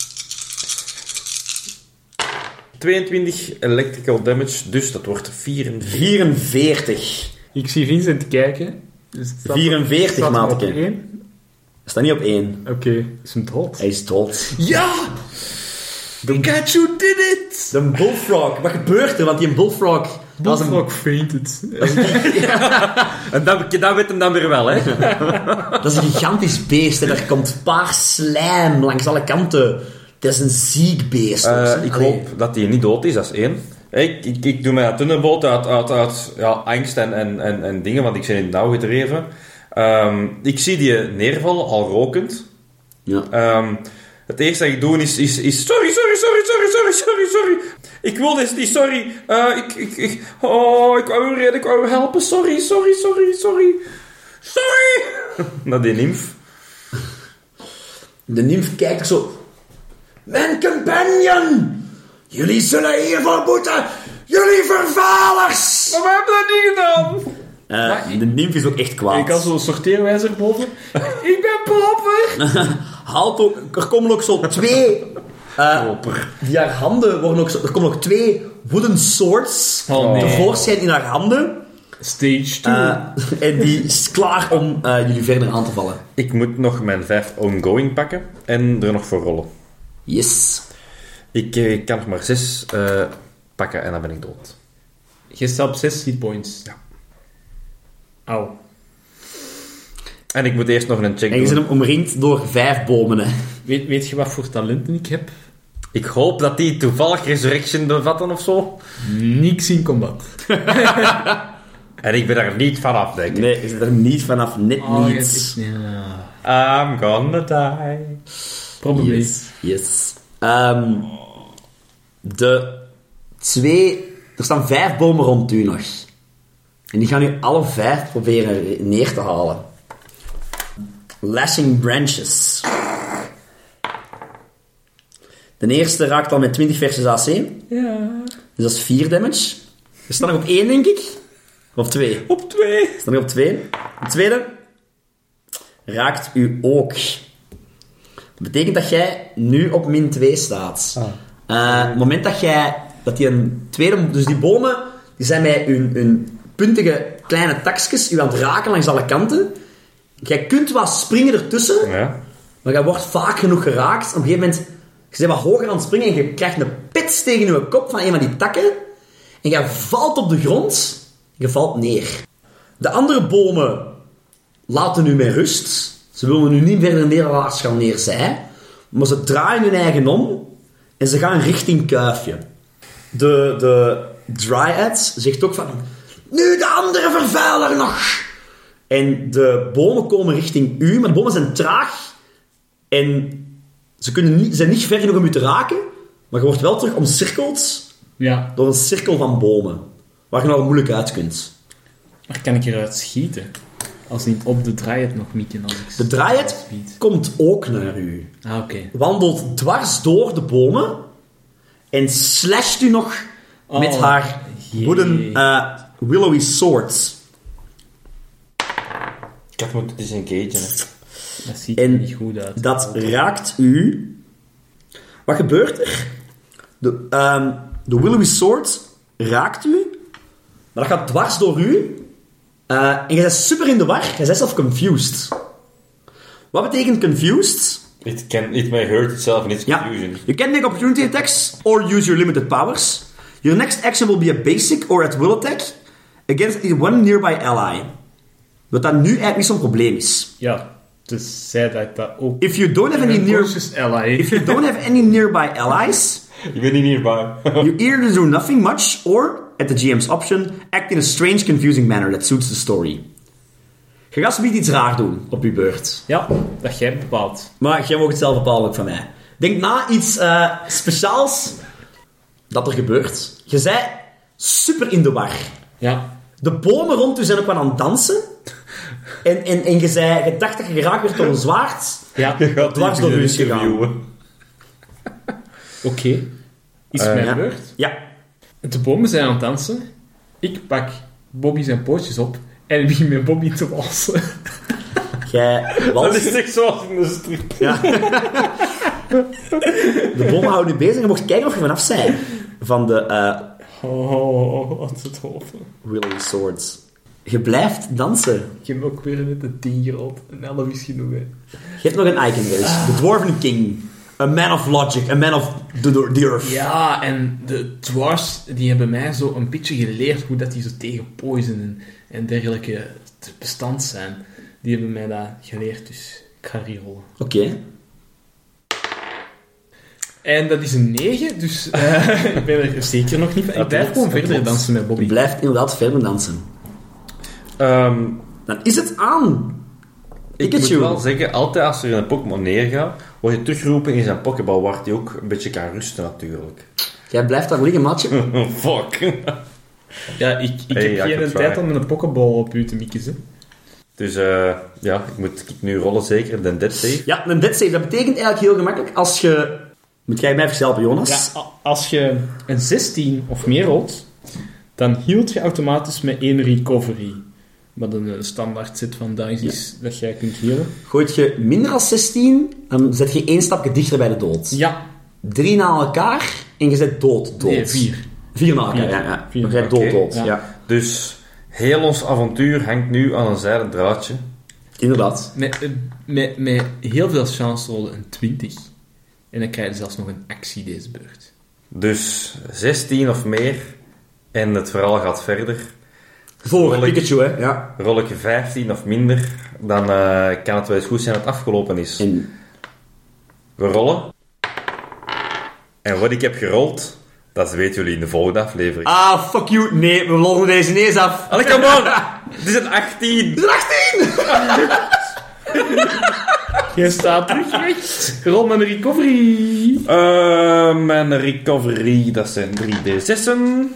Speaker 1: 22 electrical damage, dus dat wordt 44.
Speaker 4: 44.
Speaker 3: Ik zie Vincent kijken. Dus het staat-
Speaker 4: 44
Speaker 3: staat hem op
Speaker 4: maatje.
Speaker 3: één.
Speaker 4: Staat niet op 1.
Speaker 3: Oké, is hem dood.
Speaker 4: Hij is dood.
Speaker 1: Ja! Pikachu did it!
Speaker 4: De bullfrog. Wat gebeurt er? Want die bullfrog... dat is een-
Speaker 3: Bullfrog fainted.
Speaker 1: En dat, dat weet hem dan weer wel, hè?
Speaker 4: Dat is een gigantisch beest. En er komt paars slijm langs alle kanten. Dat is een ziek beest. hoor.
Speaker 1: Eh, ik
Speaker 4: Allee.
Speaker 1: hoop dat hij niet dood is, dat is één. Ik, ik, ik doe mijn tunnelboot uit, uit, uit ja, angst en, en, en, en dingen, want ik ben in het nauw gedreven. Ehm, ik zie die neervallen, al rokend.
Speaker 4: Ja.
Speaker 1: Ehm, het eerste dat ik doe is, is, is... Sorry, sorry, sorry, sorry, sorry, sorry, sorry. Ik wil dit niet, sorry. Eh, ik, ik, ik... Oh, ik wou u redden, ik wou u helpen. Sorry, sorry, sorry, sorry. Sorry! Naar die nymf.
Speaker 4: De nimf kijkt er zo... Mijn companion! Jullie zullen hiervoor moeten! Jullie vervalers!
Speaker 1: Maar we hebben dat niet gedaan!
Speaker 4: Eh,
Speaker 3: Maar ik-
Speaker 4: de nimf is ook echt kwaad.
Speaker 3: Ik had zo'n sorteerwijzer boven. ik ben proper!
Speaker 4: Haalt ook, er komen ook zo twee... eh, die haar handen worden ook zo... Er komen ook twee wooden swords
Speaker 1: Oh, nee.
Speaker 4: tevoorschijn in haar handen.
Speaker 3: Stage 2.
Speaker 4: Eh, en die is klaar om eh, jullie verder aan te vallen.
Speaker 1: Ik moet nog mijn vijf ongoing pakken en er nog voor rollen.
Speaker 4: Yes.
Speaker 1: Ik, eh, ik kan nog maar zes eh, pakken en dan ben ik dood.
Speaker 3: je staat op 6 hitpoints.
Speaker 1: Ja.
Speaker 3: Au.
Speaker 1: En ik moet eerst nog een check
Speaker 4: En je
Speaker 1: doen.
Speaker 4: bent hem omringd door vijf bomen. Hè.
Speaker 3: Weet, weet je wat voor talenten ik heb?
Speaker 1: Ik hoop dat die toevallig Resurrection bevatten of zo.
Speaker 3: Niks in combat.
Speaker 1: En ik ben daar niet van af, denk ik.
Speaker 4: Nee, je zit er niet vanaf. Net
Speaker 3: je hebt
Speaker 4: niet.
Speaker 3: echt- ja.
Speaker 1: I'm gonna die.
Speaker 3: Probably.
Speaker 4: Yes. yes. Ehm, de twee... Er staan vijf bomen rond u nog. En die gaan u alle vijf proberen neer te halen. Lashing Branches. De eerste raakt al met 20 versus AC.
Speaker 3: Ja.
Speaker 4: Dus dat is 4 damage. Er staan nog op één, denk ik. Of twee. Er
Speaker 3: Op 2.
Speaker 4: staan nog op twee. De tweede raakt u ook. Dat betekent dat jij nu op min 2 staat. Eh, het moment dat jij... Dat die een tweede... Dus die bomen die zijn met hun, hun puntige kleine takjes u aan het raken langs alle kanten. Jij kunt wat springen ertussen,
Speaker 1: Ja.
Speaker 4: maar jij wordt vaak genoeg geraakt. Op een gegeven moment... Je bent wat hoger aan het springen en je krijgt een pits tegen je kop van een van die takken. En jij valt op de grond. Je valt neer. De andere bomen laten nu met rust. Ze willen nu niet verder neerwaarts gaan neer zij. Maar ze draaien hun eigen om en ze gaan richting Kuifje. De, de Dryad zegt ook van... Nu de andere vervuiler nog! En de bomen komen richting u, maar de bomen zijn traag. En ze kunnen niet, zijn niet ver genoeg om u te raken. Maar je wordt wel terug omcirkeld
Speaker 3: Ja.
Speaker 4: door een cirkel van bomen. Waar je nou moeilijk uit kunt.
Speaker 3: Maar kan ik eruit schieten? Als niet op de draai het nog mikken. Als ik
Speaker 4: De Dryad komt ook naar u.
Speaker 3: Ah, oké.
Speaker 4: wandelt dwars door de bomen en slasht u nog
Speaker 3: Oh,
Speaker 4: met haar
Speaker 3: jee.
Speaker 4: wooden eh, willowy sword.
Speaker 1: Ik had moeten disengagen. hè.
Speaker 3: Dat ziet er
Speaker 4: En
Speaker 3: niet goed uit.
Speaker 4: dat raakt u. Wat gebeurt er? De, ehm, de willowy sword raakt u, maar dat gaat dwars door u. Eh, en je bent super in de war, je bent zelf confused. Wat betekent confused?
Speaker 1: It, can, it may hurt itself in its
Speaker 4: Ja.
Speaker 1: confusion.
Speaker 4: You can make opportunity attacks or use your limited powers. Your next action will be a basic or at will attack against one nearby ally. Wat dat nu eigenlijk niet zo'n probleem is.
Speaker 3: Ja. Dus zij dat dat ook...
Speaker 4: If you don't have any
Speaker 3: Een
Speaker 4: near...
Speaker 3: conscious ally.
Speaker 4: If you don't have any nearby allies,
Speaker 1: Je bent niet hierbij.
Speaker 4: you either do nothing much or, at the GM's option, act in a strange, confusing manner that suits the story. Je gaat zometeen iets raar doen op je beurt.
Speaker 3: Ja, dat jij bepaalt.
Speaker 4: Maar jij mag het zelf bepalen ook van mij. Denk na iets eh, speciaals dat er gebeurt. Je zei super in de war.
Speaker 3: Ja.
Speaker 4: De bomen rond u zijn ook wel aan het dansen. En, en, en je, zei, je dacht dat je geraakt werd door een zwaard.
Speaker 3: Ja.
Speaker 1: Je gaat
Speaker 4: Dwars
Speaker 1: die
Speaker 4: door u
Speaker 1: beginnen
Speaker 4: is gegaan.
Speaker 1: interviewen.
Speaker 3: Oké. Eh, Is mijn
Speaker 4: ja.
Speaker 3: beurt?
Speaker 4: Ja.
Speaker 3: De bomen zijn aan het dansen. Ik pak Bobby zijn pootjes op en begin met Bobby te walsen.
Speaker 4: Jij
Speaker 1: Dat
Speaker 4: walst.
Speaker 1: is echt zoals in de strip.
Speaker 4: De bomen houden u bezig. Je mocht kijken of je vanaf zijn. Van de eh
Speaker 3: Oh, wat het hopen.
Speaker 4: Willowy Swords. Je blijft dansen.
Speaker 3: Ik heb ook weer net een 10 gerold. Een 11 is genoeg, hè.
Speaker 4: Je hebt nog een icon geweest. De Dwarven King. A man of logic. A man of the, the earth.
Speaker 3: Ja, en de dwars, die hebben mij zo een beetje geleerd hoe dat die zo tegen poison en, en dergelijke te bestand zijn. Die hebben mij dat geleerd, dus ik ga die rollen.
Speaker 4: Oké.
Speaker 3: En dat is een 9, dus eh, ik ben er zeker nog niet van. Ik blijf
Speaker 4: klopt,
Speaker 3: gewoon
Speaker 4: dat
Speaker 3: verder
Speaker 4: klopt.
Speaker 3: dansen met
Speaker 4: Je
Speaker 3: Bobby.
Speaker 4: blijft inderdaad verder dansen.
Speaker 1: Ehm,
Speaker 4: Dan is het aan.
Speaker 1: ik moet
Speaker 4: Pikachu.
Speaker 1: wel zeggen, altijd als er een Pokémon neergaat, word je teruggeroepen in zijn Pokéball, waar die ook een beetje kan rusten natuurlijk.
Speaker 4: Jij blijft daar liggen, maatje.
Speaker 1: Fuck.
Speaker 3: Ja, ik, ik
Speaker 1: Hey, ja,
Speaker 3: heb
Speaker 1: ik
Speaker 3: geen
Speaker 1: heb
Speaker 3: tijd
Speaker 1: zwaar.
Speaker 3: om een pokeball op u te mikken, hè.
Speaker 1: Dus eh, ja, ik moet nu rollen zeker, dan dead save.
Speaker 4: Ja, een dead save. Dat betekent eigenlijk heel gemakkelijk als je... Moet jij mij even helpen, Jonas?
Speaker 3: Ja, a- als je een 16 of meer rolt, dan hield je automatisch met één recovery. Wat een eh, standaard set van dice is dat jij kunt healen.
Speaker 4: Gooit je minder dan 16, dan zet je één stapje dichter bij de dood.
Speaker 3: Ja.
Speaker 4: Drie na elkaar en je zet dood, dood.
Speaker 3: Nee, vier.
Speaker 4: Vier na elkaar,
Speaker 3: Vier.
Speaker 4: ja. ja.
Speaker 3: Vier.
Speaker 4: Je zet dood,
Speaker 1: Oké.
Speaker 4: dood.
Speaker 3: Ja.
Speaker 4: Ja.
Speaker 1: Dus heel ons avontuur hangt nu aan een zijden draadje.
Speaker 4: Inderdaad.
Speaker 3: Met, eh, met, met heel veel chance rollen een 20. En dan krijg je zelfs nog een actie deze beurt.
Speaker 1: Dus 16 of meer. En het verhaal gaat verder.
Speaker 4: Voor
Speaker 1: Rolling.
Speaker 4: Pikachu, hè. Ja.
Speaker 1: Rol ik 15 of minder, dan eh, kan het wel eens goed zijn dat het afgelopen is.
Speaker 4: En
Speaker 1: We rollen. En wat ik heb gerold, dat weten jullie in de volgende aflevering.
Speaker 4: Ah, fuck you. Nee, we loggen deze ineens af.
Speaker 1: Allee, kom maar! Het is een 18!
Speaker 4: Het is een 18!
Speaker 3: Jij staat terug, recht. Rol met een recovery.
Speaker 1: Eh, mijn recovery, dat zijn 3d6'en.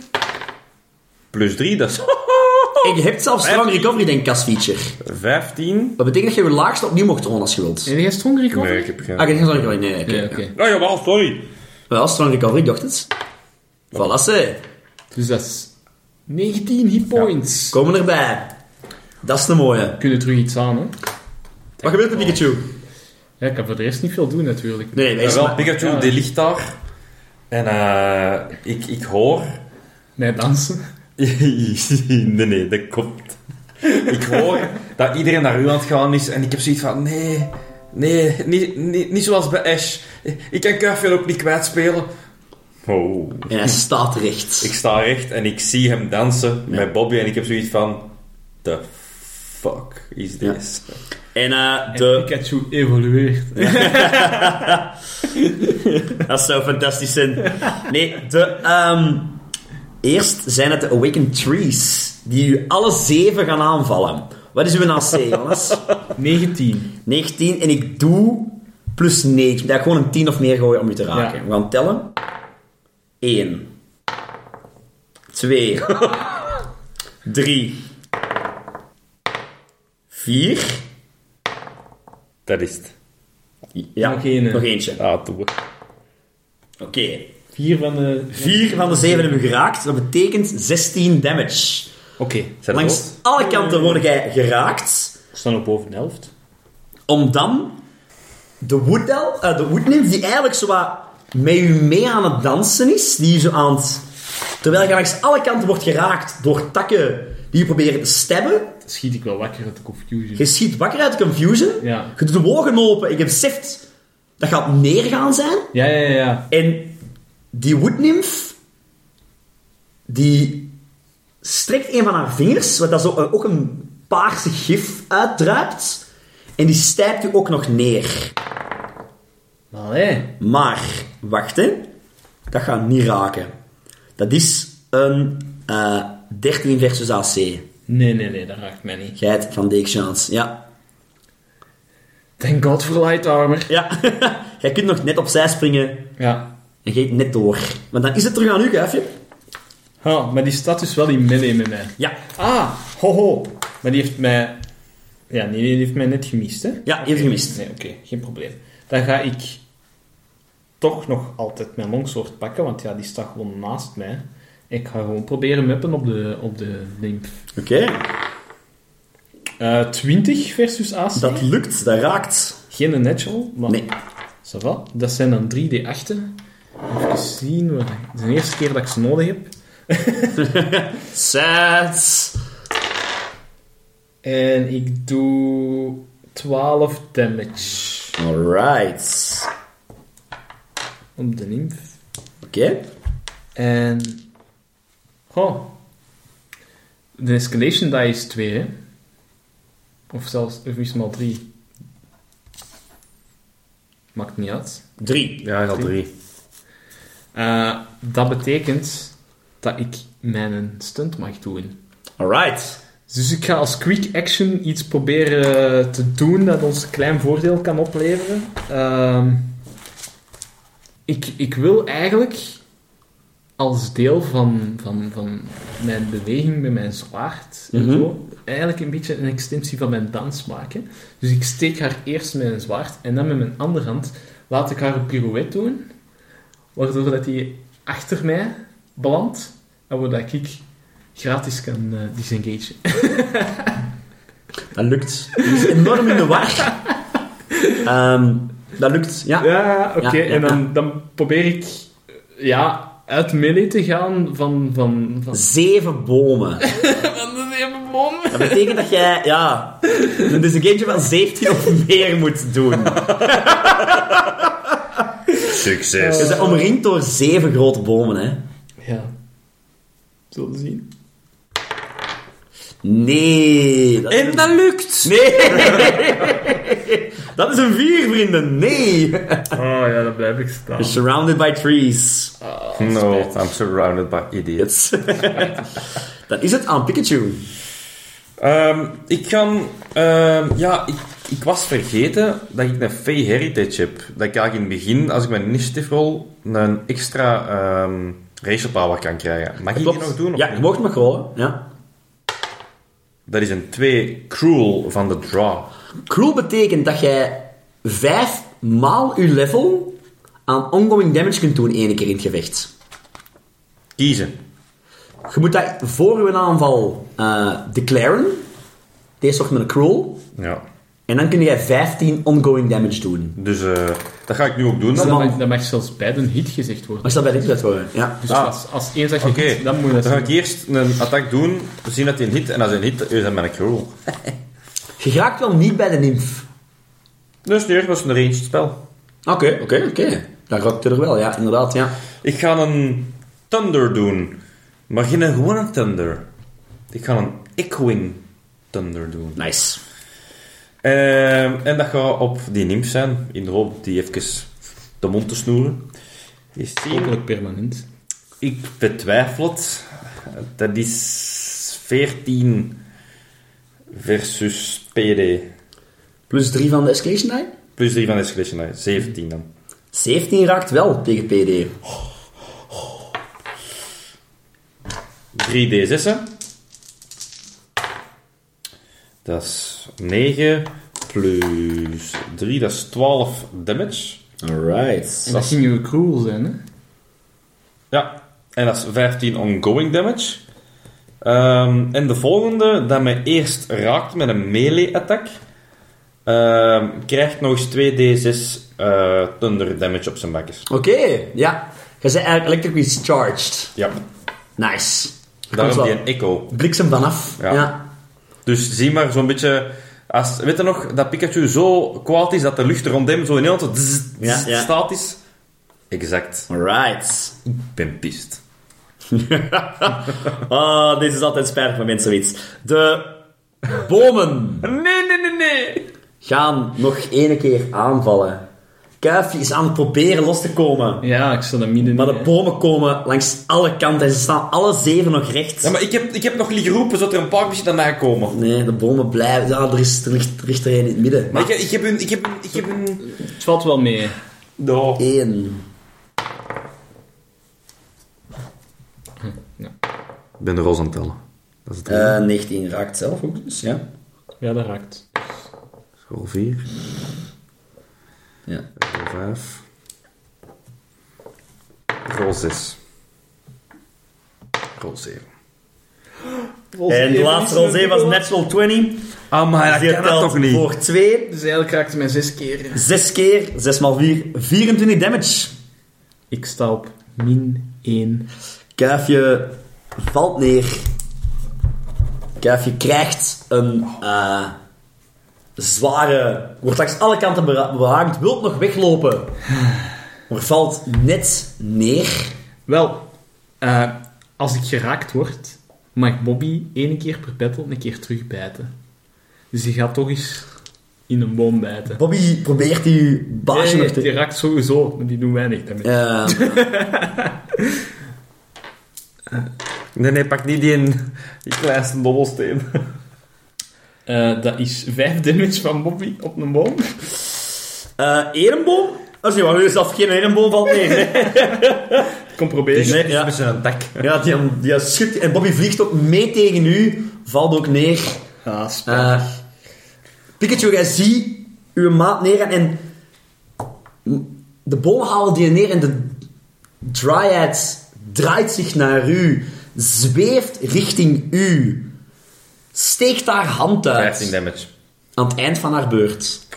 Speaker 1: Plus 3, dat is
Speaker 4: En je hebt zelfs strong recovery, denk ik, als feature.
Speaker 1: 15.
Speaker 4: Dat betekent dat je je laagste opnieuw mocht rollen als je wilt.
Speaker 3: En jij strong recovery?
Speaker 1: Nee, ik heb geen...
Speaker 4: Ah, geen strong recovery. Nee, nee, oké.
Speaker 3: Ja, oké.
Speaker 4: Ah,
Speaker 1: Oh, jawel, sorry.
Speaker 4: Wel, strong recovery, ik dacht het. Voilà, ze.
Speaker 3: Dus dat is 19 hit points.
Speaker 4: Komen erbij. Dat is de mooie.
Speaker 3: Kunnen terug iets aan, hè?
Speaker 4: Wat gebeurt met Pikachu?
Speaker 3: Ja, ik kan voor de rest niet veel doen, natuurlijk.
Speaker 4: Nee, nee, wij
Speaker 1: Ja,
Speaker 4: zijn...
Speaker 1: wel, Pikachu,
Speaker 3: ja.
Speaker 1: die ligt daar. En eh, ik, ik hoor
Speaker 3: Met dansen.
Speaker 1: nee, nee, dat komt. Ik hoor dat iedereen naar u aan het gaan is en ik heb zoiets van: nee, nee, niet, niet, niet zoals bij Ash. Ik kan Kuifje ook niet kwijtspelen. Oh.
Speaker 4: En hij staat recht.
Speaker 1: Ik sta recht en ik zie hem dansen met Bobby en ik heb zoiets van: the fuck is this?
Speaker 4: En eh,
Speaker 3: De...
Speaker 4: de...
Speaker 3: Pikachu evolueert.
Speaker 4: Dat zou fantastisch zijn. Nee, de... ehm, eerst zijn het de Awakened Trees. Die u alle zeven gaan aanvallen. Wat is uw AC, jongens?
Speaker 3: 19.
Speaker 4: 19. En ik doe plus 9. Dat ik gewoon een 10 of meer gooien om u te raken.
Speaker 3: Ja.
Speaker 4: We gaan tellen. 1. 2. 3. 4.
Speaker 1: Dat is het.
Speaker 4: Ja,
Speaker 3: Nog één, hè.
Speaker 4: Nog eentje.
Speaker 1: Ah, toe.
Speaker 4: Oké.
Speaker 3: 4 van de...
Speaker 4: 4 van de 7 hebben we geraakt. Dat betekent 16 damage.
Speaker 3: Oké.
Speaker 1: Zijn
Speaker 4: Langs
Speaker 1: dood?
Speaker 4: alle kanten word jij geraakt.
Speaker 3: We staan op boven de helft.
Speaker 4: Om dan de Wood Elf- eh, de Wood Nymph, die eigenlijk zo wat met u mee aan het dansen is. Die zo aan het... Terwijl je langs alle kanten wordt geraakt door takken die je proberen te stabben.
Speaker 3: Dan schiet ik wel wakker uit de confusion.
Speaker 4: Je schiet wakker uit de confusion.
Speaker 3: Ja.
Speaker 4: Je doet de wogen open. Ik heb beseft dat gaat neergaan zijn.
Speaker 3: Ja, ja, ja.
Speaker 4: En die woodnymph, die strekt een van haar vingers, wat dat zo eh, ook een paarse gif uitdruipt. En die stijpt u ook nog neer.
Speaker 3: Allee.
Speaker 4: Maar, wacht hè. Dat gaat niet raken. Dat is een eh, 13 versus AC.
Speaker 3: Nee, nee, nee, dat raakt mij niet.
Speaker 4: Geit van Deekchance. Ja.
Speaker 3: Thank god for light armor.
Speaker 4: Ja. Jij kunt nog net opzij springen
Speaker 3: Ja.
Speaker 4: en geet net door. Want dan is het terug aan u, Kuifje.
Speaker 3: Ha, maar die staat dus wel in melee met mij.
Speaker 4: Ja.
Speaker 3: Ah, hoho. Maar die heeft mij... Ja, nee, die heeft mij net gemist, hè?
Speaker 4: Ja, even gemist.
Speaker 3: Nee, oké, geen probleem. Dan ga ik toch nog altijd mijn longsword pakken, want ja, die staat gewoon naast mij. Ik ga gewoon proberen meppen op de, op de nymph.
Speaker 4: Oké.
Speaker 3: Eh, 20 versus AC.
Speaker 4: Dat lukt. Dat raakt.
Speaker 3: Geen een natural, maar...
Speaker 4: Nee.
Speaker 3: Ça va. Dat zijn dan 3D8'en. Even zien, wat... het is de eerste keer dat ik ze nodig heb.
Speaker 4: Zes.
Speaker 3: En ik doe 12 damage
Speaker 4: Alright.
Speaker 3: op de nymph.
Speaker 4: Oké.
Speaker 3: En... Goh. De escalation die is 2, hè? Of zelfs, of is het maar 3? Maakt niet uit.
Speaker 4: Drie.
Speaker 1: Ja, hij had drie.
Speaker 3: Eh, dat betekent dat ik mijn stunt mag doen.
Speaker 4: Alright.
Speaker 3: Dus ik ga als quick action iets proberen te doen dat ons een klein voordeel kan opleveren. Ehm, ik, ik wil eigenlijk als deel van, van, van mijn beweging met mijn zwaard en zo, eigenlijk een beetje een extensie van mijn dans maken. Dus ik steek haar eerst met mijn zwaard en dan met mijn andere hand laat ik haar een pirouette doen, waardoor dat die achter mij belandt en waardoor dat ik gratis kan eh disengagen.
Speaker 4: Dat lukt. Die is enorm in de war. Ehm, dat lukt, ja.
Speaker 3: Ja, oké.
Speaker 4: Ja, ja,
Speaker 3: en dan, dan probeer ik eh, ja, uit melee te gaan van... van, van...
Speaker 4: Zeven bomen. Dat betekent dat jij, ja, een disengage van 17 of meer moet doen.
Speaker 1: Succes.
Speaker 4: Je bent omringd door zeven grote bomen, hè.
Speaker 3: Ja. Zullen we zien.
Speaker 4: Nee. Dat
Speaker 2: En dat lukt!
Speaker 4: Nee. dat is een vier, vrienden. Nee.
Speaker 3: Oh ja, dan blijf ik staan.
Speaker 4: You're surrounded by trees.
Speaker 1: Ah, no, I'm surrounded by idiots.
Speaker 4: Yes. dan is het aan Pikachu.
Speaker 1: Ehm, ik kan... ehm, ja, ik, ik was vergeten dat ik een Fey Heritage heb. Dat ik eigenlijk in het begin, als ik mijn initiative rol, een extra ehm racial power kan krijgen. Mag ik die nog doen? of
Speaker 4: Ja,
Speaker 1: niet?
Speaker 4: je mocht maar rollen. Ja.
Speaker 1: Dat is een 2 cruel van de draw.
Speaker 4: Cruel betekent dat jij vijf maal je level aan ongoing damage kunt doen één keer in het gevecht.
Speaker 1: Kiezen.
Speaker 4: Je moet dat voor uw aanval eh, declaren. Deze zorgt met een cruel.
Speaker 1: Ja.
Speaker 4: En dan kun jij 15 ongoing damage doen.
Speaker 1: Dus eh, dat ga ik nu ook doen.
Speaker 3: Dat
Speaker 1: Dan.
Speaker 3: mag, dat mag zelfs bij een hit gezegd worden.
Speaker 4: Maar stel bij dit dat worden. Ja.
Speaker 3: Dus
Speaker 1: Ah.
Speaker 3: als, als één zegt
Speaker 1: Oké,
Speaker 3: hit, dan moet je
Speaker 1: dan
Speaker 3: dat
Speaker 1: ga ik
Speaker 3: zeggen.
Speaker 1: eerst een attack doen, zien dat hij een hit, en als hij een hit is, dan ben ik cruel.
Speaker 4: Je raakt wel niet bij de nimf.
Speaker 1: Dus nu was een ranged spel.
Speaker 4: Oké, oké, oké. Dan raakt je er wel, ja, inderdaad, ja.
Speaker 1: Ik ga een thunder doen, maar geen een gewone thunder. Ik ga een echoing thunder doen.
Speaker 4: Nice.
Speaker 1: Ehm, en dat gaat op die nimf zijn, in de hoop die even de mond te snoeren. Is die...
Speaker 3: Hopelijk permanent.
Speaker 1: Ik betwijfel het. Dat is 14 versus PD.
Speaker 4: Plus 3 van de escalation die.
Speaker 1: Plus 3 van Escalation, hè. 17 dan.
Speaker 4: 17 raakt wel tegen PD.
Speaker 1: 3 D6'en. Dat is 9 plus 3, dat is 12 damage.
Speaker 4: Alright.
Speaker 3: En dat ging je cruel zijn, hè?
Speaker 1: Ja, en dat is 15 ongoing damage. Ehm, en de volgende, dat mij eerst raakt met een melee-attack, ehm, krijgt nog eens 2d6 eh, thunder damage op zijn bakkes.
Speaker 4: Oké, ja. Je bent eigenlijk electrically charged.
Speaker 1: Ja,
Speaker 4: Nice. Er komt
Speaker 1: daarom
Speaker 4: wel
Speaker 1: die een echo.
Speaker 4: Bliksem vanaf.
Speaker 1: Ja.
Speaker 4: Ja.
Speaker 1: Dus zie maar zo'n beetje... Als, weet je nog, dat Pikachu zo kwaad is dat de lucht rond hem zo in heel
Speaker 4: Ja, ja.
Speaker 1: staat is? Exact.
Speaker 4: Alright.
Speaker 1: Ik ben pist.
Speaker 4: Ah, dit is altijd spijtig voor mensen zoiets. De bomen
Speaker 1: Nee, nee, nee, nee!
Speaker 4: gaan nog één keer aanvallen. Kuifje is aan het proberen los te komen.
Speaker 3: Ja, ik sta er midden
Speaker 4: Maar
Speaker 3: in,
Speaker 4: de
Speaker 3: hè.
Speaker 4: bomen komen langs alle kanten en ze staan alle zeven nog recht.
Speaker 1: Ja, maar ik heb, ik heb nog niet geroepen zodat er een paar misschien daarna komen.
Speaker 4: Nee, de bomen blijven. Ja, er, is, er, ligt, er ligt er één in het midden.
Speaker 1: Maar ik, ik heb een... Ik heb een... Ik heb een
Speaker 3: Het valt wel mee.
Speaker 1: No.
Speaker 4: Eén.
Speaker 1: Ik ben de roze aan het tellen. Dat is het
Speaker 4: Eh, 19 raakt zelf ook, dus ja.
Speaker 3: Ja, dat raakt.
Speaker 1: Rol 4,
Speaker 4: ja.
Speaker 1: rol 5. Rol 6. Rol 7.
Speaker 4: En de laatste rol 7 was natural 20.
Speaker 1: Ah, maar
Speaker 4: Die
Speaker 1: dat kan dat
Speaker 4: telt
Speaker 1: toch niet?
Speaker 4: voor 2.
Speaker 3: Dus eigenlijk raakte mij zes keer.
Speaker 4: 6 keer, 6 x 4, 24 damage.
Speaker 3: Ik sta op min 1.
Speaker 4: Kuifje valt neer. Kuifje krijgt een eh, zware... Wordt langs alle kanten bera- behaakt. Wilt nog weglopen. Maar valt net neer.
Speaker 3: Wel, eh, als ik geraakt word, mag Bobby één keer per battle een keer terugbijten. Dus die gaat toch eens in een boom bijten.
Speaker 4: Bobby probeert die baasje
Speaker 3: Nee,
Speaker 4: nog te...
Speaker 3: die raakt sowieso, maar die doen weinig daarmee.
Speaker 4: Eh,
Speaker 1: Nee, nee, pak niet die, in, die kleinste dobbelsteen.
Speaker 3: Eh, dat is 5 damage van Bobby op een boom.
Speaker 4: eh erenboom? Oh, zie maar, nu is zelf geen erenboom valt neer. hè.
Speaker 3: Kom proberen.
Speaker 2: Dus-
Speaker 4: Nee, ja.
Speaker 1: Met zijn dak.
Speaker 4: Ja, die, die schudt. En Bobby vliegt ook mee tegen u. Valt ook neer.
Speaker 3: Ah,
Speaker 4: Eh, Pikachu, jij ziet uw maat neer en de bomen halen die neer en de Dryad draait zich naar u. Zweeft richting u.
Speaker 2: Steekt haar hand uit.
Speaker 1: 15 damage.
Speaker 2: Aan het eind van haar beurt.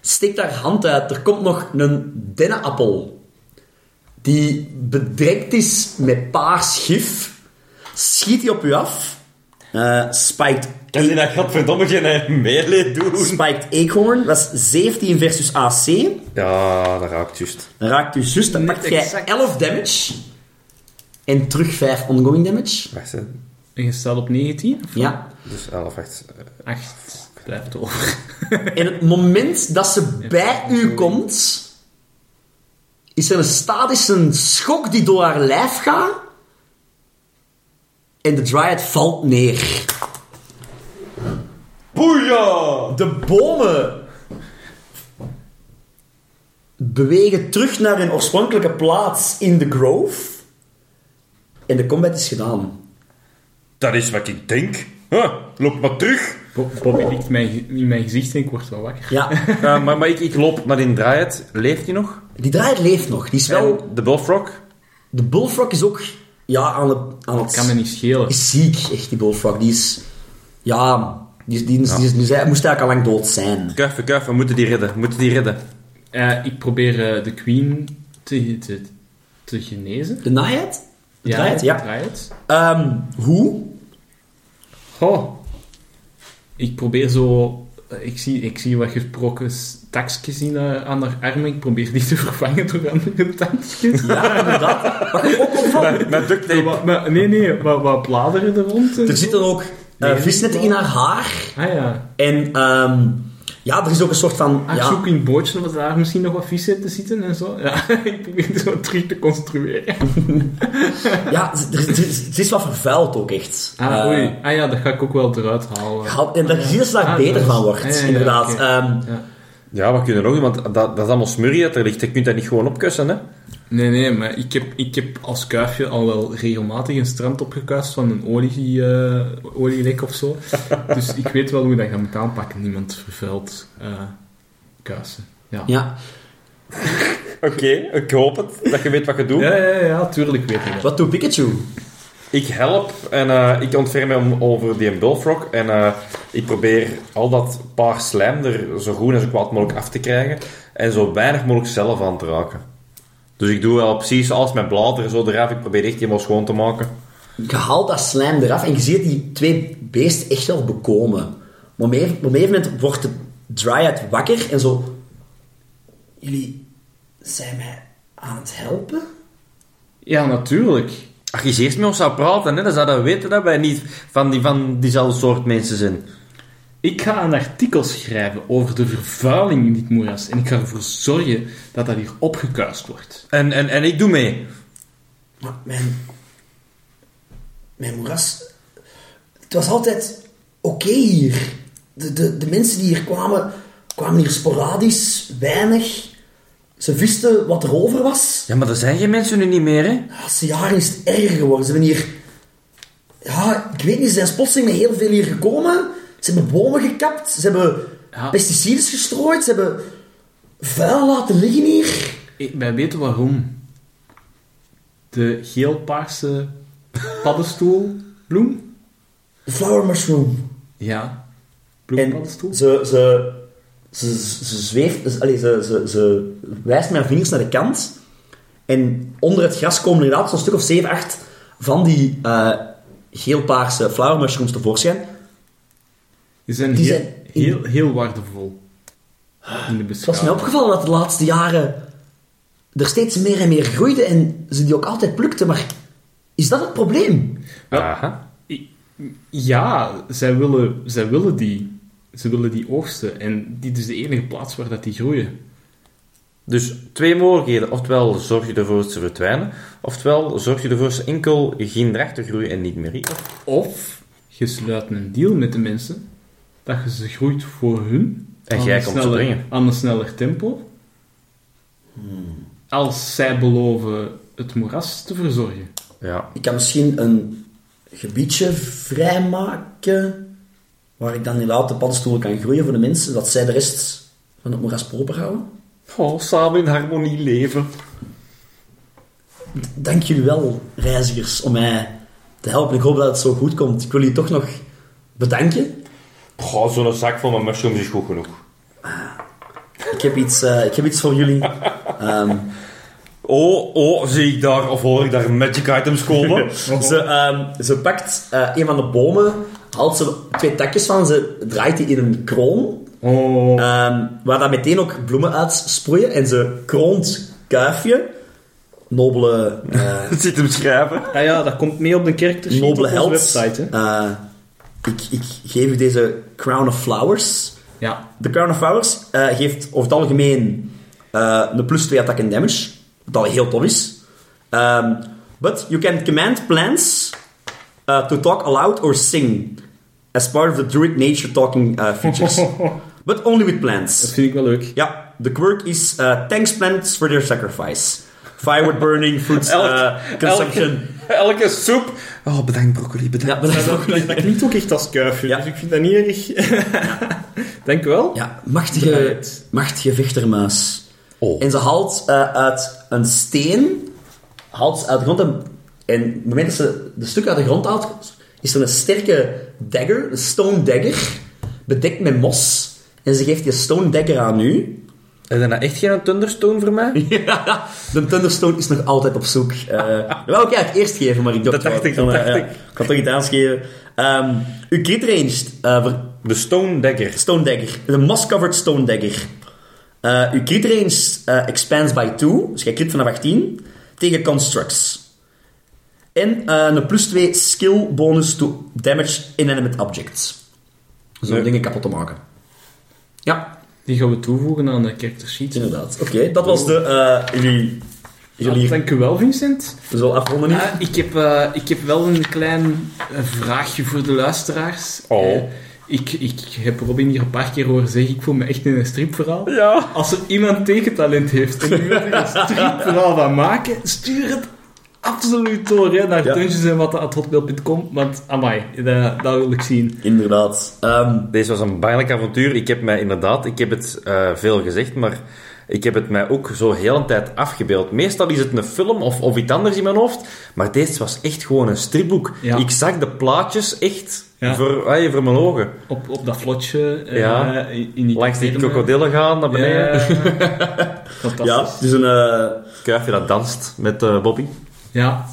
Speaker 2: Steekt haar hand uit. Er komt nog een dennenappel. Die bedekt is met paars gif. Schiet die op u af. Eh spiked,
Speaker 1: Kan je dat godverdomme geen melee doen?
Speaker 2: spiked Acorn. Dat is 17 versus AC.
Speaker 1: Ja, dat raakt juist.
Speaker 2: Dan raakt u zus. Dan
Speaker 3: Niet
Speaker 2: pakt jij
Speaker 3: exact.
Speaker 2: 11 damage. En terug 5 ongoing damage.
Speaker 1: Wacht, hè.
Speaker 3: En je staat op 19?
Speaker 2: Ja.
Speaker 1: Dus 11, wacht.
Speaker 3: 8 blijft over.
Speaker 2: En het moment dat ze bij u komt, is er een statische schok die door haar lijf gaat. En de dryad valt neer.
Speaker 1: Boeia!
Speaker 2: De bomen bewegen terug naar hun oorspronkelijke plaats in de grove. En de combat is gedaan.
Speaker 1: Dat is wat ik denk. Huh, loop maar terug.
Speaker 3: Bo- Bobby ligt mijn, in mijn gezicht en ik word wel wakker.
Speaker 2: Ja,
Speaker 1: Eh, maar maar ik, ik loop naar in draait. Leeft hij nog?
Speaker 2: die dryad leeft nog. Die is wel...
Speaker 1: En de bullfrog?
Speaker 2: De bullfrog is ook ja, aan het... Aan het
Speaker 3: Kan me niet schelen.
Speaker 2: is ziek, echt, die bullfrog. Die is... Ja, die, is- die, is- die, is- die, is- hij moest eigenlijk al lang dood zijn.
Speaker 1: Kuif, kuif, we moeten die redden. We moeten die redden.
Speaker 3: Eh, ik probeer eh, de queen te, te, te genezen.
Speaker 2: De naaiheid? De draaiheid,
Speaker 3: de
Speaker 2: ja.
Speaker 3: draaiheid.
Speaker 2: Ehm, hoe?
Speaker 1: Oh.
Speaker 3: Ik probeer zo... eh, Ik zie, ik zie wat gesproken takjes in, eh, aan haar armen. Ik probeer die te vervangen door andere takjes.
Speaker 2: Ja, inderdaad. Wat je ook opvalt,
Speaker 1: Met, met duct
Speaker 3: Zo
Speaker 1: tape.
Speaker 3: wat- maar- nee, nee, wat, wat bladeren er rond. en
Speaker 2: er
Speaker 3: zo.
Speaker 2: zitten ook eh,
Speaker 3: Nee,
Speaker 2: visnetten in haar haar.
Speaker 3: Ah ja.
Speaker 2: En ehm, ja, er is ook een soort van...
Speaker 3: Ah, ik
Speaker 2: ja,
Speaker 3: zoek in het bootje omdat daar misschien nog wat vissen te zitten en zo. Ja, ik probeer het zo terug te construeren.
Speaker 2: ja er, er- er- het is wat vervuild ook echt.
Speaker 3: Ah,
Speaker 2: Eh,
Speaker 3: oei. Ah ja, dat ga ik ook wel eruit halen.
Speaker 2: gehaald- en dat je ziet dat ze daar
Speaker 3: Ah,
Speaker 2: beter
Speaker 3: dat is-
Speaker 2: van wordt,
Speaker 3: ah, ja, ja,
Speaker 2: inderdaad.
Speaker 3: oké.
Speaker 2: Ehm,
Speaker 3: Ja.
Speaker 1: Ja, wat kunnen we nog doen? Want dat, dat is allemaal smurrie dat er ligt. Je kunt dat niet gewoon opkussen, hè?
Speaker 3: Nee, nee, maar ik heb, ik heb als kuifje al wel regelmatig een strand opgekuist van een olie, eh, olielek of zo. dus ik weet wel hoe dat je moet aanpakken. Niemand vervuilt eh kuisen. Ja.
Speaker 2: ja,
Speaker 1: Oké, ik hoop het. Dat je weet wat je doet.
Speaker 3: Ja, ja, ja, tuurlijk weet ik dat.
Speaker 2: wat doet Pikachu?
Speaker 1: Ik help en eh, ik ontferm mij om, over die bullfrog. En eh, ik probeer al dat paar slijm er zo goed en zo kwaad mogelijk af te krijgen. En zo weinig mogelijk zelf aan te raken. Dus ik doe wel precies alles met bladeren zo eraf. Ik probeer echt helemaal schoon te maken.
Speaker 2: Je haalt dat slijm eraf en je ziet die twee beesten echt wel bekomen. Maar op een op een gegeven moment wordt de Dryad wakker en zo... Jullie zijn mij aan het helpen?
Speaker 3: Ja, natuurlijk.
Speaker 1: Als je eens eerst met ons zou praten, hè, dan zou dat weten dat wij niet van, die, van diezelfde soort mensen zijn.
Speaker 3: Ik ga een artikel schrijven over de vervuiling in dit moeras. En ik ga ervoor zorgen dat dat hier opgekuist wordt.
Speaker 1: En, en, en ik doe mee.
Speaker 2: Maar mijn... Mijn moeras... Het was altijd oké hier. De, de, de mensen die hier kwamen, kwamen hier sporadisch, weinig. Ze wisten wat er over was.
Speaker 1: Ja, maar er zijn geen mensen nu niet meer, hè?
Speaker 2: De laatste jaren is het erger geworden. Ze hebben hier... Ja, ik weet niet, ze zijn plotseling met heel veel hier gekomen. Ze hebben bomen gekapt. Ze hebben
Speaker 3: Ja.
Speaker 2: pesticiden gestrooid. Ze hebben vuil laten liggen hier.
Speaker 3: Ik- wij weten waarom. De geel-paarse paddenstoelbloem.
Speaker 2: De flower mushroom.
Speaker 3: Ja.
Speaker 2: En
Speaker 3: Bloemenpaddenstoel?
Speaker 2: ze... ze ze, ze zweeft... Ze, allee, ze, ze, ze wijst met haar vingers naar de kant. En onder het gras komen inderdaad zo'n stuk of 7, 8 van die eh geel-paarse flower mushrooms tevoorschijn.
Speaker 3: Die zijn,
Speaker 2: die
Speaker 3: heel,
Speaker 2: zijn in-
Speaker 3: heel, heel waardevol. In de
Speaker 2: Het was
Speaker 3: beschaving.
Speaker 2: mij opgevallen dat de laatste jaren er steeds meer en meer groeide en ze die ook altijd plukten, maar is dat het probleem?
Speaker 3: Wel,
Speaker 1: Aha.
Speaker 3: i- Ja, zij willen, zij willen die. Ze willen die oogsten. En dit is dus de enige plaats waar dat die groeien.
Speaker 1: Dus twee mogelijkheden. Oftewel zorg je ervoor dat ze verdwijnen. Oftewel zorg je ervoor dat ze enkel geen drachten groeien en niet meer hier.
Speaker 3: Of je sluit een deal met de mensen dat je ze groeit voor hun.
Speaker 1: En
Speaker 3: aan
Speaker 1: jij
Speaker 3: een
Speaker 1: komt ze
Speaker 3: sneller-
Speaker 1: brengen.
Speaker 3: Aan een sneller tempo.
Speaker 2: Hmm.
Speaker 3: Als zij beloven het moeras te verzorgen.
Speaker 1: Ja.
Speaker 2: Ik kan misschien een gebiedje vrijmaken waar ik dan inderdaad de paddenstoelen kan groeien voor de mensen, dat zij de rest van het moeras proper houden.
Speaker 1: Oh, samen in harmonie leven.
Speaker 2: Dank jullie wel, reizigers, om mij te helpen. Ik hoop dat het zo goed komt. Ik wil jullie toch nog Bedanken.
Speaker 1: Goh, zo'n zak vol met mushrooms is goed genoeg.
Speaker 2: Ik heb iets, eh, ik heb iets voor jullie. Ehm,
Speaker 1: Oh, oh, zie ik daar, of hoor ik daar magic items komen?
Speaker 2: ze, ehm, ze pakt eh, een van de bomen, haalt ze twee takjes van, ze draait die in een kroon.
Speaker 3: Oh.
Speaker 2: Ehm, waar dan meteen ook bloemen uit sproeien. En ze kroont Kuifje. Nobele, eh,
Speaker 1: Het zit hem schrijven.
Speaker 3: Ah ja, dat komt mee op de kerk
Speaker 2: nobele
Speaker 3: op
Speaker 2: held.
Speaker 3: onze website, hè.
Speaker 2: Eh, ik, ik geef u deze Crown of Flowers.
Speaker 3: Ja.
Speaker 2: De Crown of Flowers eh, geeft over het algemeen eh, een plus 2 attack en damage. Wat al heel tof is. Ehm, but you can command plants eh, to talk aloud or sing. As part of the druid nature talking eh, features. but only with plants.
Speaker 3: Dat vind ik wel leuk.
Speaker 2: Ja, de quirk is eh, thanks plants for their sacrifice. Firewood burning, fruits eh, consumption.
Speaker 1: Elke, elke soep. Oh, bedankt broccoli, bedankt.
Speaker 2: Ja, bedankt.
Speaker 3: Dat, dat, dat klinkt ook echt als kuifje,
Speaker 2: Ja.
Speaker 3: dus ik vind dat niet erg. Denk wel.
Speaker 2: Ja, machtige,
Speaker 3: Draait.
Speaker 2: machtige vechtermuis.
Speaker 1: Oh.
Speaker 2: En ze haalt eh, uit een steen, haalt ze uit de grond en, en op het moment dat ze de stuk uit de grond haalt, is er een sterke dagger, een stone dagger, bedekt met mos. En ze geeft die stone dagger aan u.
Speaker 1: Is dat nou echt geen Thunderstone voor mij?
Speaker 2: de Thunderstone is nog altijd op zoek. Eh wel, ik eigenlijk eerst geven, maar ik dacht...
Speaker 1: Dat dacht
Speaker 2: wel,
Speaker 1: ik, dat
Speaker 2: kan, eh,
Speaker 1: dacht
Speaker 2: ja,
Speaker 1: ik.
Speaker 2: kan toch iets aangeven. Ehm uw crit range eh, ver-
Speaker 1: De Stone Dagger.
Speaker 2: Stone Dagger. De moss-covered Stone Dagger. Eh, uw crit range eh, expands by 2, dus jij crit vanaf 18, tegen constructs. En eh, een plus 2 skill bonus to damage inanimate objects. Dus om
Speaker 1: Nee.
Speaker 2: dingen kapot te maken. Ja,
Speaker 3: Die gaan we toevoegen aan de character sheet.
Speaker 2: inderdaad. Oké, dat was de... eh jullie...
Speaker 3: Ah,
Speaker 2: Jullie...
Speaker 3: dank u wel, Vincent.
Speaker 2: We zullen afronden nu.
Speaker 3: Ah, ik, heb, eh, ik heb wel een klein eh, vraagje voor de luisteraars.
Speaker 1: Oh.
Speaker 3: Eh, ik, ik heb Robin hier een paar keer horen zeggen, ik voel me echt in een stripverhaal.
Speaker 1: Ja.
Speaker 3: Als er iemand tekentalent heeft en die wil er een stripverhaal van maken, stuur het absoluut door hè, naar
Speaker 2: Ja.
Speaker 3: dungeons en want amai, dat, dat wil ik zien.
Speaker 2: Inderdaad. Ehm,
Speaker 1: Deze was een pijnlijk avontuur. Ik heb mij inderdaad, ik heb het eh, veel gezegd, maar ik heb het mij ook zo heel een tijd afgebeeld. Meestal is het een film of, of iets anders in mijn hoofd, maar deze was echt gewoon een stripboek.
Speaker 3: Ja.
Speaker 1: Ik zag de plaatjes echt
Speaker 3: Ja.
Speaker 1: voor, ah, voor mijn ogen.
Speaker 3: Op, op dat vlotje, eh,
Speaker 1: Ja.
Speaker 3: in in die
Speaker 1: Langs die
Speaker 3: kamer.
Speaker 1: krokodillen gaan, naar beneden.
Speaker 3: Ja.
Speaker 2: ja,
Speaker 3: Fantastisch.
Speaker 2: het is een... eh,
Speaker 1: Kuifje dat danst met eh, Bobby.
Speaker 3: Ja.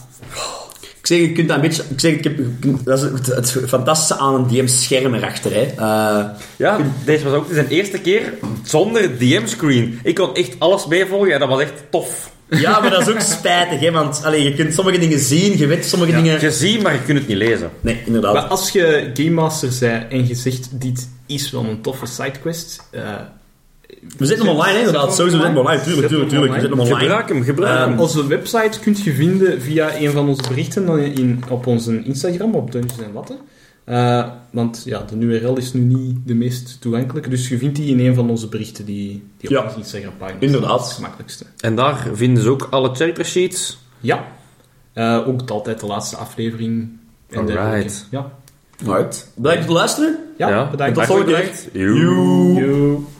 Speaker 2: Ik zeg, je kunt dat een beetje... Ik zeg, ik heb, dat is het, het fantastische aan een DM-scherm erachter, hè. Eh,
Speaker 1: Ja, deze was ook zijn eerste keer zonder DM-screen. Ik kon echt alles meevolgen en dat was echt tof.
Speaker 2: Ja, maar dat is ook spijtig, hè? Want allee, je kunt sommige dingen zien, je weet sommige dingen.
Speaker 1: Je ziet, maar je kunt het niet lezen.
Speaker 2: Nee, inderdaad.
Speaker 3: Maar als je Game Master bent en je zegt, dit is wel een toffe sidequest, eh,
Speaker 2: we zitten hem online, hè? Inderdaad, sowieso zitten we online. Tuurlijk, tuurlijk, tuurlijk. We zitten hem online.
Speaker 1: Gebruik hem, gebruik
Speaker 2: Ehm,
Speaker 1: hem.
Speaker 3: Onze website kunt je vinden via een van onze berichten dan in, op onze Instagram, op Dungeons en Watten. Eh, want ja, de URL is nu niet de meest toegankelijke, dus je vindt die in een van onze berichten die, die op
Speaker 2: Ja.
Speaker 3: onze Instagram-pagina
Speaker 2: Inderdaad.
Speaker 3: staat. Dat is het gemakkelijkste.
Speaker 1: En daar vinden ze ook alle character sheets.
Speaker 3: Ja. Eh, ook altijd de laatste aflevering. en dergelijke.
Speaker 1: Alright.
Speaker 3: Ja.
Speaker 2: Alright. Bedankt voor het luisteren.
Speaker 3: Ja,
Speaker 1: Ja.
Speaker 3: bedankt.
Speaker 2: Tot volgende keer.
Speaker 1: Joe.
Speaker 3: Joe.